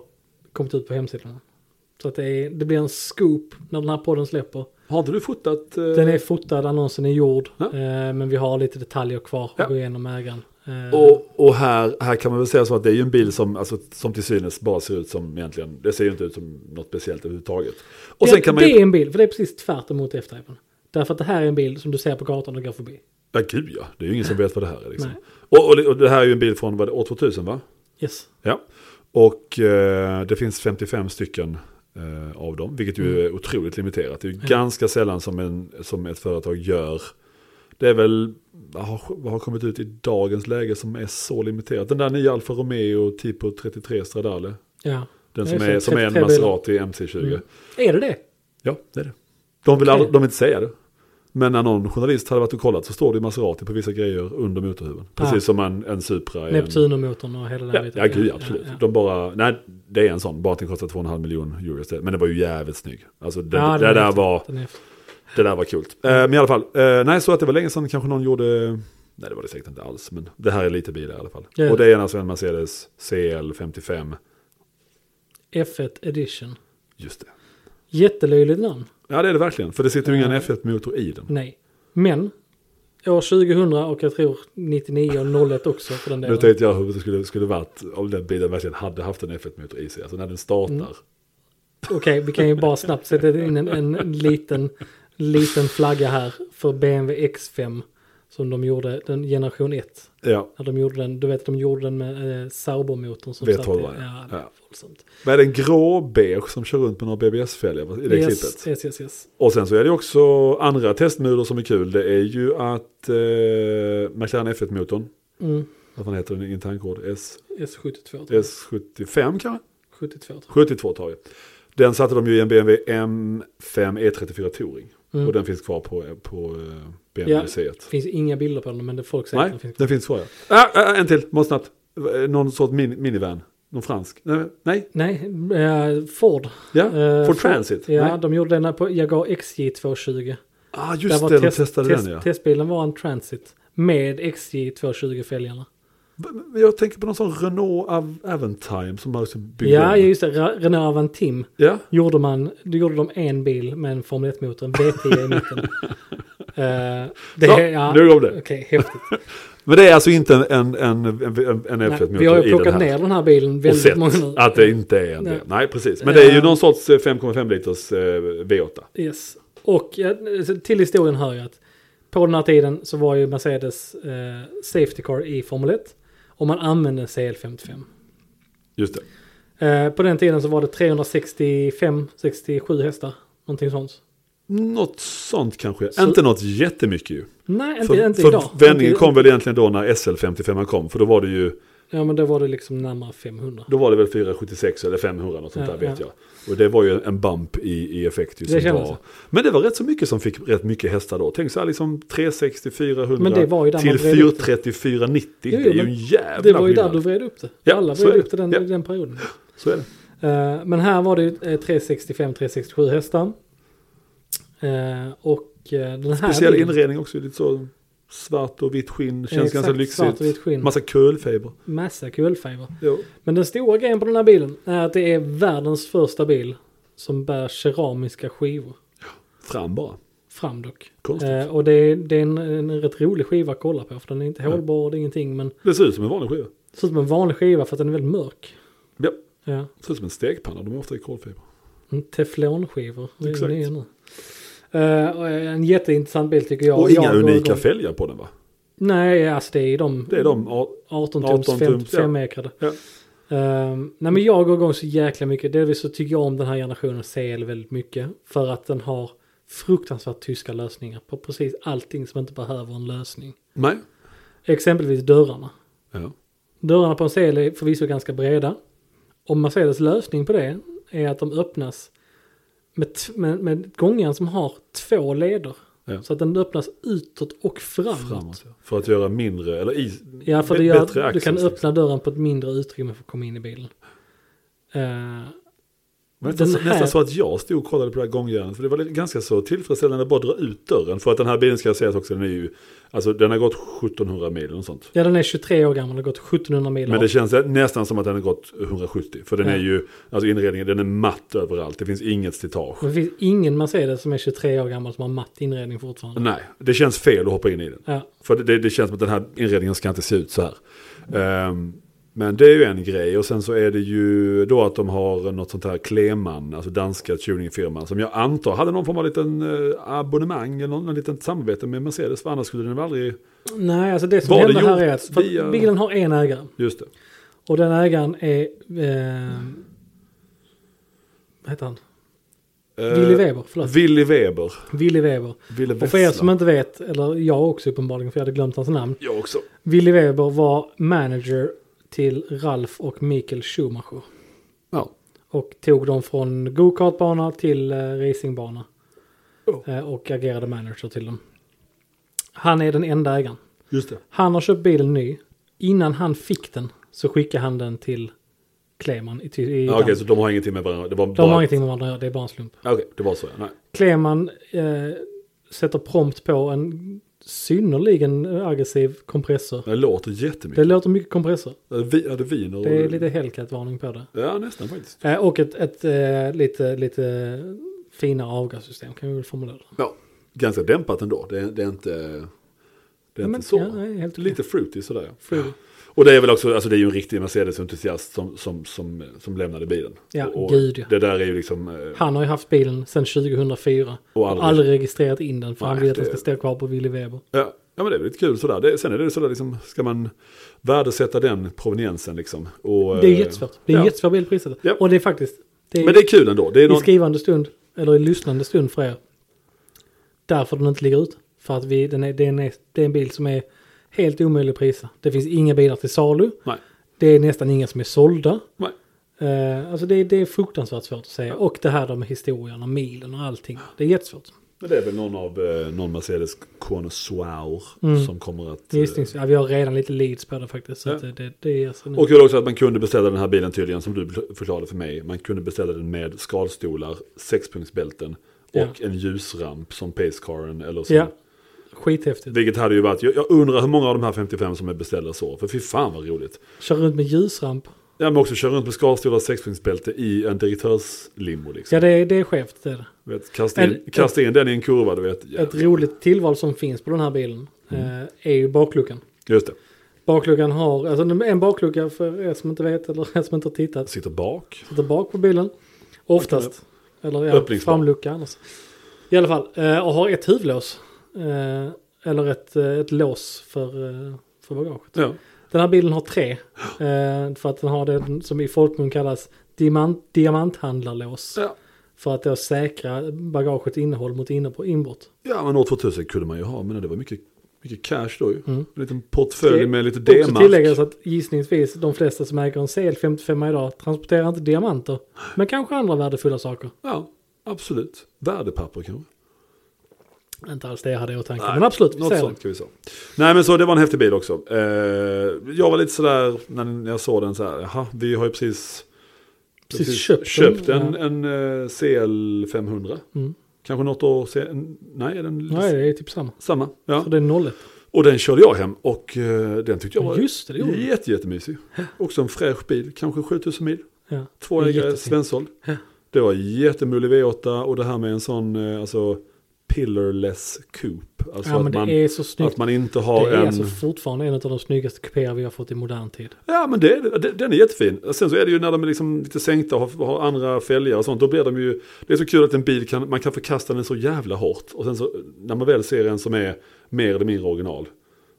[SPEAKER 2] kommit ut på hemsidorna. Så att det, är, det blir en scoop när den här podden släpper.
[SPEAKER 1] Har inte du fotat? eh,
[SPEAKER 2] Den är fotad, annonsen är gjord.
[SPEAKER 1] Ja.
[SPEAKER 2] Eh, men vi har lite detaljer kvar att
[SPEAKER 1] Ja.
[SPEAKER 2] gå igenom med ägaren. Eh,
[SPEAKER 1] Och, och här, här kan man väl säga så att det är ju en bil som, alltså, som till synes bara ser ut som egentligen, det ser ju inte ut som något speciellt överhuvudtaget. Och
[SPEAKER 2] det,
[SPEAKER 1] sen kan man
[SPEAKER 2] det
[SPEAKER 1] ju,
[SPEAKER 2] är en bil, för det är precis tvärt emot F-Typen. Därför att det här är en bil som du ser på gatan och går förbi.
[SPEAKER 1] ja gud ja, det är ju ingen som vet vad det här är liksom.
[SPEAKER 2] Nej.
[SPEAKER 1] Och, och, det- och det här är ju en bil från vad, är det, år 2000 va?
[SPEAKER 2] Yes.
[SPEAKER 1] Ja. Och eh, det finns 55 stycken eh, av dem, vilket
[SPEAKER 2] Mm.
[SPEAKER 1] ju är otroligt limiterat. Det är ju ganska sällan som, en, som ett företag gör. Det är väl, vad har, vad har kommit ut i dagens läge som är så limiterat? Den där nya Alfa Romeo Tipo 33 Stradale.
[SPEAKER 2] Ja.
[SPEAKER 1] Den
[SPEAKER 2] Ja,
[SPEAKER 1] som
[SPEAKER 2] just det,
[SPEAKER 1] är, som är en
[SPEAKER 2] 33 bilar.
[SPEAKER 1] Maserati MC20.
[SPEAKER 2] Mm. Är det det?
[SPEAKER 1] Ja, det är det. De vill,
[SPEAKER 2] Okej.
[SPEAKER 1] aldrig, de vill inte säga det. Men när någon journalist hade varit och kollat så står det ju Maserati på vissa grejer under motorhuven. Precis
[SPEAKER 2] Ah.
[SPEAKER 1] som en, en Supra. är en,
[SPEAKER 2] Neptunermotorn och hela
[SPEAKER 1] Ehm,
[SPEAKER 2] den
[SPEAKER 1] ja,
[SPEAKER 2] biten.
[SPEAKER 1] ja, gud absolut.
[SPEAKER 2] Ja, ja.
[SPEAKER 1] De bara, nej, det är en sån. Bara att den kostar 2,5 miljoner euro istället. Men det var ju jävligt snygg. Alltså det,
[SPEAKER 2] Ja,
[SPEAKER 1] det,
[SPEAKER 2] den är
[SPEAKER 1] där
[SPEAKER 2] häftig.
[SPEAKER 1] var,
[SPEAKER 2] Den är häftig.
[SPEAKER 1] det där var kul. men i alla fall, eh, nej så att det var länge sedan kanske någon gjorde, nej det var det säkert inte alls. Men det här är lite bilar i alla fall.
[SPEAKER 2] Ja.
[SPEAKER 1] Och det är alltså en Mercedes CL55.
[SPEAKER 2] F1 edition.
[SPEAKER 1] Just det.
[SPEAKER 2] Jättelöjligt namn.
[SPEAKER 1] Ja det är det verkligen. För det sitter ju ingen
[SPEAKER 2] Ja.
[SPEAKER 1] F1-motor i den.
[SPEAKER 2] Nej. Men. År 2000 och jag tror 99 och 01 också för den
[SPEAKER 1] Nu
[SPEAKER 2] delen.
[SPEAKER 1] tänkte jag hur det skulle, skulle varit om den bilen verkligen hade haft en F1-motor i sig. Alltså när den startar.
[SPEAKER 2] Mm. Okej, vi kan ju bara snabbt sätta in en, en liten, liten flagga här för BMW X5. Som de gjorde, den generation 1.
[SPEAKER 1] Ja,
[SPEAKER 2] När de gjorde den, du vet de gjorde den med eh, Saubermotorn. som
[SPEAKER 1] V12,
[SPEAKER 2] satt i-
[SPEAKER 1] ja.
[SPEAKER 2] Ja,
[SPEAKER 1] Ja.
[SPEAKER 2] våldsamt.
[SPEAKER 1] men är det en grå beige som kör runt med några BBS-fälgar i det klippet.
[SPEAKER 2] Yes, yes, yes, yes.
[SPEAKER 1] Och sen så är det också andra testmulor som är kul. Det är ju att eh, McLaren F1-motorn,
[SPEAKER 2] Mm.
[SPEAKER 1] vad fan heter den i internkod? S,
[SPEAKER 2] S72. tror jag.
[SPEAKER 1] S75 kanske?
[SPEAKER 2] 72.
[SPEAKER 1] 72 tar jag. Den satte de ju i en BMW M5 E34 E Touring.
[SPEAKER 2] Mm.
[SPEAKER 1] Och den finns kvar på, på eh, BMW C1.
[SPEAKER 2] Ja. Det finns inga bilder på den men det folk säger
[SPEAKER 1] Nej,
[SPEAKER 2] att den finns.
[SPEAKER 1] den finns kvar ja. Ah, ah, en till, bara snabbt. Eh, Någon sorts min, minivan. Någon fransk. Nej, nej.
[SPEAKER 2] Nej, eh, Ford.
[SPEAKER 1] ja.
[SPEAKER 2] Eh,
[SPEAKER 1] Ford Transit.
[SPEAKER 2] Ja,
[SPEAKER 1] Nej.
[SPEAKER 2] de gjorde den här på Jaguar XJ220.
[SPEAKER 1] Ah,
[SPEAKER 2] Där
[SPEAKER 1] just
[SPEAKER 2] var
[SPEAKER 1] det, de
[SPEAKER 2] test-
[SPEAKER 1] testade
[SPEAKER 2] test-
[SPEAKER 1] den ja.
[SPEAKER 2] Testbilen var en Transit med XJ220-fälgarna.
[SPEAKER 1] Men Jag tänker på någon sån Renault Av- Aventime som liksom man också byggde
[SPEAKER 2] Ja,
[SPEAKER 1] om.
[SPEAKER 2] just det. Ra- Renault Avantim
[SPEAKER 1] ja.
[SPEAKER 2] gjorde man, då gjorde de en bil med en Formel 1-motor, en V10 i
[SPEAKER 1] <laughs>
[SPEAKER 2] mitten. Eh, det,
[SPEAKER 1] Så,
[SPEAKER 2] ja,
[SPEAKER 1] nu om det.
[SPEAKER 2] Okej, häftigt.
[SPEAKER 1] Men det är alltså inte en, en, en, en, en
[SPEAKER 2] Nej,
[SPEAKER 1] F1-motor
[SPEAKER 2] vi har
[SPEAKER 1] i
[SPEAKER 2] ju plockat
[SPEAKER 1] den här.
[SPEAKER 2] ner den här bilen
[SPEAKER 1] Och
[SPEAKER 2] väldigt
[SPEAKER 1] sett
[SPEAKER 2] många nu.
[SPEAKER 1] att det inte är en
[SPEAKER 2] Nej.
[SPEAKER 1] Nej. Nej, precis. Men det är ju
[SPEAKER 2] Ja.
[SPEAKER 1] någon sorts eh, 5,5 liters eh, V8.
[SPEAKER 2] Yes. Och ja, till historien hör ju att på den här tiden så var ju Mercedes eh, Safety Car i Formel 1. Och man använde en CL55.
[SPEAKER 1] Just det.
[SPEAKER 2] Eh, på den tiden så var det 365-67 hästar. Någonting sånt.
[SPEAKER 1] Något sånt kanske.
[SPEAKER 2] Så-
[SPEAKER 1] Inte något jättemycket ju.
[SPEAKER 2] Nej, inte,
[SPEAKER 1] För,
[SPEAKER 2] inte
[SPEAKER 1] för
[SPEAKER 2] idag.
[SPEAKER 1] vändningen
[SPEAKER 2] inte,
[SPEAKER 1] kom väl egentligen då när SL55 kom. För då var det ju
[SPEAKER 2] Ja, men då var det liksom närmare 500.
[SPEAKER 1] Då var det väl 476 eller 500 något sånt
[SPEAKER 2] Ja,
[SPEAKER 1] där vet
[SPEAKER 2] ja.
[SPEAKER 1] jag. Och det var ju en bump i, i effekt. Ju,
[SPEAKER 2] Det
[SPEAKER 1] som
[SPEAKER 2] kändes
[SPEAKER 1] var.
[SPEAKER 2] så.
[SPEAKER 1] Men det var rätt så mycket som fick rätt mycket hästar då. Tänk så här liksom 360, 400
[SPEAKER 2] Men det var ju där
[SPEAKER 1] till
[SPEAKER 2] man vred upp det.
[SPEAKER 1] 430, 490.
[SPEAKER 2] Jo, jo,
[SPEAKER 1] det är ju
[SPEAKER 2] men
[SPEAKER 1] en jävla
[SPEAKER 2] Det var ju där
[SPEAKER 1] skillnad.
[SPEAKER 2] du vred upp det.
[SPEAKER 1] Ja,
[SPEAKER 2] Alla
[SPEAKER 1] så
[SPEAKER 2] vred
[SPEAKER 1] är det.
[SPEAKER 2] upp det den,
[SPEAKER 1] Ja.
[SPEAKER 2] den perioden.
[SPEAKER 1] Så är det.
[SPEAKER 2] Eh, men här var det ju 365-367 hästar. Eh, och eh, den här
[SPEAKER 1] Speciell
[SPEAKER 2] bilen-
[SPEAKER 1] inredning också. Lite så svart och vitt skinn. Känns
[SPEAKER 2] Exakt,
[SPEAKER 1] ganska
[SPEAKER 2] svart
[SPEAKER 1] lyxigt.
[SPEAKER 2] och vitt skinn.
[SPEAKER 1] Massa kulfiber.
[SPEAKER 2] Massa kulfiber.
[SPEAKER 1] Jo.
[SPEAKER 2] Men den stora grejen på den här bilen är att det är världens första bil som bär keramiska skivor.
[SPEAKER 1] Fram bara.
[SPEAKER 2] Fram dock.
[SPEAKER 1] Konstigt.
[SPEAKER 2] Eh, och det är, det är en, en rätt rolig skiva att kolla på för den är inte
[SPEAKER 1] Ja.
[SPEAKER 2] hållbar och det är ingenting men
[SPEAKER 1] Det ser ut som en vanlig skiva.
[SPEAKER 2] det ser ut som en vanlig skiva för att den är väldigt mörk.
[SPEAKER 1] Ja.
[SPEAKER 2] Ja,
[SPEAKER 1] Det ser ut som en stekpanna. De är ofta i kolfiber.
[SPEAKER 2] en teflonskivor. Det är
[SPEAKER 1] Exakt.
[SPEAKER 2] ny nu. Eh, och en jätteintressant bil tycker jag.
[SPEAKER 1] och inga
[SPEAKER 2] Jag går
[SPEAKER 1] unika
[SPEAKER 2] igång-
[SPEAKER 1] fälgar på den va?
[SPEAKER 2] Nej, alltså det är de.
[SPEAKER 1] Det är de. ja,
[SPEAKER 2] 18 tums,
[SPEAKER 1] 18 tums,
[SPEAKER 2] 55 ekrade.
[SPEAKER 1] Ja.
[SPEAKER 2] Ehm, nej men jag går igång så jäkla mycket. Delvis så tycker jag om den här generationen CL väldigt mycket. För att den har fruktansvärt tyska lösningar på precis allting som inte behöver en lösning.
[SPEAKER 1] Nej.
[SPEAKER 2] Exempelvis dörrarna.
[SPEAKER 1] Ja.
[SPEAKER 2] Dörrarna på en CL är förvisso ganska breda. Och Mercedes lösning på det är att de öppnas med, t- med, med gången som har två leder.
[SPEAKER 1] Ja.
[SPEAKER 2] Så att den öppnas utåt och framåt.
[SPEAKER 1] Framåt. ja. För att göra mindre. Eller i,
[SPEAKER 2] Ja, för
[SPEAKER 1] Bä-
[SPEAKER 2] det
[SPEAKER 1] bättre
[SPEAKER 2] gör, du
[SPEAKER 1] access,
[SPEAKER 2] kan
[SPEAKER 1] liksom.
[SPEAKER 2] öppna dörren på ett mindre utrymme för att komma in i bilen. Eh,
[SPEAKER 1] Men Nästan,
[SPEAKER 2] Den här-
[SPEAKER 1] nästan så att jag stod och kollade på det här gångjärnet. För det var ganska så tillfredsställande att bara dra ut dörren. För att den här bilen ska sägas också, den är ju, alltså den har gått 1700 mil och sånt.
[SPEAKER 2] ja, den är 23 år gammal och har gått 1700 mil.
[SPEAKER 1] Men det känns nästan som att den har gått 170. För den
[SPEAKER 2] Ja.
[SPEAKER 1] är ju, alltså inredningen, den är matt överallt. Det finns inget slitage.
[SPEAKER 2] det finns ingen Mercedes som är 23 år gammal som har matt inredning fortfarande.
[SPEAKER 1] Nej, det känns fel att hoppa in i den.
[SPEAKER 2] Ja,
[SPEAKER 1] För det- det, det känns som att den här inredningen ska inte se ut så här. Ehm, men det är ju en grej och sen så är det ju då att de har något sånt här Kleman, alltså danska tuningfirman som jag antar hade någon form av liten eh, abonnemang eller någon, någon liten samarbete med Mercedes för annars skulle den väl aldrig...
[SPEAKER 2] nej, alltså det som
[SPEAKER 1] Var det
[SPEAKER 2] händer här
[SPEAKER 1] gjort
[SPEAKER 2] är att för att
[SPEAKER 1] via-
[SPEAKER 2] bilen har en ägare.
[SPEAKER 1] Just det.
[SPEAKER 2] Och den ägaren är... Eh, vad heter han?
[SPEAKER 1] Eh,
[SPEAKER 2] Willy Weber, förlåt.
[SPEAKER 1] Willy Weber.
[SPEAKER 2] Willy Weber.
[SPEAKER 1] Willy
[SPEAKER 2] Och för er
[SPEAKER 1] Wessler.
[SPEAKER 2] som inte vet, eller jag också uppenbarligen för jag hade glömt hans namn.
[SPEAKER 1] Jag också.
[SPEAKER 2] Willy Weber var manager till Ralf och Mikael Schumacher.
[SPEAKER 1] Ja.
[SPEAKER 2] Och tog dem från gokartbana till eh, racingbana.
[SPEAKER 1] Oh.
[SPEAKER 2] Eh, och agerade manager till dem. Han är den enda ägaren.
[SPEAKER 1] Just det.
[SPEAKER 2] Han har köpt bilen ny. Innan han fick den så skickade han den till Kleman i, Ty- i
[SPEAKER 1] Ja, Okej,
[SPEAKER 2] Danmark.
[SPEAKER 1] så de har ingenting med varandra. Det var
[SPEAKER 2] De
[SPEAKER 1] bara...
[SPEAKER 2] har ingenting med varandra att göra, det är bara en slump.
[SPEAKER 1] Okej, det var så. ja. Nej.
[SPEAKER 2] Kleman eh, sätter prompt på en synnerligen aggressiv kompressor.
[SPEAKER 1] Det låter
[SPEAKER 2] Det
[SPEAKER 1] jättemycket.
[SPEAKER 2] låter mycket kompressor.
[SPEAKER 1] Det... Vi, ja, det viner.
[SPEAKER 2] Det är lite Hellcat-varning på det.
[SPEAKER 1] Ja, nästan faktiskt.
[SPEAKER 2] Eh, och ett, ett eh, lite, lite finare avgassystem kan vi väl formulera det.
[SPEAKER 1] Ja, ganska dämpat ändå. Det, är- det är inte... Det är
[SPEAKER 2] Ja, men-
[SPEAKER 1] inte så.
[SPEAKER 2] ja, nej, helt okej.
[SPEAKER 1] lite fruity sådär.
[SPEAKER 2] Fruity.
[SPEAKER 1] Och det är väl också, alltså det är ju en riktig Mercedes-entusiast som, som, som, som lämnade bilen.
[SPEAKER 2] Ja,
[SPEAKER 1] och, och
[SPEAKER 2] gud, ja.
[SPEAKER 1] Det där är ju liksom... eh,
[SPEAKER 2] Han har ju haft bilen sedan 2004
[SPEAKER 1] Och
[SPEAKER 2] och
[SPEAKER 1] aldrig-
[SPEAKER 2] aldrig, registrerat in den för han
[SPEAKER 1] Nej,
[SPEAKER 2] vet att
[SPEAKER 1] det- Eh,
[SPEAKER 2] det ska stå kvar på Willy Weber.
[SPEAKER 1] Ja, ja men det är väl lite kul sådär. Det, sen är det sådär liksom, ska man värdesätta den proveniensen liksom? Och,
[SPEAKER 2] Det är
[SPEAKER 1] eh,
[SPEAKER 2] jättesvårt. Det är
[SPEAKER 1] ja.
[SPEAKER 2] en jättesvår bil att prissätta.
[SPEAKER 1] Ja.
[SPEAKER 2] Och det är faktiskt, det är,
[SPEAKER 1] Men det är kul ändå. Det är
[SPEAKER 2] i
[SPEAKER 1] någon,
[SPEAKER 2] skrivande stund, eller i lyssnande stund för er, därför den inte ligger ut. För att vi, den är, den är, det är en bil som är helt omöjlig att prisa. Det finns inga bilar till salu.
[SPEAKER 1] Nej,
[SPEAKER 2] Det är nästan inga som är sålda.
[SPEAKER 1] nej.
[SPEAKER 2] Eh, alltså det, det är fruktansvärt svårt att säga. Och det här då med historien och milen och allting. Det är jättesvårt.
[SPEAKER 1] Men det är väl någon av eh, någon Mercedes connoisseur
[SPEAKER 2] Mm.
[SPEAKER 1] som kommer att... eh,
[SPEAKER 2] Gissnings, ja, vi har redan lite leads på det faktiskt. Så
[SPEAKER 1] Ja.
[SPEAKER 2] att det, det, det är alltså nu.
[SPEAKER 1] Och kul också att man kunde beställa den här bilen tydligen, som du förklarade för mig. Man kunde beställa den med skalstolar, sexpunktsbälten
[SPEAKER 2] Ja.
[SPEAKER 1] och en ljusramp som pacecaren eller som...
[SPEAKER 2] ja, skithäftigt.
[SPEAKER 1] Vilket hade ju varit, jag, jag undrar hur många av de här 55 som är beställda så, för fy fan vad roligt.
[SPEAKER 2] Kör runt med ljusramp.
[SPEAKER 1] Ja men också köra runt med skalstolar, sexpunktsbälte i en direktörslimmo liksom.
[SPEAKER 2] Ja, det, är- det är skevt. Det är det.
[SPEAKER 1] Du vet, kasta, in,
[SPEAKER 2] Ett-
[SPEAKER 1] kasta in den i en kurva, du vet.
[SPEAKER 2] Ett roligt tillval som finns på den här bilen eh, är ju bakluckan.
[SPEAKER 1] Just det.
[SPEAKER 2] Bakluckan har, alltså en baklucka för er som inte vet eller <laughs> er som inte har tittat,
[SPEAKER 1] Sitter bak.
[SPEAKER 2] sitter bak på bilen. Oftast. Eller ja,
[SPEAKER 1] Öppningsbar.
[SPEAKER 2] framlucka annars. I alla fall, eh, och har ett huvudlås. Eh, eller ett, eh, ett lås för, eh, för bagaget.
[SPEAKER 1] Ja.
[SPEAKER 2] Den här bilen har tre. Eh, för att den har det som i folkmun kallas diamant, diamanthandlarlås.
[SPEAKER 1] Ja.
[SPEAKER 2] För att då säkra bagagets innehåll mot inne- inbrott.
[SPEAKER 1] ja, men år 2000 kunde man ju ha, men det var mycket, mycket cash då ju.
[SPEAKER 2] Mm.
[SPEAKER 1] En liten portfölj med lite
[SPEAKER 2] Det också tilläggas
[SPEAKER 1] D-mark.
[SPEAKER 2] att gissningsvis de flesta som äger en CL55 idag transporterar inte diamanter. Men kanske andra värdefulla saker.
[SPEAKER 1] Ja, absolut. Värdepapper kanske.
[SPEAKER 2] Inte alls det jag hade i åtanke.
[SPEAKER 1] Nej,
[SPEAKER 2] Men absolut, vi
[SPEAKER 1] Något
[SPEAKER 2] säger
[SPEAKER 1] sånt kan vi säga. Nej men så det var en häftig bil också. Eh, jag var lite sådär när jag såg den så här, jaha, vi har ju precis,
[SPEAKER 2] Precis köpt den,
[SPEAKER 1] en, en, eh, CL500.
[SPEAKER 2] det. Mm.
[SPEAKER 1] Kanske något år sen, nej är den
[SPEAKER 2] Nej, det är typ samma.
[SPEAKER 1] samma? Ja.
[SPEAKER 2] Så det är nollet.
[SPEAKER 1] Och den körde jag hem och eh, den tyckte jag var
[SPEAKER 2] Just det, det gjorde du.
[SPEAKER 1] jätte, jättemysig. Också en fräsch bil, kanske 7000 mil.
[SPEAKER 2] Ja.
[SPEAKER 1] Två
[SPEAKER 2] Det är
[SPEAKER 1] ägare,
[SPEAKER 2] jättefint.
[SPEAKER 1] svensåld.
[SPEAKER 2] Ja.
[SPEAKER 1] Det var jättemulig V8 och det här med en sån eh, alltså, pillarless coupe. Alltså
[SPEAKER 2] ja, men
[SPEAKER 1] att,
[SPEAKER 2] det
[SPEAKER 1] man,
[SPEAKER 2] är så snyggt.
[SPEAKER 1] att man inte har
[SPEAKER 2] det är
[SPEAKER 1] en...
[SPEAKER 2] alltså fortfarande en av de snyggaste kupéer vi har fått i modern tid.
[SPEAKER 1] Ja men det, det, den är jättefin. Sen så är det ju när de är liksom lite sänkta och har, har andra fälgar och sånt. Då blir de ju... Det är så kul att en bil kan, man kan förkasta den så jävla hårt. Och sen så när man väl ser en som är mer eller mindre original.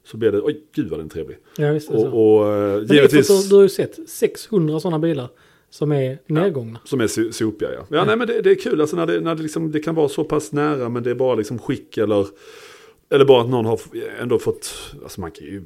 [SPEAKER 1] Så blir det, oj gud vad den är trevlig.
[SPEAKER 2] Ja, visst.
[SPEAKER 1] Och,
[SPEAKER 2] alltså.
[SPEAKER 1] och eh,
[SPEAKER 2] Men det är för att
[SPEAKER 1] givetvis
[SPEAKER 2] du, du har ju sett 600 sådana bilar som är nedgångna.
[SPEAKER 1] som är so- sopiga. Ja, ja, Nej, men det, det är kul alltså när, det, när det, liksom, det kan vara så pass nära men det är bara liksom skick eller eller bara att någon har f- ändå fått, alltså man kan ju,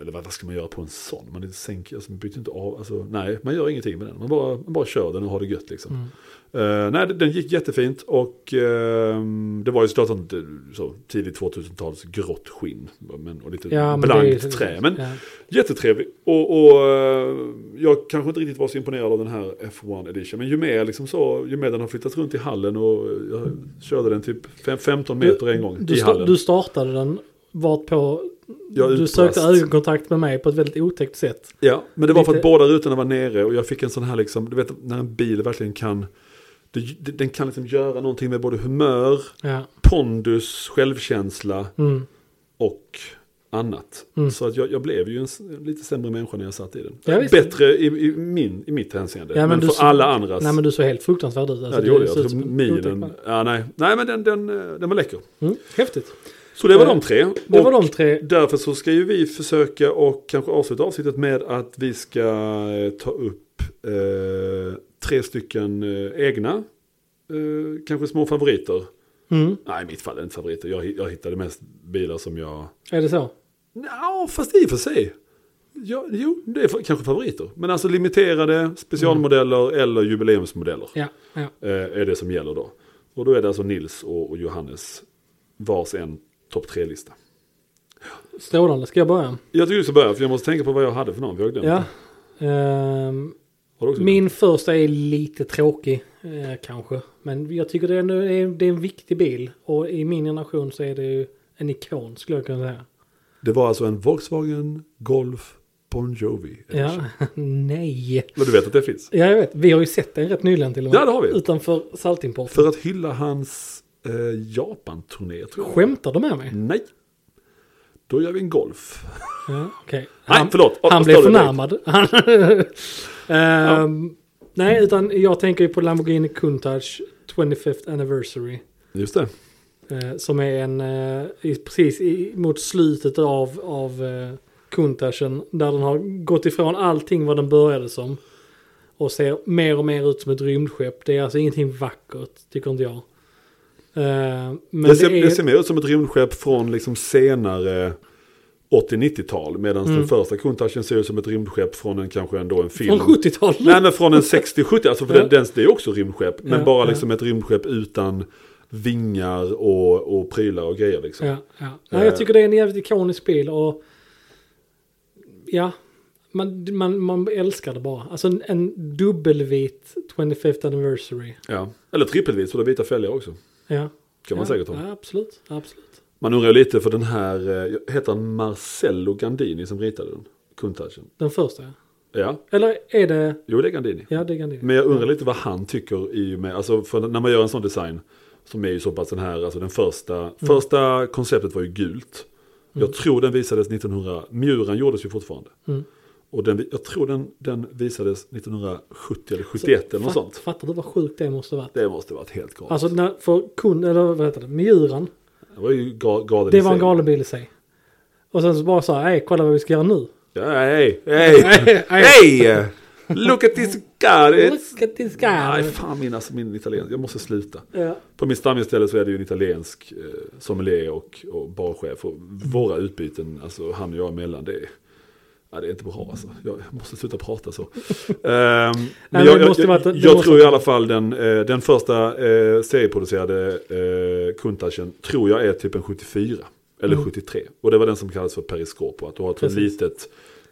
[SPEAKER 1] eller vad vad ska man göra på en sån? Man sänker, alltså man byter inte av, alltså nej, man gör ingenting med den. Man bara, man bara kör den och har det gött liksom.
[SPEAKER 2] Mm.
[SPEAKER 1] Eh, nej, det- den gick jättefint och ehm, det var ju såklart sånt, eh, så tidigt 2000-tals grått skinn. Men, och lite
[SPEAKER 2] Ja, men det är ju-
[SPEAKER 1] blankt trä. Men
[SPEAKER 2] ja.
[SPEAKER 1] Jättetrevlig. Och, och eh, jag kanske inte riktigt var så imponerad av den här F1 Edition. Men ju mer, liksom så, ju mer den har flyttat runt i hallen och jag körde den typ fem- 15 meter en gång
[SPEAKER 2] Du,
[SPEAKER 1] i
[SPEAKER 2] sta-
[SPEAKER 1] hallen.
[SPEAKER 2] du startade den vart på...
[SPEAKER 1] Jag
[SPEAKER 2] Du
[SPEAKER 1] utbrast.
[SPEAKER 2] sökte ögonkontakt med mig på ett väldigt otäckt sätt.
[SPEAKER 1] ja, men det var för att
[SPEAKER 2] lite-
[SPEAKER 1] båda rutorna var nere och jag fick en sån här liksom, du vet när en bil verkligen kan, det, den kan liksom göra någonting med både humör,
[SPEAKER 2] Ja.
[SPEAKER 1] pondus, självkänsla
[SPEAKER 2] Mm.
[SPEAKER 1] och annat.
[SPEAKER 2] Mm.
[SPEAKER 1] Så att jag, jag blev ju en, s- en lite sämre människa när jag satt i den.
[SPEAKER 2] Ja, visst.
[SPEAKER 1] Bättre i, i, min, i mitt hänseende,
[SPEAKER 2] Ja, men
[SPEAKER 1] men,
[SPEAKER 2] du
[SPEAKER 1] för
[SPEAKER 2] så-
[SPEAKER 1] alla andras.
[SPEAKER 2] Nej men du såg helt fruktansvärd ut. Alltså,
[SPEAKER 1] ja, det gjorde
[SPEAKER 2] du
[SPEAKER 1] jag.
[SPEAKER 2] ser
[SPEAKER 1] jag.
[SPEAKER 2] ut
[SPEAKER 1] tror
[SPEAKER 2] som en otäckt man.
[SPEAKER 1] Minen, ja, nej. nej, men den, den, eh, den var läcker.
[SPEAKER 2] Mm. Häftigt.
[SPEAKER 1] Så det var
[SPEAKER 2] Eh,
[SPEAKER 1] de tre.
[SPEAKER 2] Det var
[SPEAKER 1] och
[SPEAKER 2] de tre.
[SPEAKER 1] Därför så ska ju vi försöka och kanske avsluta avsnittet med att vi ska eh, ta upp eh, tre stycken eh, egna, eh, kanske små favoriter.
[SPEAKER 2] Mm.
[SPEAKER 1] Nej, i mitt fall är det inte favoriter. Jag, hi- jag hittade mest bilar som jag...
[SPEAKER 2] Är det så?
[SPEAKER 1] Ja, fast i och för sig. Ja, jo, det är fa- kanske favoriter. Men alltså limiterade specialmodeller eller jubileumsmodeller
[SPEAKER 2] Ja, ja.
[SPEAKER 1] eh, är det som gäller då. Och då är det alltså Nils och, och Johannes vars en topp tre-lista.
[SPEAKER 2] Strålande, ska jag börja?
[SPEAKER 1] Jag tycker du ska börja, för jag måste tänka på vad jag hade för någon. Vi har glömt.
[SPEAKER 2] Ja.
[SPEAKER 1] det.
[SPEAKER 2] Ehm,
[SPEAKER 1] Har du också
[SPEAKER 2] Min första är lite tråkig eh, kanske. Men jag tycker det är, ändå- det är, det är en viktig bil. Och i min generation så är det ju en ikon skulle jag kunna säga.
[SPEAKER 1] Det var alltså en Volkswagen Golf Bon Jovi.
[SPEAKER 2] Ja, <laughs> nej.
[SPEAKER 1] Men du vet att det finns.
[SPEAKER 2] Ja, jag vet. Vi har ju sett den rätt nyligen till och med.
[SPEAKER 1] Ja, det har vi.
[SPEAKER 2] Utanför Saltimporten.
[SPEAKER 1] För att hylla hans eh, Japan-turné tror jag.
[SPEAKER 2] Skämtar du med mig?
[SPEAKER 1] Nej. Då gör vi en golf.
[SPEAKER 2] Ja, okej.
[SPEAKER 1] Nej,
[SPEAKER 2] Han-
[SPEAKER 1] förlåt. Vad-
[SPEAKER 2] Han
[SPEAKER 1] vad
[SPEAKER 2] blev
[SPEAKER 1] står det
[SPEAKER 2] förnärmad. <laughs> Han- Ehm, Nej, utan jag tänker ju på Lamborghini Countach 25th Anniversary.
[SPEAKER 1] Just det.
[SPEAKER 2] Eh, som är en, eh, i, precis i, mot slutet av, av eh, Kuntachen. Där den har gått ifrån allting vad den började som. Och ser mer och mer ut som ett rymdskepp. Det är alltså ingenting vackert, tycker inte jag. Eh, men
[SPEAKER 1] det, ser,
[SPEAKER 2] är,
[SPEAKER 1] det ser mer ut som ett rymdskepp från liksom senare 80-90-tal. Medan den första Countach ser ut som ett rymdskepp från en kanske ändå en film.
[SPEAKER 2] Mm. från 70-talet.
[SPEAKER 1] Nej men från en 60-70, alltså för
[SPEAKER 2] Ja.
[SPEAKER 1] den, den, det är också rymdskepp. Men
[SPEAKER 2] Ja,
[SPEAKER 1] bara
[SPEAKER 2] ja.
[SPEAKER 1] liksom ett rymdskepp utan vingar och, och prylar och grejer liksom.
[SPEAKER 2] Ja, ja. Nej, jag tycker det är en jävligt ikonisk bil och ja, man, man, man älskar det bara. Alltså en, en dubbelvit 25th anniversary.
[SPEAKER 1] Ja. Eller trippelvis, för det är vita fälgar också.
[SPEAKER 2] Ja.
[SPEAKER 1] Kan man
[SPEAKER 2] ja,
[SPEAKER 1] säkert ha.
[SPEAKER 2] Ja, absolut, absolut.
[SPEAKER 1] Man undrar ju lite för den här, eh, heter han Marcello Gandini som ritade den? Countach.
[SPEAKER 2] Den första ja.
[SPEAKER 1] Ja,
[SPEAKER 2] Eller är det,
[SPEAKER 1] jo det är Gandini.
[SPEAKER 2] ja det är Gandini.
[SPEAKER 1] Men jag undrar lite vad han tycker i och med, alltså för när man gör en sån design som är ju så pass den här, alltså den första,
[SPEAKER 2] Mm.
[SPEAKER 1] första konceptet var ju gult. Jag tror den visades 1900, Mjuran gjordes ju fortfarande.
[SPEAKER 2] Mm.
[SPEAKER 1] Och den, vi- jag tror den, den visades 1970 eller 71 eller något
[SPEAKER 2] Fatt-
[SPEAKER 1] sånt.
[SPEAKER 2] Fattar du vad sjukt det måste ha varit?
[SPEAKER 1] Det måste varit helt galet.
[SPEAKER 2] Alltså när, för kun, eller vad heter det, Mjuran.
[SPEAKER 1] det var ju ga, galen
[SPEAKER 2] Det
[SPEAKER 1] i
[SPEAKER 2] var en
[SPEAKER 1] sig.
[SPEAKER 2] galen bil i sig. Och sen så bara så här, nej kolla vad vi ska göra nu.
[SPEAKER 1] Ja, hej,
[SPEAKER 2] <laughs>
[SPEAKER 1] hej,
[SPEAKER 2] Nej, nej.
[SPEAKER 1] hej! Look at this car! It's...
[SPEAKER 2] Look at this
[SPEAKER 1] Nej,
[SPEAKER 2] guy.
[SPEAKER 1] fan min, alltså, min italiensk, jag måste sluta.
[SPEAKER 2] Ja.
[SPEAKER 1] På min stamställe så är det ju en italiensk eh, sommelier och, och barchef. Och våra utbyten, alltså han och jag emellan, det är, ja, det är inte bra alltså. Jag måste sluta prata
[SPEAKER 2] <laughs>
[SPEAKER 1] så. Ehm,
[SPEAKER 2] men
[SPEAKER 1] men jag
[SPEAKER 2] det
[SPEAKER 1] jag,
[SPEAKER 2] måste
[SPEAKER 1] jag,
[SPEAKER 2] vara att- det
[SPEAKER 1] jag
[SPEAKER 2] måste-
[SPEAKER 1] tror i alla fall den, eh, den första eh, serieproducerade eh, Countach-en tror jag är typ en 74. Eller 73. Och det var den som kallas för periskop. Och att du har ett
[SPEAKER 2] Mm. Precis.
[SPEAKER 1] litet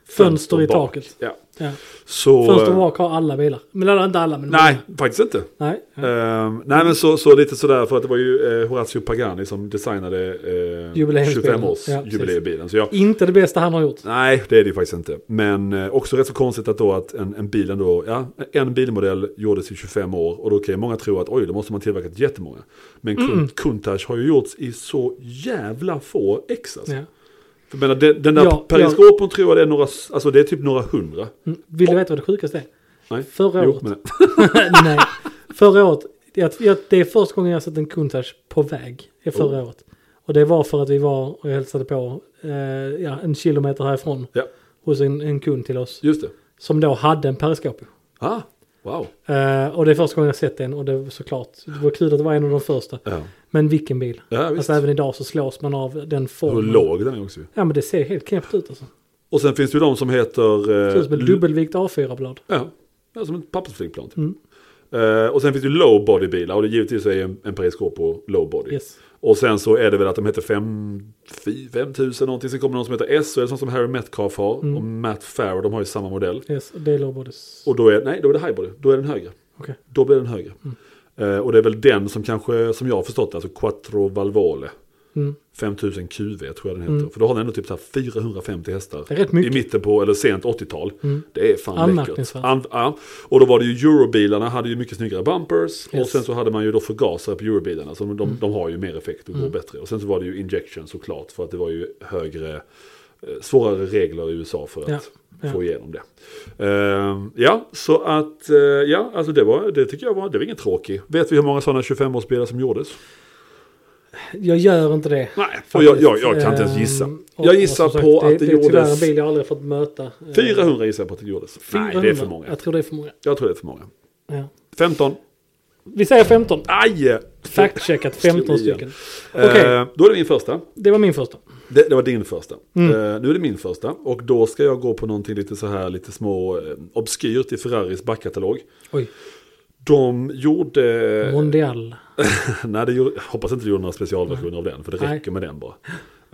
[SPEAKER 2] Fönster i
[SPEAKER 1] bak.
[SPEAKER 2] taket.
[SPEAKER 1] Ja.
[SPEAKER 2] Ja.
[SPEAKER 1] Så,
[SPEAKER 2] Fönster
[SPEAKER 1] eh,
[SPEAKER 2] bak har alla bilar. Men alla, inte alla men
[SPEAKER 1] nej,
[SPEAKER 2] många.
[SPEAKER 1] faktiskt inte.
[SPEAKER 2] Nej. Ja.
[SPEAKER 1] Ehm, nej men så, så lite sådär för att det var ju eh, Horacio Pagani som designade eh,
[SPEAKER 2] Jubileumsbilen.
[SPEAKER 1] 25 års
[SPEAKER 2] Ja, precis.
[SPEAKER 1] jubileumbilen. Så jag,
[SPEAKER 2] Inte det bästa han har gjort.
[SPEAKER 1] nej det är det ju faktiskt inte. Men eh, också rätt så konstigt att då att en, en bil ändå, ja en bilmodell gjordes i 25 år och då kan ju många tro att oj då måste man tillverkat jättemånga. Men mm. Countach har ju gjorts i så jävla få ex alltså.
[SPEAKER 2] Ja. Mm.
[SPEAKER 1] För jag menar den, den där
[SPEAKER 2] Ja,
[SPEAKER 1] periskopen tror jag det är några, s- alltså det är typ några hundra.
[SPEAKER 2] Mm. Vill du veta vad det sjukaste är?
[SPEAKER 1] Nej.
[SPEAKER 2] Förra
[SPEAKER 1] Jo,
[SPEAKER 2] året.
[SPEAKER 1] men,
[SPEAKER 2] <laughs> Nej. Förra året. Jag, jag, det är första gången jag har sett en Countach på väg. Det är förra
[SPEAKER 1] Oh.
[SPEAKER 2] året. Och det var för att vi var och jag hälsade på eh, ja, en kilometer härifrån.
[SPEAKER 1] ja,
[SPEAKER 2] Hos en, en kund till oss.
[SPEAKER 1] just det.
[SPEAKER 2] Som då hade en periskop.
[SPEAKER 1] Ah, wow.
[SPEAKER 2] Eh, och det är första gången jag sett den. Och det var såklart. Det var kul att det var en av de första.
[SPEAKER 1] Ja,
[SPEAKER 2] Men vilken bil.
[SPEAKER 1] ja visst.
[SPEAKER 2] Alltså även idag så slås man av den
[SPEAKER 1] Hur
[SPEAKER 2] formen.
[SPEAKER 1] låg den är också ju.
[SPEAKER 2] Ja men det ser helt knäppt ut alltså.
[SPEAKER 1] Och sen finns det ju de som heter...
[SPEAKER 2] Det
[SPEAKER 1] Eh,
[SPEAKER 2] ser ut som ett
[SPEAKER 1] l-
[SPEAKER 2] dubbelvikt A4-blad.
[SPEAKER 1] Ja, ja, som ett pappersflygplan. Typ.
[SPEAKER 2] Mm.
[SPEAKER 1] Eh, och sen finns det ju low body bilar och det givetvis är ju en, en periskop på low body.
[SPEAKER 2] Yes.
[SPEAKER 1] Och sen så är det väl att de heter 5000 någonting. Sen kommer någon som heter S och är sån som Harry Metcalf har.
[SPEAKER 2] Mm.
[SPEAKER 1] Och Matt Farrow, de har ju samma modell.
[SPEAKER 2] Yes, det är lågbodies.
[SPEAKER 1] Och då är, nej, då är det high body, då är den högre.
[SPEAKER 2] Okej.
[SPEAKER 1] Då blir den högre.
[SPEAKER 2] Mm.
[SPEAKER 1] Eh, och det är väl den som kanske, som jag har förstått det, alltså Quattro Valvole.
[SPEAKER 2] Mm.
[SPEAKER 1] 5000 QV tror jag den heter. För då har den ändå typ så här 450 hästar.
[SPEAKER 2] Det är rätt mycket. Mm.
[SPEAKER 1] I mitten på, eller sent 80-tal. Det är fan läckert.
[SPEAKER 2] Anmärkningsvärt.
[SPEAKER 1] An- ja. Och då var det ju Eurobilarna hade ju mycket snyggare bumpers. Och
[SPEAKER 2] Yes. Mm.
[SPEAKER 1] sen så hade man ju då förgasare på Eurobilarna. Så de, de har ju mer effekt och går bättre. Och sen så var det ju injection såklart. För att det var ju högre, eh, svårare regler i USA för att
[SPEAKER 2] Ja, ja.
[SPEAKER 1] få igenom det. Ehm, ja, så att, eh, ja, alltså det var, det tycker jag var, det var ingen tråkig. Vet vi hur många sådana 25-årsbilar som gjordes?
[SPEAKER 2] Jag gör inte det.
[SPEAKER 1] Nej, och jag, jag, jag kan inte ens gissa.
[SPEAKER 2] Ehm, och-
[SPEAKER 1] Jag gissar
[SPEAKER 2] och som
[SPEAKER 1] på att det,
[SPEAKER 2] det är tyvärr en
[SPEAKER 1] gjordes...
[SPEAKER 2] bil jag aldrig fått möta. Ehm,
[SPEAKER 1] 400 gissar jag på att det gjordes. Nej, det är för
[SPEAKER 2] 400.
[SPEAKER 1] många.
[SPEAKER 2] Jag tror det är för många.
[SPEAKER 1] Jag tror det är för många.
[SPEAKER 2] Ja.
[SPEAKER 1] 15.
[SPEAKER 2] Vi säger 15.
[SPEAKER 1] Aj!
[SPEAKER 2] Fact-checkat 15
[SPEAKER 1] Slog igen.
[SPEAKER 2] stycken. Okej.
[SPEAKER 1] Eh, då är det min första.
[SPEAKER 2] Det var min första.
[SPEAKER 1] Det, det var din första.
[SPEAKER 2] Mm.
[SPEAKER 1] Eh, nu är det min första. Och då ska jag gå på någonting lite så här, lite små, eh, obskyrt i Ferraris backkatalog.
[SPEAKER 2] Oj,
[SPEAKER 1] De gjorde...
[SPEAKER 2] Mondial.
[SPEAKER 1] Nej, det gjorde, hoppas inte du gjorde några specialversioner av den, för det
[SPEAKER 2] Nej.
[SPEAKER 1] räcker med den bara.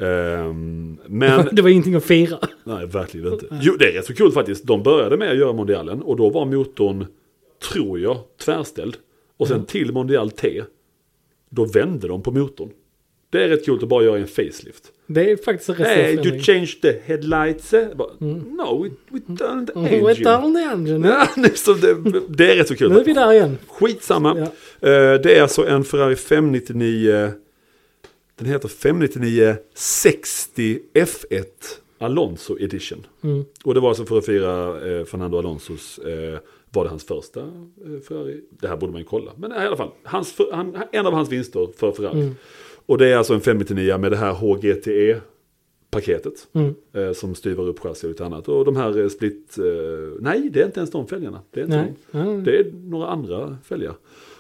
[SPEAKER 1] Ehm, men,
[SPEAKER 2] <laughs> Det var ingenting att fira.
[SPEAKER 1] nej verkligen inte. Jo, det är rätt så kul faktiskt. De började med att göra Mondialen och då var motorn, tror jag, tvärställd. Och
[SPEAKER 2] Mm.
[SPEAKER 1] sen till Mondial T, då vände de på motorn. Det är rätt kul att bara göra en facelift.
[SPEAKER 2] Det är faktiskt en rätt stor
[SPEAKER 1] Hey, you
[SPEAKER 2] förändring.
[SPEAKER 1] changed the headlights. Jag Bara, No, we, we turned the
[SPEAKER 2] Mm, what
[SPEAKER 1] <laughs> engine.
[SPEAKER 2] down the engine.
[SPEAKER 1] Ja, liksom det, det är rätt så kul.
[SPEAKER 2] Nu är vi där igen.
[SPEAKER 1] Skitsamma.
[SPEAKER 2] Ja.
[SPEAKER 1] Eh, det är alltså en Ferrari 599. Den heter 599 60 F1 Alonso Edition.
[SPEAKER 2] Mm.
[SPEAKER 1] Och det var alltså för att fira eh, Fernando Alonsos, eh, var det hans första eh, Ferrari? Det här borde man ju kolla. Men eh, i alla fall, hans, för- han, en av hans vinster för Ferrari.
[SPEAKER 2] Mm.
[SPEAKER 1] Och det är alltså en 599 med det här HGTE-paketet.
[SPEAKER 2] Mm.
[SPEAKER 1] Eh, som styvar upp chassi och lite annat. Och de här eh, split... Eh, nej, det är inte ens de fälgarna. Det är inte
[SPEAKER 2] Nej.
[SPEAKER 1] de.
[SPEAKER 2] Mm.
[SPEAKER 1] Det är några andra fälgar.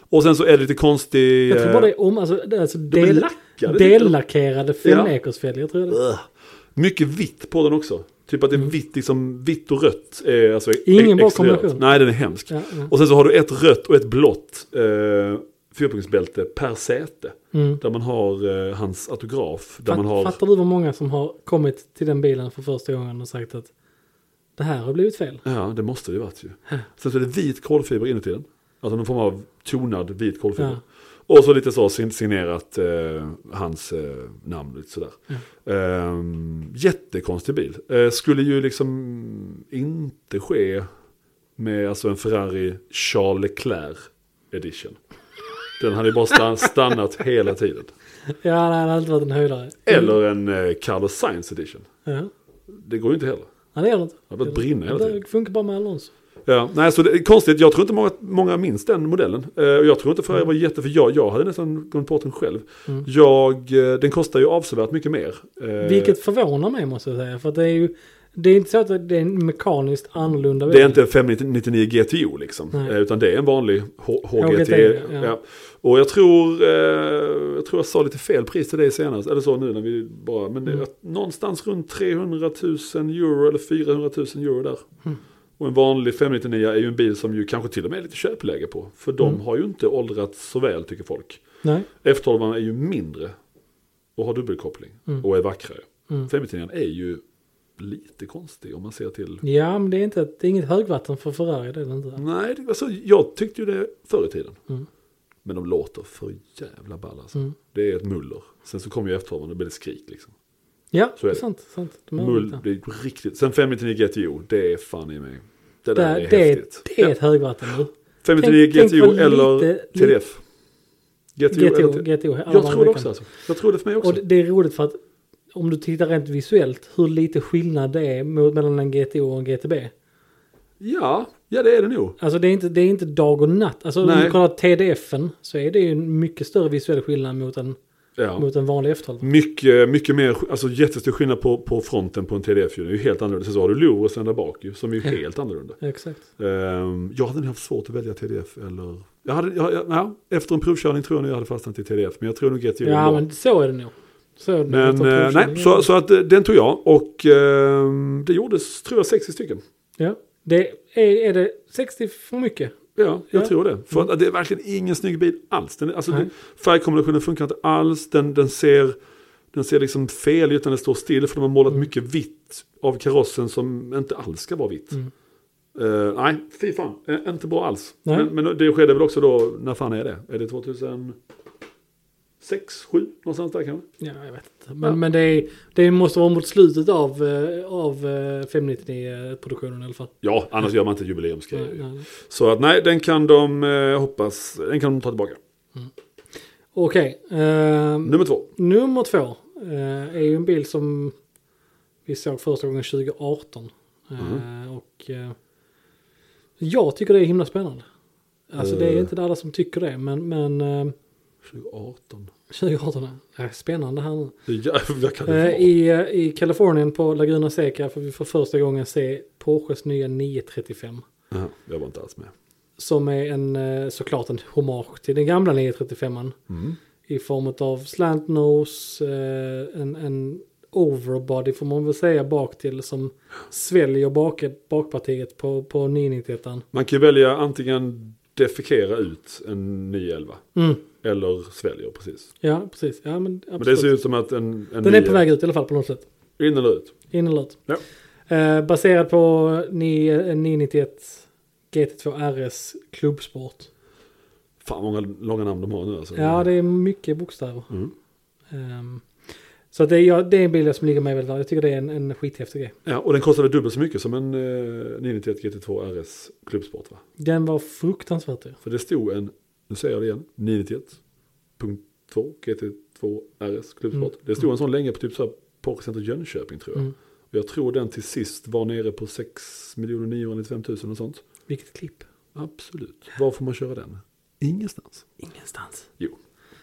[SPEAKER 1] Och sen så är det lite konstig...
[SPEAKER 2] Jag tror bara det är om, alltså, det är alltså
[SPEAKER 1] är
[SPEAKER 2] del,
[SPEAKER 1] lackade,
[SPEAKER 2] dellackerade femmekersfälgar tror jag det är.
[SPEAKER 1] eh, Ugh. Mycket vitt på den också. Typ att det är vitt, liksom, vitt och rött. Eh, alltså, e-
[SPEAKER 2] Mm. Ingen bra
[SPEAKER 1] exteriört.
[SPEAKER 2] kombination.
[SPEAKER 1] Nej, den är hemsk.
[SPEAKER 2] Ja, ja.
[SPEAKER 1] Och sen så har du ett rött och ett blått eh, fyrpunktsbälte per säte.
[SPEAKER 2] Mm.
[SPEAKER 1] Där man har eh, hans autograf. Där
[SPEAKER 2] Fatt,
[SPEAKER 1] man har...
[SPEAKER 2] Fattar du vad många som har kommit till den bilen för första gången och sagt att det här har blivit fel? <laughs>
[SPEAKER 1] Ja, det måste det ju varit ju. Sen så är det vit kolfiber inuti den. Alltså någon form av tonad vit kolfiber.
[SPEAKER 2] Ja.
[SPEAKER 1] Och så lite så sin- signerat eh, hans eh, namn lite sådär. Ehm, jättekonstig bil. Eh, skulle ju liksom inte ske med alltså en Ferrari Charles Leclerc edition. Den hade ju bara
[SPEAKER 2] <laughs>
[SPEAKER 1] stann- stannat hela tiden.
[SPEAKER 2] Ja, nej, det har alltid varit en höjdare.
[SPEAKER 1] Eller en eh, Carlos Sainz edition.
[SPEAKER 2] Ja.
[SPEAKER 1] Det går ju inte heller.
[SPEAKER 2] Nej, det gör det inte.
[SPEAKER 1] Det har börjat brinna hela tiden.
[SPEAKER 2] Det funkar bara med Alonso.
[SPEAKER 1] Ja, nej, så det är konstigt. Jag tror inte många, många minns den modellen. Eh, och jag tror inte för jag var jätte, för jag, jag hade nästan glömt bort den själv. Jag, eh, den kostar ju avsevärt mycket mer. Eh,
[SPEAKER 2] Vilket förvånar mig måste jag säga. För att det är ju, det är inte så att det är en mekaniskt annorlunda
[SPEAKER 1] det är inte en 599 GTO liksom,
[SPEAKER 2] Nej.
[SPEAKER 1] eh, utan det är en vanlig H- HGT.
[SPEAKER 2] HGT,
[SPEAKER 1] ja.
[SPEAKER 2] ja.
[SPEAKER 1] Och jag tror, eh, jag tror jag sa lite fel pris till dig senast, eller så nu när vi bara, men det, någonstans runt 300 000 euro eller 400 000 euro där. Och en vanlig 599 är ju en bil som ju kanske till och med är lite köpläge på. För de har ju inte åldrats så väl tycker folk.
[SPEAKER 2] Nej.
[SPEAKER 1] F12 är ju mindre och har dubbelkoppling och är vackrare. 599 är ju lite konstig om man ser till
[SPEAKER 2] Ja, men det är, inte, det är inget högvatten för Ferrari. Det är det inte.
[SPEAKER 1] Nej, det, alltså, jag tyckte ju det förr i tiden.
[SPEAKER 2] Mm.
[SPEAKER 1] Men de låter för jävla ball alltså. Det är ett muller. Sen så kom ju efterhand och då blev det skrik liksom.
[SPEAKER 2] Ja,
[SPEAKER 1] Så är det.
[SPEAKER 2] sant. sant. De är
[SPEAKER 1] Mull,
[SPEAKER 2] olika.
[SPEAKER 1] det är riktigt. Sen 599 GTO, det är fan i mig. Det där
[SPEAKER 2] det,
[SPEAKER 1] är
[SPEAKER 2] det, är-
[SPEAKER 1] häftigt.
[SPEAKER 2] det är
[SPEAKER 1] Ja.
[SPEAKER 2] ett högvatten nu.
[SPEAKER 1] 599
[SPEAKER 2] tänk- tänk
[SPEAKER 1] GTO
[SPEAKER 2] vad lite-
[SPEAKER 1] eller TDF. GTO, eller
[SPEAKER 2] GTO,
[SPEAKER 1] T-
[SPEAKER 2] GTO.
[SPEAKER 1] Jag tror det också alltså. Jag tror det för mig också.
[SPEAKER 2] Och det, det är roligt för att om du tittar rent visuellt hur lite skillnad det är mot, mellan en GTO och en GTB.
[SPEAKER 1] Ja, ja det är det nog.
[SPEAKER 2] Alltså det är inte, det är inte dag och natt. Alltså om
[SPEAKER 1] Nej.
[SPEAKER 2] du kollar TDFen så är det ju en mycket större visuell skillnad mot en,
[SPEAKER 1] Ja.
[SPEAKER 2] mot en vanlig F12.
[SPEAKER 1] Mycket, mycket mer, alltså jättestor skillnad på, på fronten på en TDF. ju. Det är ju helt annorlunda. Sen så har du Lorosen där bak ju, som är ju helt annorlunda.
[SPEAKER 2] Exakt.
[SPEAKER 1] Ehm, jag hade nog haft svårt att välja TDF eller... Jag hade, jag, jag, ja, efter en provkörning tror jag nog jag hade fastnat i TDF, men jag tror nog GTO
[SPEAKER 2] Ja
[SPEAKER 1] var.
[SPEAKER 2] men så är det nog. Så är det nog
[SPEAKER 1] Men
[SPEAKER 2] efter
[SPEAKER 1] eh, nej,
[SPEAKER 2] provkörningen.
[SPEAKER 1] så, så att eh, den tog jag och ehm, det gjordes tror jag 60 stycken.
[SPEAKER 2] Ja. Det är, är det 60 för mycket?
[SPEAKER 1] Ja, jag
[SPEAKER 2] Ja. Mm.
[SPEAKER 1] tror det. För att det är verkligen ingen snygg bil alls. Den, är- alltså,
[SPEAKER 2] Nej.
[SPEAKER 1] den, färgkombinationen funkar inte alls. Den, den, ser, den ser liksom fel ut när den står still. För de har målat
[SPEAKER 2] Mm.
[SPEAKER 1] mycket vitt av karossen som inte alls ska vara vitt.
[SPEAKER 2] Mm.
[SPEAKER 1] Eh, nej, fy fan. Eh, inte bra alls.
[SPEAKER 2] Nej.
[SPEAKER 1] Men, men det skedde väl också då, när fan är det? Är det 2006, 2007? Någonstans där kanske?
[SPEAKER 2] Ja, jag vet inte. Men, men det, är, det måste vara mot slutet av, eh, av eh, 599-produktionen i alla fall.
[SPEAKER 1] Ja, annars gör man inte
[SPEAKER 2] Nej,
[SPEAKER 1] jubileumsgrejer.
[SPEAKER 2] nej.
[SPEAKER 1] Så att nej, den kan de eh, hoppas, den kan de ta tillbaka.
[SPEAKER 2] Okej. ehm,
[SPEAKER 1] Nummer två.
[SPEAKER 2] Nummer två eh, är ju en bil som vi såg första gången 2018.
[SPEAKER 1] Mhm.
[SPEAKER 2] Eh, och eh, jag tycker det är himla spännande. Alltså det är
[SPEAKER 1] Eh.
[SPEAKER 2] inte alla som tycker det men, men eh,
[SPEAKER 1] 2018.
[SPEAKER 2] 2018 är är spännande här nu.
[SPEAKER 1] Ja, jag kan inte
[SPEAKER 2] Eh,
[SPEAKER 1] vara.
[SPEAKER 2] i, eh, I Kalifornien på Laguna Seca får vi för första gången se Porsches nya 935.
[SPEAKER 1] Aha, jag var inte alls med.
[SPEAKER 2] Som är en eh, såklart en hommage till den gamla 935an.
[SPEAKER 1] Mm.
[SPEAKER 2] I form av slant nose, eh, en, en overbody får man väl säga bak till som sväljer bak, bakpartiet på, på 991.
[SPEAKER 1] Man kan ju välja antingen defekera ut en 911
[SPEAKER 2] Mm.
[SPEAKER 1] eller sväljer precis.
[SPEAKER 2] Ja, precis. Ja, men absolut.
[SPEAKER 1] Men det ser ut som att en, en
[SPEAKER 2] Den är på
[SPEAKER 1] 9
[SPEAKER 2] väg ut i alla fall på något sätt.
[SPEAKER 1] In eller ut?
[SPEAKER 2] In eller ut.
[SPEAKER 1] Ja.
[SPEAKER 2] Eh, baserad på ni- eh, 991 GT2 RS klubbsport.
[SPEAKER 1] Fan många långa namn de har nu alltså.
[SPEAKER 2] Ja, det är mycket bokstäver.
[SPEAKER 1] Mm.
[SPEAKER 2] Ehm, så att det, är, ja, det är en bil som ligger mig väldigt varmt. Jag tycker det är en, en skithäftig grej.
[SPEAKER 1] Ja, och den kostade dubbelt så mycket som en eh, 991 GT2 RS klubbsport va?
[SPEAKER 2] Den var fruktansvärt dyr.
[SPEAKER 1] För det stod en, nu säger jag det igen, 991.2 GT2 RS klubbsport.
[SPEAKER 2] Mm.
[SPEAKER 1] Det stod en sån länge på typ så här Pokercenter Jönköping tror jag.
[SPEAKER 2] Mm.
[SPEAKER 1] Och jag tror den till sist var nere på 6 995 000 och sånt.
[SPEAKER 2] Vilket klipp.
[SPEAKER 1] Absolut. Var får man köra den? Ingenstans.
[SPEAKER 2] Ingenstans.
[SPEAKER 1] Jo,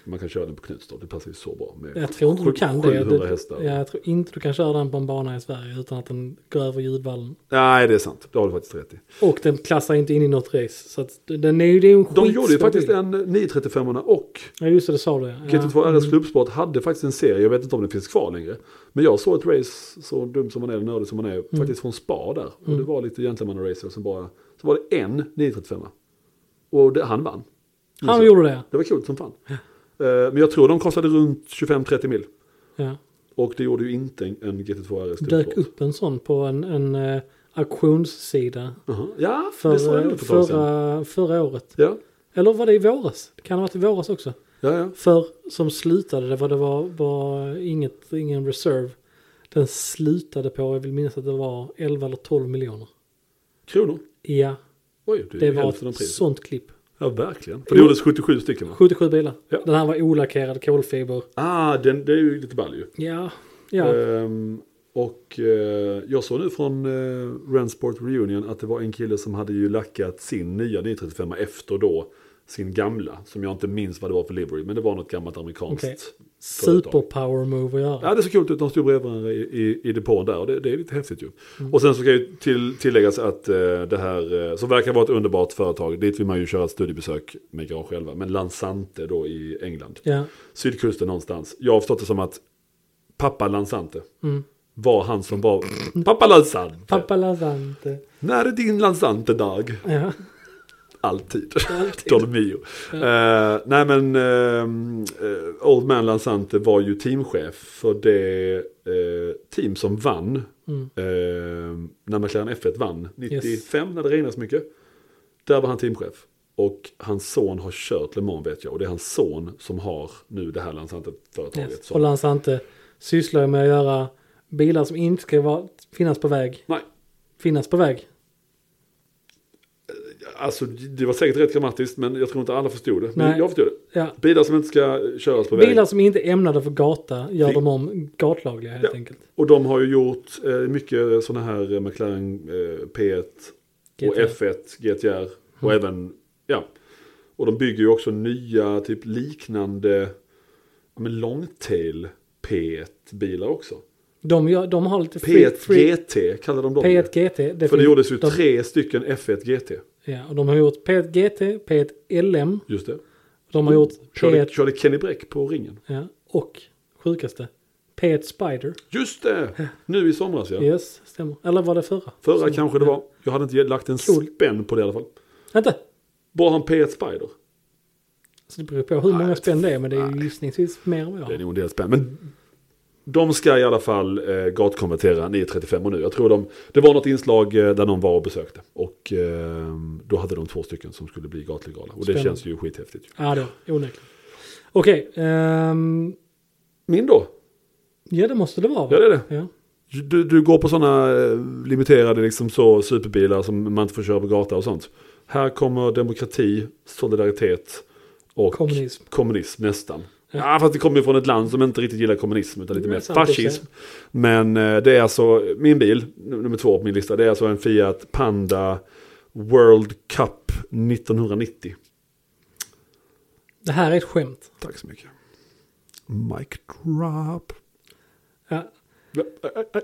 [SPEAKER 1] man kan köra den på Knutstorp. Det passar ju så bra. Med
[SPEAKER 2] Jag tror inte du
[SPEAKER 1] sju-
[SPEAKER 2] kan det.
[SPEAKER 1] 700
[SPEAKER 2] Du,
[SPEAKER 1] hästar.
[SPEAKER 2] ja, jag tror inte du kan köra den på en bana i Sverige utan att den går över ljudvallen.
[SPEAKER 1] Nej, det är sant. Det har du faktiskt rätt i.
[SPEAKER 2] Och den klassar inte in i något race. Så att den är ju det är en
[SPEAKER 1] De gjorde ju
[SPEAKER 2] skitstor
[SPEAKER 1] faktiskt
[SPEAKER 2] bil.
[SPEAKER 1] en 935 och
[SPEAKER 2] Ja just det, det sa du. ja.
[SPEAKER 1] GT2 RS klubbsport hade faktiskt en serie, jag vet inte om den finns kvar längre. Men jag såg ett race, så dum som man är, nördig som man är, faktiskt från Spa där. Och det var lite gentlemannaracer som bara, så var det en 935 Och det, han vann. Alltså,
[SPEAKER 2] Ja. Han gjorde det.
[SPEAKER 1] Det var kul som fan. Eh, Men jag tror de kostade runt 25-30 mil.
[SPEAKER 2] Ja.
[SPEAKER 1] Och det gjorde ju inte en en GT2 RS
[SPEAKER 2] Dök
[SPEAKER 1] klubbsport.
[SPEAKER 2] upp en sån på en, en eh, auktionssida.
[SPEAKER 1] Jaha. Ja, det såg jag
[SPEAKER 2] För, eh,
[SPEAKER 1] nog för ett tag sedan.
[SPEAKER 2] förra, förra året.
[SPEAKER 1] Ja,
[SPEAKER 2] Eller var det i våras? Det kan ha varit i våras också.
[SPEAKER 1] ja, ja.
[SPEAKER 2] För som slutade, det var, det var, var inget, ingen reserve. Den slutade på, jag vill minnas att det var 11 eller 12 miljoner.
[SPEAKER 1] Kronor.
[SPEAKER 2] Ja,
[SPEAKER 1] Oj, det,
[SPEAKER 2] det
[SPEAKER 1] är
[SPEAKER 2] var
[SPEAKER 1] hälften av
[SPEAKER 2] ett
[SPEAKER 1] priset.
[SPEAKER 2] sånt klipp.
[SPEAKER 1] Ja, verkligen. För det gjordes 77 stycken va?
[SPEAKER 2] 77 bilar.
[SPEAKER 1] Ja.
[SPEAKER 2] Den här var olackerad kolfiber.
[SPEAKER 1] Ah, den, det är ju lite ball ju.
[SPEAKER 2] Ja, ja.
[SPEAKER 1] Ehm, och eh, jag såg nu från eh, Rensport Reunion att det var en kille som hade ju lackat sin nya 935 efter då sin gamla. Som jag inte minns vad det var för livery, men det var något gammalt amerikanskt.
[SPEAKER 2] Okej. Superpower move att göra.
[SPEAKER 1] Ja, det är så kul ut. De stod bredvid varandra i, i, i depån där och det, det är lite häftigt ju. Och sen så ska ju till, tilläggas att eh, det här, eh, som verkar vara ett underbart företag, dit vill man ju köra ett studiebesök med garage själva, men Lansante då i England
[SPEAKER 2] Ja,
[SPEAKER 1] sydkusten någonstans. Jag har förstått det som att pappa Lansante
[SPEAKER 2] Mm.
[SPEAKER 1] var han som var pappa Lansante.
[SPEAKER 2] pappa Lazante.
[SPEAKER 1] När är din Lansante-dag?
[SPEAKER 2] Ja.
[SPEAKER 1] Alltid. <laughs>
[SPEAKER 2] Alltid.
[SPEAKER 1] Dolmio. Eh, nej men ehm, eh, Old Man Lansante var ju teamchef för det eh, team som vann
[SPEAKER 2] Mm.
[SPEAKER 1] eh, när McLaren F1 vann 95
[SPEAKER 2] Yes.
[SPEAKER 1] när det regnade så mycket. Där var han teamchef. Och hans son har kört Le Mans vet jag. Och det är hans son som har nu det här Lansante-företaget.
[SPEAKER 2] Yes.
[SPEAKER 1] som-
[SPEAKER 2] Och Lansante sysslar ju med att göra bilar som inte ska vara, finnas på väg.
[SPEAKER 1] Nej,
[SPEAKER 2] Finnas på väg.
[SPEAKER 1] alltså det var säkert rätt grammatiskt men jag tror inte alla förstod det. Men
[SPEAKER 2] Nej.
[SPEAKER 1] jag förstod det.
[SPEAKER 2] Ja,
[SPEAKER 1] Bilar som inte ska köras på väg.
[SPEAKER 2] Bilar som inte är ämnade för gata gör
[SPEAKER 1] Fy-
[SPEAKER 2] dem om gatlagliga helt
[SPEAKER 1] Ja.
[SPEAKER 2] enkelt.
[SPEAKER 1] Och de har ju gjort eh, mycket sådana här eh, McLaren eh, P1 och
[SPEAKER 2] GTR.
[SPEAKER 1] F1 GTR. Och
[SPEAKER 2] Mm.
[SPEAKER 1] även, ja. Och de bygger ju också nya, typ liknande, ja, men longtail P1-bilar också.
[SPEAKER 2] De, gör, de har lite free,
[SPEAKER 1] P1
[SPEAKER 2] free,
[SPEAKER 1] GT kallar de dem.
[SPEAKER 2] P1 GT.
[SPEAKER 1] För det
[SPEAKER 2] finns-
[SPEAKER 1] gjordes ju
[SPEAKER 2] de,
[SPEAKER 1] tre stycken F1 GT.
[SPEAKER 2] Ja, och de har gjort P1 GT, P1 LM.
[SPEAKER 1] Just det.
[SPEAKER 2] De har gjort
[SPEAKER 1] Mm. Körde,
[SPEAKER 2] P1
[SPEAKER 1] körde Kenny Bräck på ringen.
[SPEAKER 2] ja, och sjukaste P1 Spider.
[SPEAKER 1] Just
[SPEAKER 2] <laughs>
[SPEAKER 1] det! Nu i somras ja.
[SPEAKER 2] Yes, stämmer. Eller var det förra?
[SPEAKER 1] Förra kanske det var. Jag hade inte lagt en
[SPEAKER 2] Cool.
[SPEAKER 1] spänn på det i alla fall.
[SPEAKER 2] Vänta!
[SPEAKER 1] Bara han P1 Spider.
[SPEAKER 2] Så det beror på hur många
[SPEAKER 1] Nej,
[SPEAKER 2] spänn det är, men det är ju gissningsvis mer än
[SPEAKER 1] Det är
[SPEAKER 2] vad
[SPEAKER 1] nog en del spänn. Men de ska i alla fall eh, gatkonvertera 935 och nu. Jag tror de, det var något inslag eh, där någon var och besökte. Och eh, då hade de två stycken som skulle bli gatlegala. Och det
[SPEAKER 2] Spännande.
[SPEAKER 1] känns ju skithäftigt. ju.
[SPEAKER 2] Ja, det är onekligen. Okej, ehm,
[SPEAKER 1] Min då?
[SPEAKER 2] ja det måste det vara va?
[SPEAKER 1] Ja det är det.
[SPEAKER 2] Ja.
[SPEAKER 1] Du, du går på sådana eh, limiterade liksom så superbilar som man inte får köra på gata och sånt. Här kommer demokrati, solidaritet och
[SPEAKER 2] Kommunism.
[SPEAKER 1] kommunism nästan. Ja, fast det kommer ju från ett land som inte riktigt gillar kommunism utan lite
[SPEAKER 2] Det är
[SPEAKER 1] mer
[SPEAKER 2] sant i och för
[SPEAKER 1] fascism. Men eh, det är alltså min bil, num- nummer två på min lista, det är alltså en Fiat Panda World Cup 1990.
[SPEAKER 2] Det här är ett skämt.
[SPEAKER 1] Tack så mycket. Mic drop. eh,
[SPEAKER 2] Ja.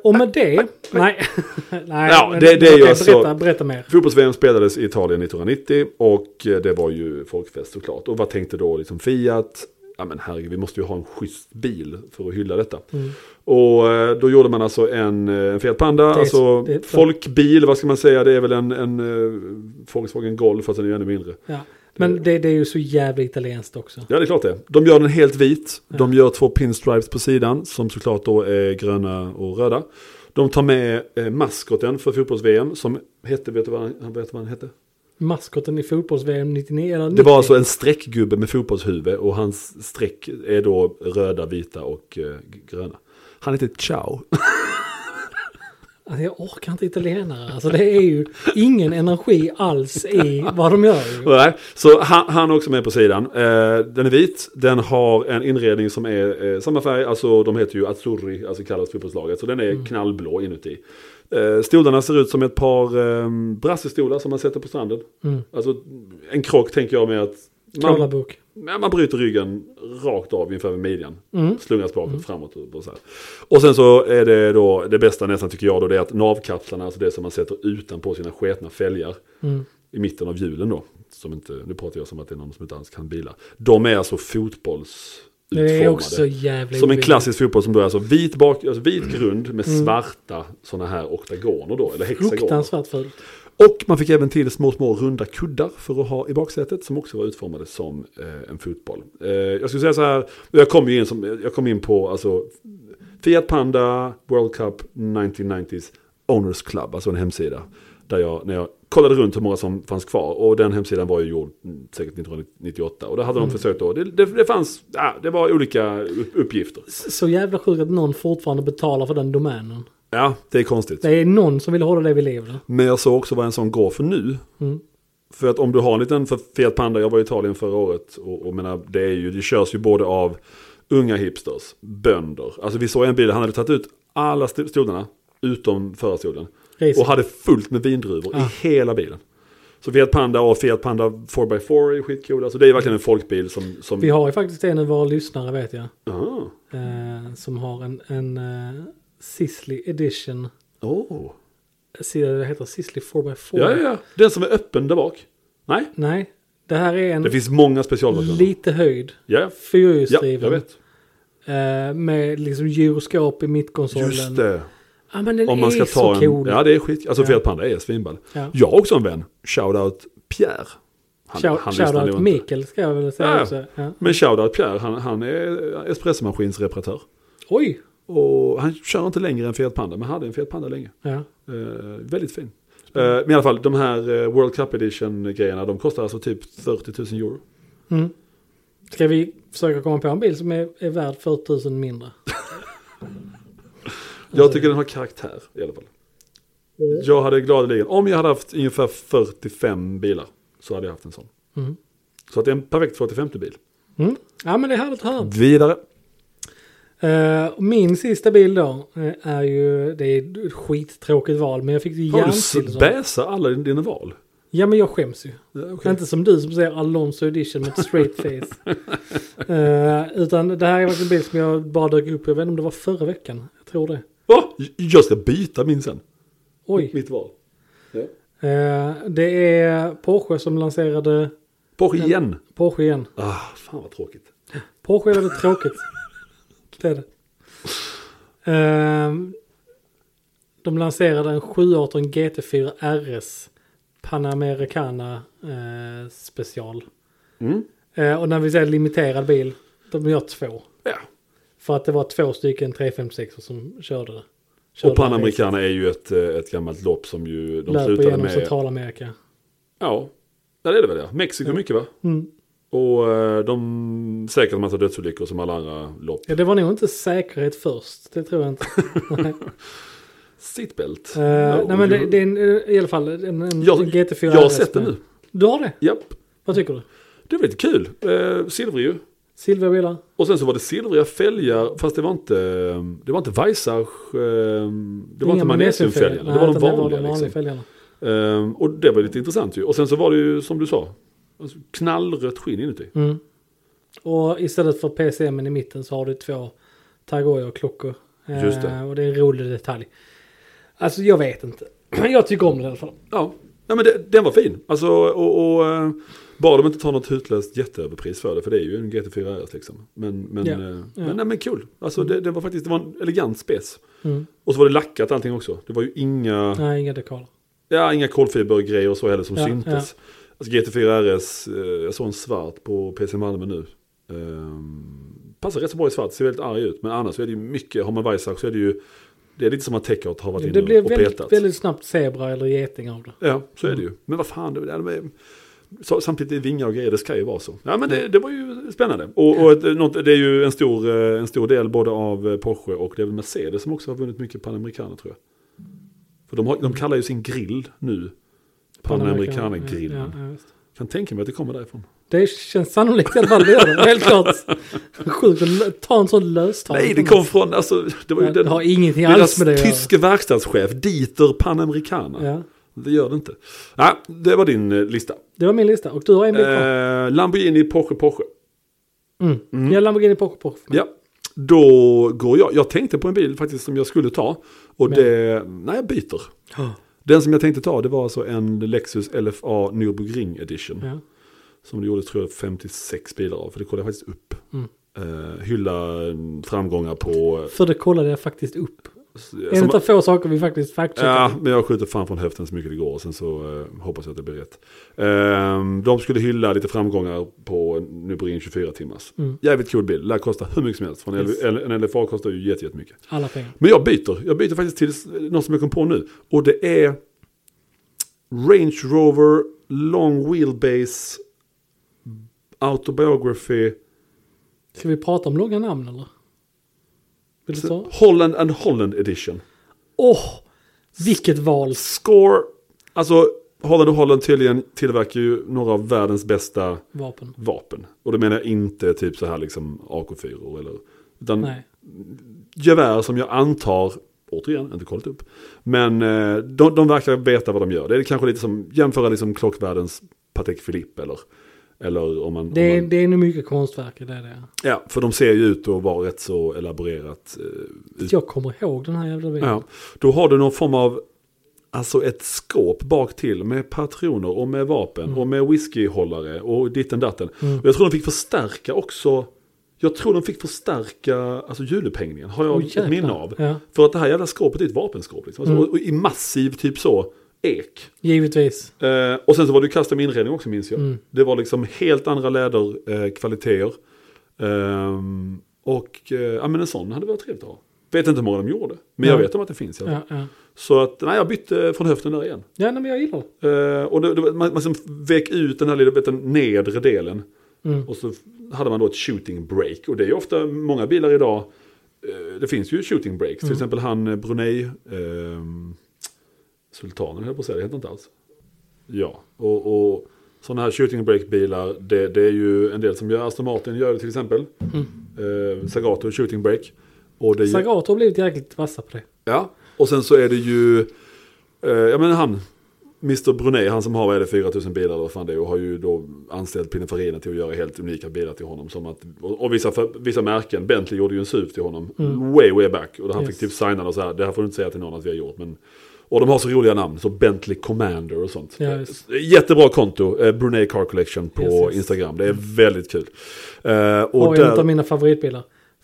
[SPEAKER 2] Och med det... Nej. <laughs> nej
[SPEAKER 1] Ja,
[SPEAKER 2] men-
[SPEAKER 1] det- det är ju
[SPEAKER 2] okej,
[SPEAKER 1] alltså-
[SPEAKER 2] berätta, berätta mer.
[SPEAKER 1] Fotbolls-VM spelades i Italien 1990 och eh, det var ju folkfest såklart. Och vad tänkte då liksom Fiat? ja men herregud, vi måste ju ha en schysst bil för att hylla detta.
[SPEAKER 2] Mm.
[SPEAKER 1] Och eh, då gjorde man alltså en, eh, en Fiat Panda,
[SPEAKER 2] är-
[SPEAKER 1] alltså
[SPEAKER 2] det är-
[SPEAKER 1] folkbil, vad ska man säga, det är väl en, en eh, Volkswagen Golf, fast den är ju ännu mindre.
[SPEAKER 2] Ja. Men det, det är ju så jävla italienskt också.
[SPEAKER 1] Ja, det är klart det. De gör den helt vit. De gör två pinstripes på sidan som såklart då är gröna och röda. De tar med eh, maskoten för fotbolls-VM som hette, vet du vad han, vet du vad han hette?
[SPEAKER 2] Maskoten i fotbolls-VM 99 eller
[SPEAKER 1] Det
[SPEAKER 2] 90.
[SPEAKER 1] var alltså en streckgubbe med fotbollshuvud och hans streck är då röda, vita och eh, g- gröna. Han heter Ciao.
[SPEAKER 2] Alltså, jag orkar inte italienare. Alltså det är ju ingen energi alls i vad de gör. Ju.
[SPEAKER 1] Nej, så han, han är också med på sidan. Eh, den är vit, den har en inredning som är eh, samma färg, alltså de heter ju Azzurri, alltså kallas fotbollslaget, så den är knallblå inuti. Eh, stolarna ser ut som ett par eh, brassestolar som man sätter på stranden.
[SPEAKER 2] Mm.
[SPEAKER 1] Alltså en krock tänker jag med att man,
[SPEAKER 2] Kolabok.
[SPEAKER 1] men man bryter ryggen rakt av inför midjan.
[SPEAKER 2] Mm.
[SPEAKER 1] Slungas bakåt, framåt och och så här. Och sen så är det då, det bästa nästan tycker jag då, det är att navkapslarna, alltså det som man sätter utanpå sina sketna fälgar
[SPEAKER 2] Mm.
[SPEAKER 1] i mitten av hjulen då. Som inte, nu pratar jag som att det är någon som inte alls kan bila. De är alltså
[SPEAKER 2] Det är
[SPEAKER 1] fotbollsutformade.
[SPEAKER 2] också jävla Mm.
[SPEAKER 1] som en
[SPEAKER 2] obilligt.
[SPEAKER 1] klassisk fotboll som då är alltså vit, bak, alltså vit grund med svarta sådana här oktagoner då, eller hexagoner.
[SPEAKER 2] Fruktansvärt fult.
[SPEAKER 1] Och man fick även till små, små runda kuddar för att ha i baksätet som också var utformade som eh, en fotboll. Eh, jag skulle säga så här, jag kom ju in, som, jag kom in på alltså, Fiat Panda World Cup 1990s Owners Club, alltså en hemsida. Där jag, när jag kollade runt hur många som fanns kvar och den hemsidan var ju gjord mm, säkert 1998 och där hade de försökt då, det, det, det fanns, ja, det var olika upp- uppgifter.
[SPEAKER 2] S- Så jävla sjukt att någon fortfarande betalar för den domänen.
[SPEAKER 1] Ja, det är konstigt.
[SPEAKER 2] Det är någon som vill hålla det vid liv. då.
[SPEAKER 1] Men jag såg också vad en sån går för nu.
[SPEAKER 2] Mm.
[SPEAKER 1] För att om du har en liten för fet panda, jag var i Italien förra året och, och menar, det, är ju, det körs ju både av unga hipsters, bönder. Alltså vi såg en bil, han hade tagit ut alla st- stolarna utom förarstolen.
[SPEAKER 2] Risigt.
[SPEAKER 1] Och hade fullt med vindruvor
[SPEAKER 2] Ah.
[SPEAKER 1] i hela bilen. Så Fiat Panda och Fiat Panda 4x4 är skitcoola. Så det är ju verkligen en folkbil som... som
[SPEAKER 2] Vi har ju faktiskt en av våra lyssnare vet jag.
[SPEAKER 1] Ah.
[SPEAKER 2] Eh, som har en, en eh, Sisley Edition.
[SPEAKER 1] Oh.
[SPEAKER 2] Si- Det heter Sisley 4x4.
[SPEAKER 1] Ja, ja, ja. Den som är öppen där bak. Nej,
[SPEAKER 2] Nej, det här är en
[SPEAKER 1] det finns många specialversioner.
[SPEAKER 2] Mm. lite höjd.
[SPEAKER 1] Ja, ja, jag
[SPEAKER 2] Fyrhjulsdriven.
[SPEAKER 1] vet.
[SPEAKER 2] eh, med liksom gyroskop i mittkonsolen.
[SPEAKER 1] Just det.
[SPEAKER 2] Ja men den
[SPEAKER 1] Om man ska
[SPEAKER 2] är
[SPEAKER 1] ta
[SPEAKER 2] så
[SPEAKER 1] en,
[SPEAKER 2] cool.
[SPEAKER 1] Ja det är skit. Alltså
[SPEAKER 2] Ja.
[SPEAKER 1] Fiat Panda är svinball.
[SPEAKER 2] Ja.
[SPEAKER 1] Jag har också en vän. Shoutout Pierre. Han,
[SPEAKER 2] Shout-
[SPEAKER 1] lyssnar nog
[SPEAKER 2] Shoutout
[SPEAKER 1] inte.
[SPEAKER 2] Mikael ska jag väl säga
[SPEAKER 1] Ja, ja.
[SPEAKER 2] också. Ja.
[SPEAKER 1] Men shoutout Pierre. Han, han är espressomaskinsreparatör.
[SPEAKER 2] Oj!
[SPEAKER 1] Och han kör inte längre en Fiat Panda. Men hade en Fiat Panda länge.
[SPEAKER 2] Ja.
[SPEAKER 1] Eh, väldigt fin. Eh, men i alla fall de här eh, World Cup Edition grejerna. De kostar alltså typ 40 000 euro.
[SPEAKER 2] Mm. Ska vi försöka komma på en bil som är, är värd 40 000 mindre?
[SPEAKER 1] Jag tycker den har karaktär i alla fall.
[SPEAKER 2] Mm.
[SPEAKER 1] Jag hade gladeligen, om jag hade haft ungefär 45 bilar så hade jag haft en sån.
[SPEAKER 2] Mm.
[SPEAKER 1] Så att det är en perfekt 45 bil.
[SPEAKER 2] Mm. Ja men det är härligt att höra.
[SPEAKER 1] Vidare.
[SPEAKER 2] Eh, och min sista bil då eh, är ju, det är ett skittråkigt val men jag fick ju
[SPEAKER 1] Har du
[SPEAKER 2] hjärnstillestånd.
[SPEAKER 1] bäsa alla din- dina val?
[SPEAKER 2] Ja men jag skäms ju.
[SPEAKER 1] Ja, okej.
[SPEAKER 2] Inte som du som säger Alonso edition med ett straight face. Eh, utan det här är faktiskt en bil som jag bara dök upp, jag vet inte om det var förra veckan. Jag tror det.
[SPEAKER 1] Va? jag ska byta min sen.
[SPEAKER 2] Oj.
[SPEAKER 1] Mitt val. Ja.
[SPEAKER 2] Eh, det är Porsche som lanserade
[SPEAKER 1] Bort igen.
[SPEAKER 2] Porsche igen.
[SPEAKER 1] Ah, fan vad tråkigt.
[SPEAKER 2] Porsche är väldigt tråkigt. Det är det. Eh, de lanserade en 718 GT4 RS Panamericana eh, special.
[SPEAKER 1] Mm.
[SPEAKER 2] Eh, och när vi säger limiterad bil, de gör två.
[SPEAKER 1] Ja.
[SPEAKER 2] För att det var två stycken 356 som körde det.
[SPEAKER 1] Och Panamericana är ju ett, eh, ett gammalt lopp som ju de
[SPEAKER 2] Löper
[SPEAKER 1] slutade
[SPEAKER 2] genom
[SPEAKER 1] med.
[SPEAKER 2] Centralamerika.
[SPEAKER 1] Ja. ja, det är det väl ja. Mexiko mycket va?
[SPEAKER 2] Mm.
[SPEAKER 1] Och eh, de säkert en massa dödsolyckor som alla andra lopp.
[SPEAKER 2] Ja, det var nog inte säkerhet först. Det tror jag
[SPEAKER 1] <laughs>
[SPEAKER 2] inte.
[SPEAKER 1] Seatbelt.
[SPEAKER 2] Eh,
[SPEAKER 1] No,
[SPEAKER 2] nej men det,
[SPEAKER 1] you-
[SPEAKER 2] det är en, eh, i alla fall en, en
[SPEAKER 1] Jag-
[SPEAKER 2] en GT4
[SPEAKER 1] jag har
[SPEAKER 2] RS,
[SPEAKER 1] sett den
[SPEAKER 2] men-
[SPEAKER 1] nu.
[SPEAKER 2] Du har det?
[SPEAKER 1] Japp.
[SPEAKER 2] Vad tycker du?
[SPEAKER 1] Det var lite kul. Eh, silvrig ju.
[SPEAKER 2] Silvia bilar?
[SPEAKER 1] Och sen så var det silvriga fälgar, fast det var inte, det var inte Weissach, eh, det var inte magnesiumfälgarna, det var de vanliga. liksom.
[SPEAKER 2] fälgarna.
[SPEAKER 1] Ehm, och det var lite intressant ju. Och sen så var det ju som du sa, alltså knallrött skinn inuti.
[SPEAKER 2] Mm. Och istället för PCM i mitten så har du två Tagoya och klockor. Eh,
[SPEAKER 1] Just det.
[SPEAKER 2] <clears throat> Och det är en rolig detalj. Alltså jag vet inte. Jag tycker om det i alla fall.
[SPEAKER 1] Ja, Nej men det, den var fin. Alltså, och, och, eh, bara de inte tar något hutlöst jätteöverpris för det, för det är ju en GT4 RS liksom. Men, men,
[SPEAKER 2] Ja.
[SPEAKER 1] eh,
[SPEAKER 2] Ja.
[SPEAKER 1] men, nej, men kul. Alltså det, det var faktiskt, det var en elegant spets.
[SPEAKER 2] Mm.
[SPEAKER 1] Och så var det lackat allting också. Det var ju inga,
[SPEAKER 2] Nej, inga dekaler.
[SPEAKER 1] ja, inga kolfibergrejer och så heller som
[SPEAKER 2] Ja,
[SPEAKER 1] syntes. Alltså GT4 RS, eh, jag såg en svart på PC Malmö nu. Ehm, passar rätt så bra i svart, ser väldigt arg ut. Men annars så är det ju mycket, har man Weissach så är det ju, det är lite som att Techart har varit
[SPEAKER 2] Det
[SPEAKER 1] inne
[SPEAKER 2] blev
[SPEAKER 1] och petat.
[SPEAKER 2] väldigt, väldigt snabbt zebra eller geting av det.
[SPEAKER 1] Ja, så
[SPEAKER 2] Mm.
[SPEAKER 1] är det ju. Men vad fan, det, det, det, så- samtidigt är det vingar och grejer, det ska ju vara så. Ja, men det, det var ju spännande. Och, och ett, något, det är ju en stor, eh, en stor del både av eh, Porsche och det är väl Mercedes som också har vunnit mycket Panamericana tror jag. För de, har, de kallar ju sin grill nu Panamericana-grillen.
[SPEAKER 2] Ja, ja, visst.
[SPEAKER 1] Kan tänka mig att det kommer därifrån.
[SPEAKER 2] det känns sannolikt i alla fall. Det gör det. Helt klart. <laughs> Sjukt att lö- ta en sån löstag.
[SPEAKER 1] Nej, det kom från, alltså, det var ju
[SPEAKER 2] Ja, Det
[SPEAKER 1] den,
[SPEAKER 2] har ingenting alls
[SPEAKER 1] deras
[SPEAKER 2] med det att
[SPEAKER 1] tyske verkstadschef, Dieter Panamericana.
[SPEAKER 2] göra. Ja.
[SPEAKER 1] Det gör det inte. Nej, det var din eh, lista.
[SPEAKER 2] Det var min lista. Och du har en bit kvar.
[SPEAKER 1] Eh, Lamborghini, Porsche, Porsche. Eh,
[SPEAKER 2] Mm. Ja, Lamborghini Porsche Porsche. för mig.
[SPEAKER 1] Ja, då går jag. Jag tänkte på en bil faktiskt som jag skulle ta. Och
[SPEAKER 2] Men-
[SPEAKER 1] det, nej jag byter.
[SPEAKER 2] Ja.
[SPEAKER 1] Den som jag tänkte ta det var alltså en Lexus LFA Nürburgring Edition.
[SPEAKER 2] Ja.
[SPEAKER 1] Som det gjordes tror jag 56 bilar av. För det kollade jag faktiskt upp.
[SPEAKER 2] Mm.
[SPEAKER 1] Eh, hylla eh, framgångar på... eh,
[SPEAKER 2] För det kollade jag faktiskt upp. En
[SPEAKER 1] som-
[SPEAKER 2] utav få saker vi faktiskt
[SPEAKER 1] Ja,
[SPEAKER 2] fact-checkade.
[SPEAKER 1] men jag skjuter fan från höften så mycket det går och sen så eh, hoppas jag att det blir rätt. Ehm, de skulle hylla lite framgångar på Nürburgring 24 timmars.
[SPEAKER 2] Mm.
[SPEAKER 1] Jävligt kul bil, lär kosta hur mycket som helst. För en,
[SPEAKER 2] Yes.
[SPEAKER 1] LV en LFA kostar ju jätte- jättemycket.
[SPEAKER 2] Alla pengar.
[SPEAKER 1] Men jag byter. Jag byter faktiskt till något som jag kom på nu. Och det är Range Rover Long Wheelbase Autobiography
[SPEAKER 2] Ska vi prata om långa namn eller? Vill du ta?
[SPEAKER 1] Holland and Holland Edition.
[SPEAKER 2] Åh! Vilket val.
[SPEAKER 1] Score, alltså Holland and Holland tydligen tillverkar ju några av världens bästa Mm.
[SPEAKER 2] Vapen.
[SPEAKER 1] vapen. Och då menar jag inte typ så här liksom AK4 eller... Utan
[SPEAKER 2] Nej.
[SPEAKER 1] gevär som jag antar, återigen, inte kollat upp. Men eh, de, de verkar veta vad de gör. Det är kanske lite som, jämföra liksom klockvärldens Patek Philippe eller, eller om man...
[SPEAKER 2] Det är,
[SPEAKER 1] om man
[SPEAKER 2] det är nog mycket konstverk i det. Där.
[SPEAKER 1] ja, för de ser ju ut att vara rätt så elaborerat. Eh, ut.
[SPEAKER 2] Jag kommer ihåg den här jävla bilen.
[SPEAKER 1] Ja. Då har du någon form av, alltså ett skåp bak till med patroner och med vapen och med whiskyhållare och ditten datten.
[SPEAKER 2] Mm.
[SPEAKER 1] Och jag tror de fick förstärka också, jag tror de fick förstärka alltså julupphängningen, har jag
[SPEAKER 2] Åh,
[SPEAKER 1] ett minne
[SPEAKER 2] jäklar.
[SPEAKER 1] av.
[SPEAKER 2] Ja,
[SPEAKER 1] För att det här jävla skåpet är ett vapenskåp. Liksom. Alltså,
[SPEAKER 2] Mm.
[SPEAKER 1] och, och i massiv typ så ek.
[SPEAKER 2] givetvis.
[SPEAKER 1] Eh, och sen så var det ju custom inredning också minns jag.
[SPEAKER 2] Mm.
[SPEAKER 1] Det var liksom helt andra läderkvaliteter. Eh, kvaliteter. Ehm, och eh, ja, men en sån hade varit trevligt att ha. Vet inte hur många de gjorde. Men jag
[SPEAKER 2] Ja.
[SPEAKER 1] vet om att det finns. i alla fall.
[SPEAKER 2] Ja, ja.
[SPEAKER 1] Så att, nej, jag bytte från höften där igen.
[SPEAKER 2] ja nej, men jag gillar det.
[SPEAKER 1] Eh, och det, det, var- man, man liksom vek ut den här lilla vet, den nedre delen.
[SPEAKER 2] Mm.
[SPEAKER 1] Och så hade man då ett shooting break. Och det är ju ofta många bilar idag. eh, Det finns ju shooting breaks. Till exempel han eh, Brunei. ehm, Sultanen höll på att säga, det heter inte alls. Ja, och, och sådana här shooting break bilar. Det, det är ju en del som gör. Aston Martin gör det till exempel. Eh, Sagato shooting break. Och det är ju-
[SPEAKER 2] Sagato har blivit jäkligt vassa på det.
[SPEAKER 1] Ja, och sen så är det ju, eh, ja men han, Mr Brunei, han som har vad är det, 4000 bilar eller vad fan det är, och har ju då anställt Pininfarina till att göra helt unika bilar till honom. Som att, och och vissa, för, vissa märken, Bentley gjorde ju en SUV till honom, way way back. Och han
[SPEAKER 2] Mm. Yes.
[SPEAKER 1] fick typ signa och så här, det här får du inte säga till någon att vi har gjort. Men, och de har så roliga namn, så Bentley Commander och sånt.
[SPEAKER 2] Ja, just.
[SPEAKER 1] Jättebra konto, eh, Brunei Car Collection på
[SPEAKER 2] Yes, yes.
[SPEAKER 1] Instagram, det är väldigt kul. Eh, och
[SPEAKER 2] Och en utav mina favoritbilar.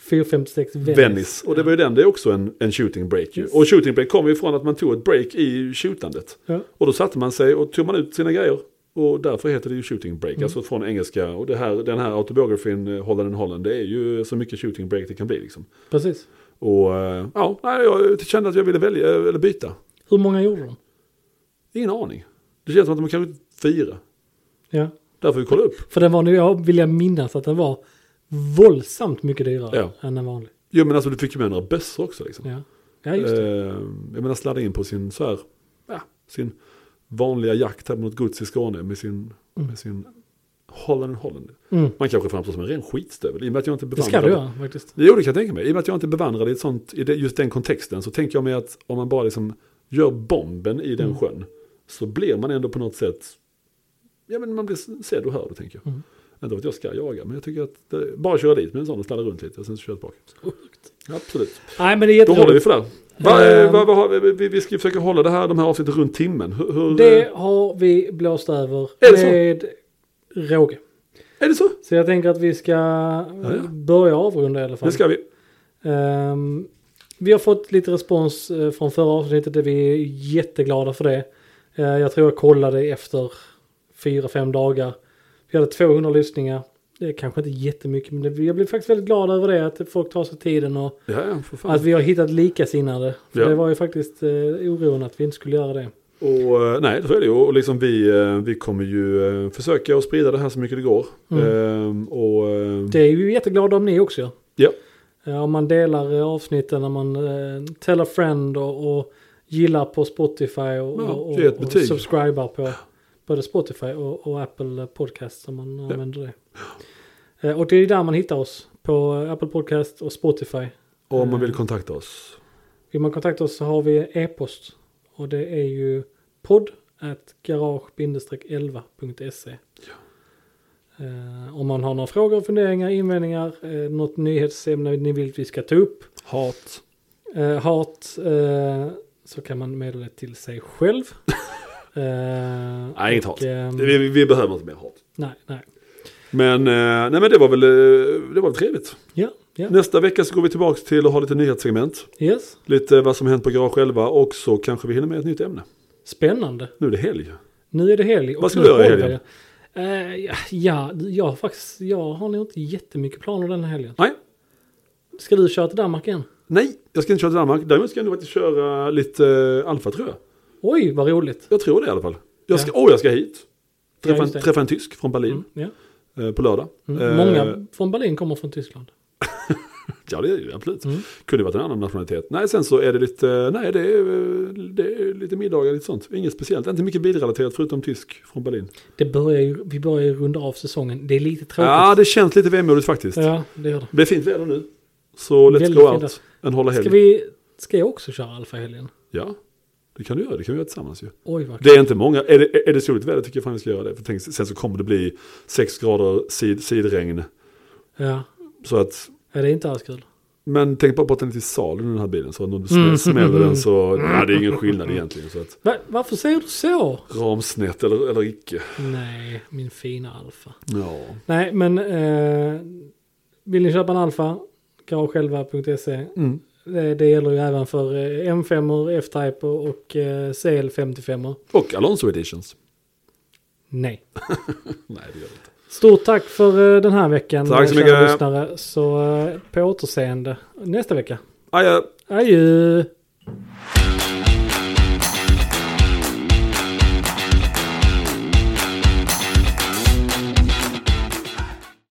[SPEAKER 2] 456 Venice.
[SPEAKER 1] Venice. Och det var ju den, det är också en, en shooting break ju.
[SPEAKER 2] Yes.
[SPEAKER 1] Och shooting break kommer ju från att man tog ett break i shootandet.
[SPEAKER 2] Ja.
[SPEAKER 1] Och då satte man sig och tog man ut sina grejer. Och därför heter det ju shooting
[SPEAKER 2] Mm.
[SPEAKER 1] break, alltså från engelska. Och det här, den här autobiografin, eh, Holland and Holland, det är ju så mycket shooting break det kan bli liksom.
[SPEAKER 2] Precis.
[SPEAKER 1] Och eh, ja, nej, jag kände att jag ville välja, eh, eller byta.
[SPEAKER 2] Hur många gjorde de?
[SPEAKER 1] Ingen aning. Det känns som att de kanske fyra.
[SPEAKER 2] Ja.
[SPEAKER 1] Där får vi kolla upp.
[SPEAKER 2] För den var nu, jag vill jag minnas att den var våldsamt mycket dyrare
[SPEAKER 1] Ja.
[SPEAKER 2] än en vanlig.
[SPEAKER 1] Jo men alltså du fick ju med några bössor också liksom.
[SPEAKER 2] Ja, ja just det.
[SPEAKER 1] Eh, jag menar sladda in på sin så här, ja, sin vanliga jakt här mot gods i Skåne med sin, med sin Holland Holland.
[SPEAKER 2] Mm.
[SPEAKER 1] Man kanske framstår som en ren skitstövel i och med att jag inte
[SPEAKER 2] Det ska du
[SPEAKER 1] bevandrade.
[SPEAKER 2] göra faktiskt.
[SPEAKER 1] Jo, det kan jag tänka mig. I och med att jag inte bevandrade i, ett sånt, i det, just den kontexten så tänker jag mig att om man bara liksom gör bomben i den
[SPEAKER 2] Mm.
[SPEAKER 1] sjön så blir man ändå på något sätt, ja men man blir sedd och hörd tänker jag.
[SPEAKER 2] Mm.
[SPEAKER 1] Inte vet jag ska jaga, men jag tycker att det, bara köra dit med en sån och sladda runt lite och sen så kör jag tillbaka.
[SPEAKER 2] Sjukt.
[SPEAKER 1] Absolut.
[SPEAKER 2] Nej men det är
[SPEAKER 1] Då håller vi
[SPEAKER 2] jätteroligt.
[SPEAKER 1] för det. Va, eh,
[SPEAKER 2] Ehm.
[SPEAKER 1] va, va, har vi- vi, vi ska ju försöka hålla det här, de här avsnitten runt timmen. Hur, hur,
[SPEAKER 2] Det
[SPEAKER 1] eh,
[SPEAKER 2] har vi blåst över
[SPEAKER 1] Är det så?
[SPEAKER 2] med råge.
[SPEAKER 1] Är det så?
[SPEAKER 2] Så jag tänker att vi ska
[SPEAKER 1] ja.
[SPEAKER 2] börja avrunda i alla fall.
[SPEAKER 1] Det ska vi.
[SPEAKER 2] Ehm, vi har fått lite respons eh, från förra avsnittet. och Vi är jätteglada för det. Eh, jag tror jag kollade efter fyra, fem dagar. Vi hade 200 lyssningar. Det är kanske inte jättemycket men det, jag blev faktiskt väldigt glad över det. Att folk tar sig tiden och
[SPEAKER 1] Ja, ja, för fan.
[SPEAKER 2] att vi har hittat likasinnade. För
[SPEAKER 1] Mm. Ja.
[SPEAKER 2] Det var ju faktiskt eh, oron att vi inte skulle göra det.
[SPEAKER 1] Och eh, nej, så är det ju. Och liksom vi, eh, vi kommer ju eh, försöka att sprida det här så mycket det går.
[SPEAKER 2] Mm.
[SPEAKER 1] Ehm, och eh,
[SPEAKER 2] Det är ju jätteglada om ni också.
[SPEAKER 1] Ja.
[SPEAKER 2] Eh, Om man delar eh, avsnitten, när man eh, tell a friend och, och gillar på Spotify och,
[SPEAKER 1] Ja,
[SPEAKER 2] och,
[SPEAKER 1] ge ett
[SPEAKER 2] och, och
[SPEAKER 1] betyg.
[SPEAKER 2] subscribar på både Spotify och, och Apple Podcast som man använder det. Eh, Och det är där man hittar oss, på eh, Apple Podcast och Spotify.
[SPEAKER 1] och om man vill kontakta oss.
[SPEAKER 2] Vill man kontakta oss så har vi e-post och det är ju podd at garage-11.se. Eh, Om man har några frågor, funderingar, invändningar, eh, något nyhetsämne ni vill att vi ska ta upp
[SPEAKER 1] Hat.
[SPEAKER 2] eh, hat eh, så kan man meddela det till
[SPEAKER 1] <laughs>
[SPEAKER 2] sig själv. eh,
[SPEAKER 1] Nej, inget hat.
[SPEAKER 2] ehm,
[SPEAKER 1] Vi, vi- vi behöver inte mer hat.
[SPEAKER 2] nej, nej.
[SPEAKER 1] Men, eh, nej, men det var väl eh, det var väl trevligt.
[SPEAKER 2] Ja, ja.
[SPEAKER 1] Nästa vecka så går vi tillbaka till att ha lite nyhetssegment.
[SPEAKER 2] Yes.
[SPEAKER 1] Lite vad som hänt på Garage själva och så kanske vi hinner med ett nytt ämne.
[SPEAKER 2] Spännande.
[SPEAKER 1] Nu är det helg.
[SPEAKER 2] Nu är det helg. och
[SPEAKER 1] Vad ska
[SPEAKER 2] nu
[SPEAKER 1] du göra i
[SPEAKER 2] håller
[SPEAKER 1] helgen?
[SPEAKER 2] jag. Eh, ja, ja, jag har faktiskt, jag har nog inte jättemycket planer den här helgen.
[SPEAKER 1] Nej,
[SPEAKER 2] Ska du köra till Danmark igen?
[SPEAKER 1] nej, jag ska inte köra till Danmark. Däremot ska jag nog faktiskt köra lite eh, alfa tror jag.
[SPEAKER 2] Oj, vad roligt.
[SPEAKER 1] Jag tror det i alla fall. Jag ska, Åh, jag ska hit. Träffa,
[SPEAKER 2] Ja, just det.
[SPEAKER 1] en, träffa en tysk från Berlin
[SPEAKER 2] Mm, ja.
[SPEAKER 1] eh, på lördag. Eh,
[SPEAKER 2] mm. Många från Berlin kommer från Tyskland.
[SPEAKER 1] Ja, det är ju absolut.
[SPEAKER 2] Mm.
[SPEAKER 1] Kunde varit en annan nationalitet. Nej, sen så är det lite, nej, det är, eh, det är lite middagar, lite sånt. Inget speciellt, inte mycket bilrelaterat förutom tysk från Berlin.
[SPEAKER 2] Det börjar ju, vi börjar ju runda av säsongen. Det är lite tråkigt.
[SPEAKER 1] Ja, det känns lite vemodigt faktiskt.
[SPEAKER 2] ja det gör det.
[SPEAKER 1] Det är fint väder nu. Så let's
[SPEAKER 2] Väldigt
[SPEAKER 1] go
[SPEAKER 2] fint alltså.
[SPEAKER 1] out and hålla helg.
[SPEAKER 2] Ska, vi, ska jag också köra Alfa i helgen?
[SPEAKER 1] Ja, det kan du göra. Det kan vi göra tillsammans ju.
[SPEAKER 2] Oj, vad
[SPEAKER 1] Det är inte många. Är det, är det soligt väder tycker jag fan vi ska göra det. För tänk, sen så kommer det bli sex grader sid, sidregn.
[SPEAKER 2] Ja,
[SPEAKER 1] Så att,
[SPEAKER 2] ja, det är inte alls kul.
[SPEAKER 1] men tänk bara på att den är till salu den här bilen. Så om du smä- smäller den så, nej det är ingen skillnad egentligen. Så att,
[SPEAKER 2] Va, varför säger du så?
[SPEAKER 1] ramsnett eller, eller icke.
[SPEAKER 2] Nej, min fina Alfa.
[SPEAKER 1] Ja.
[SPEAKER 2] Nej, men eh, vill ni köpa en Alfa, garagelva.se.
[SPEAKER 1] Mm.
[SPEAKER 2] Det, det gäller ju även för eh, M5, F-Type och eh, CL55.
[SPEAKER 1] Och Alonso Editions.
[SPEAKER 2] Nej.
[SPEAKER 1] Nej, det gör det inte.
[SPEAKER 2] Stort tack för eh, den här veckan.
[SPEAKER 1] Tack så
[SPEAKER 2] kära
[SPEAKER 1] mycket.
[SPEAKER 2] Lyssnare. Så eh, på återseende nästa vecka.
[SPEAKER 1] Aja.
[SPEAKER 2] Adjö.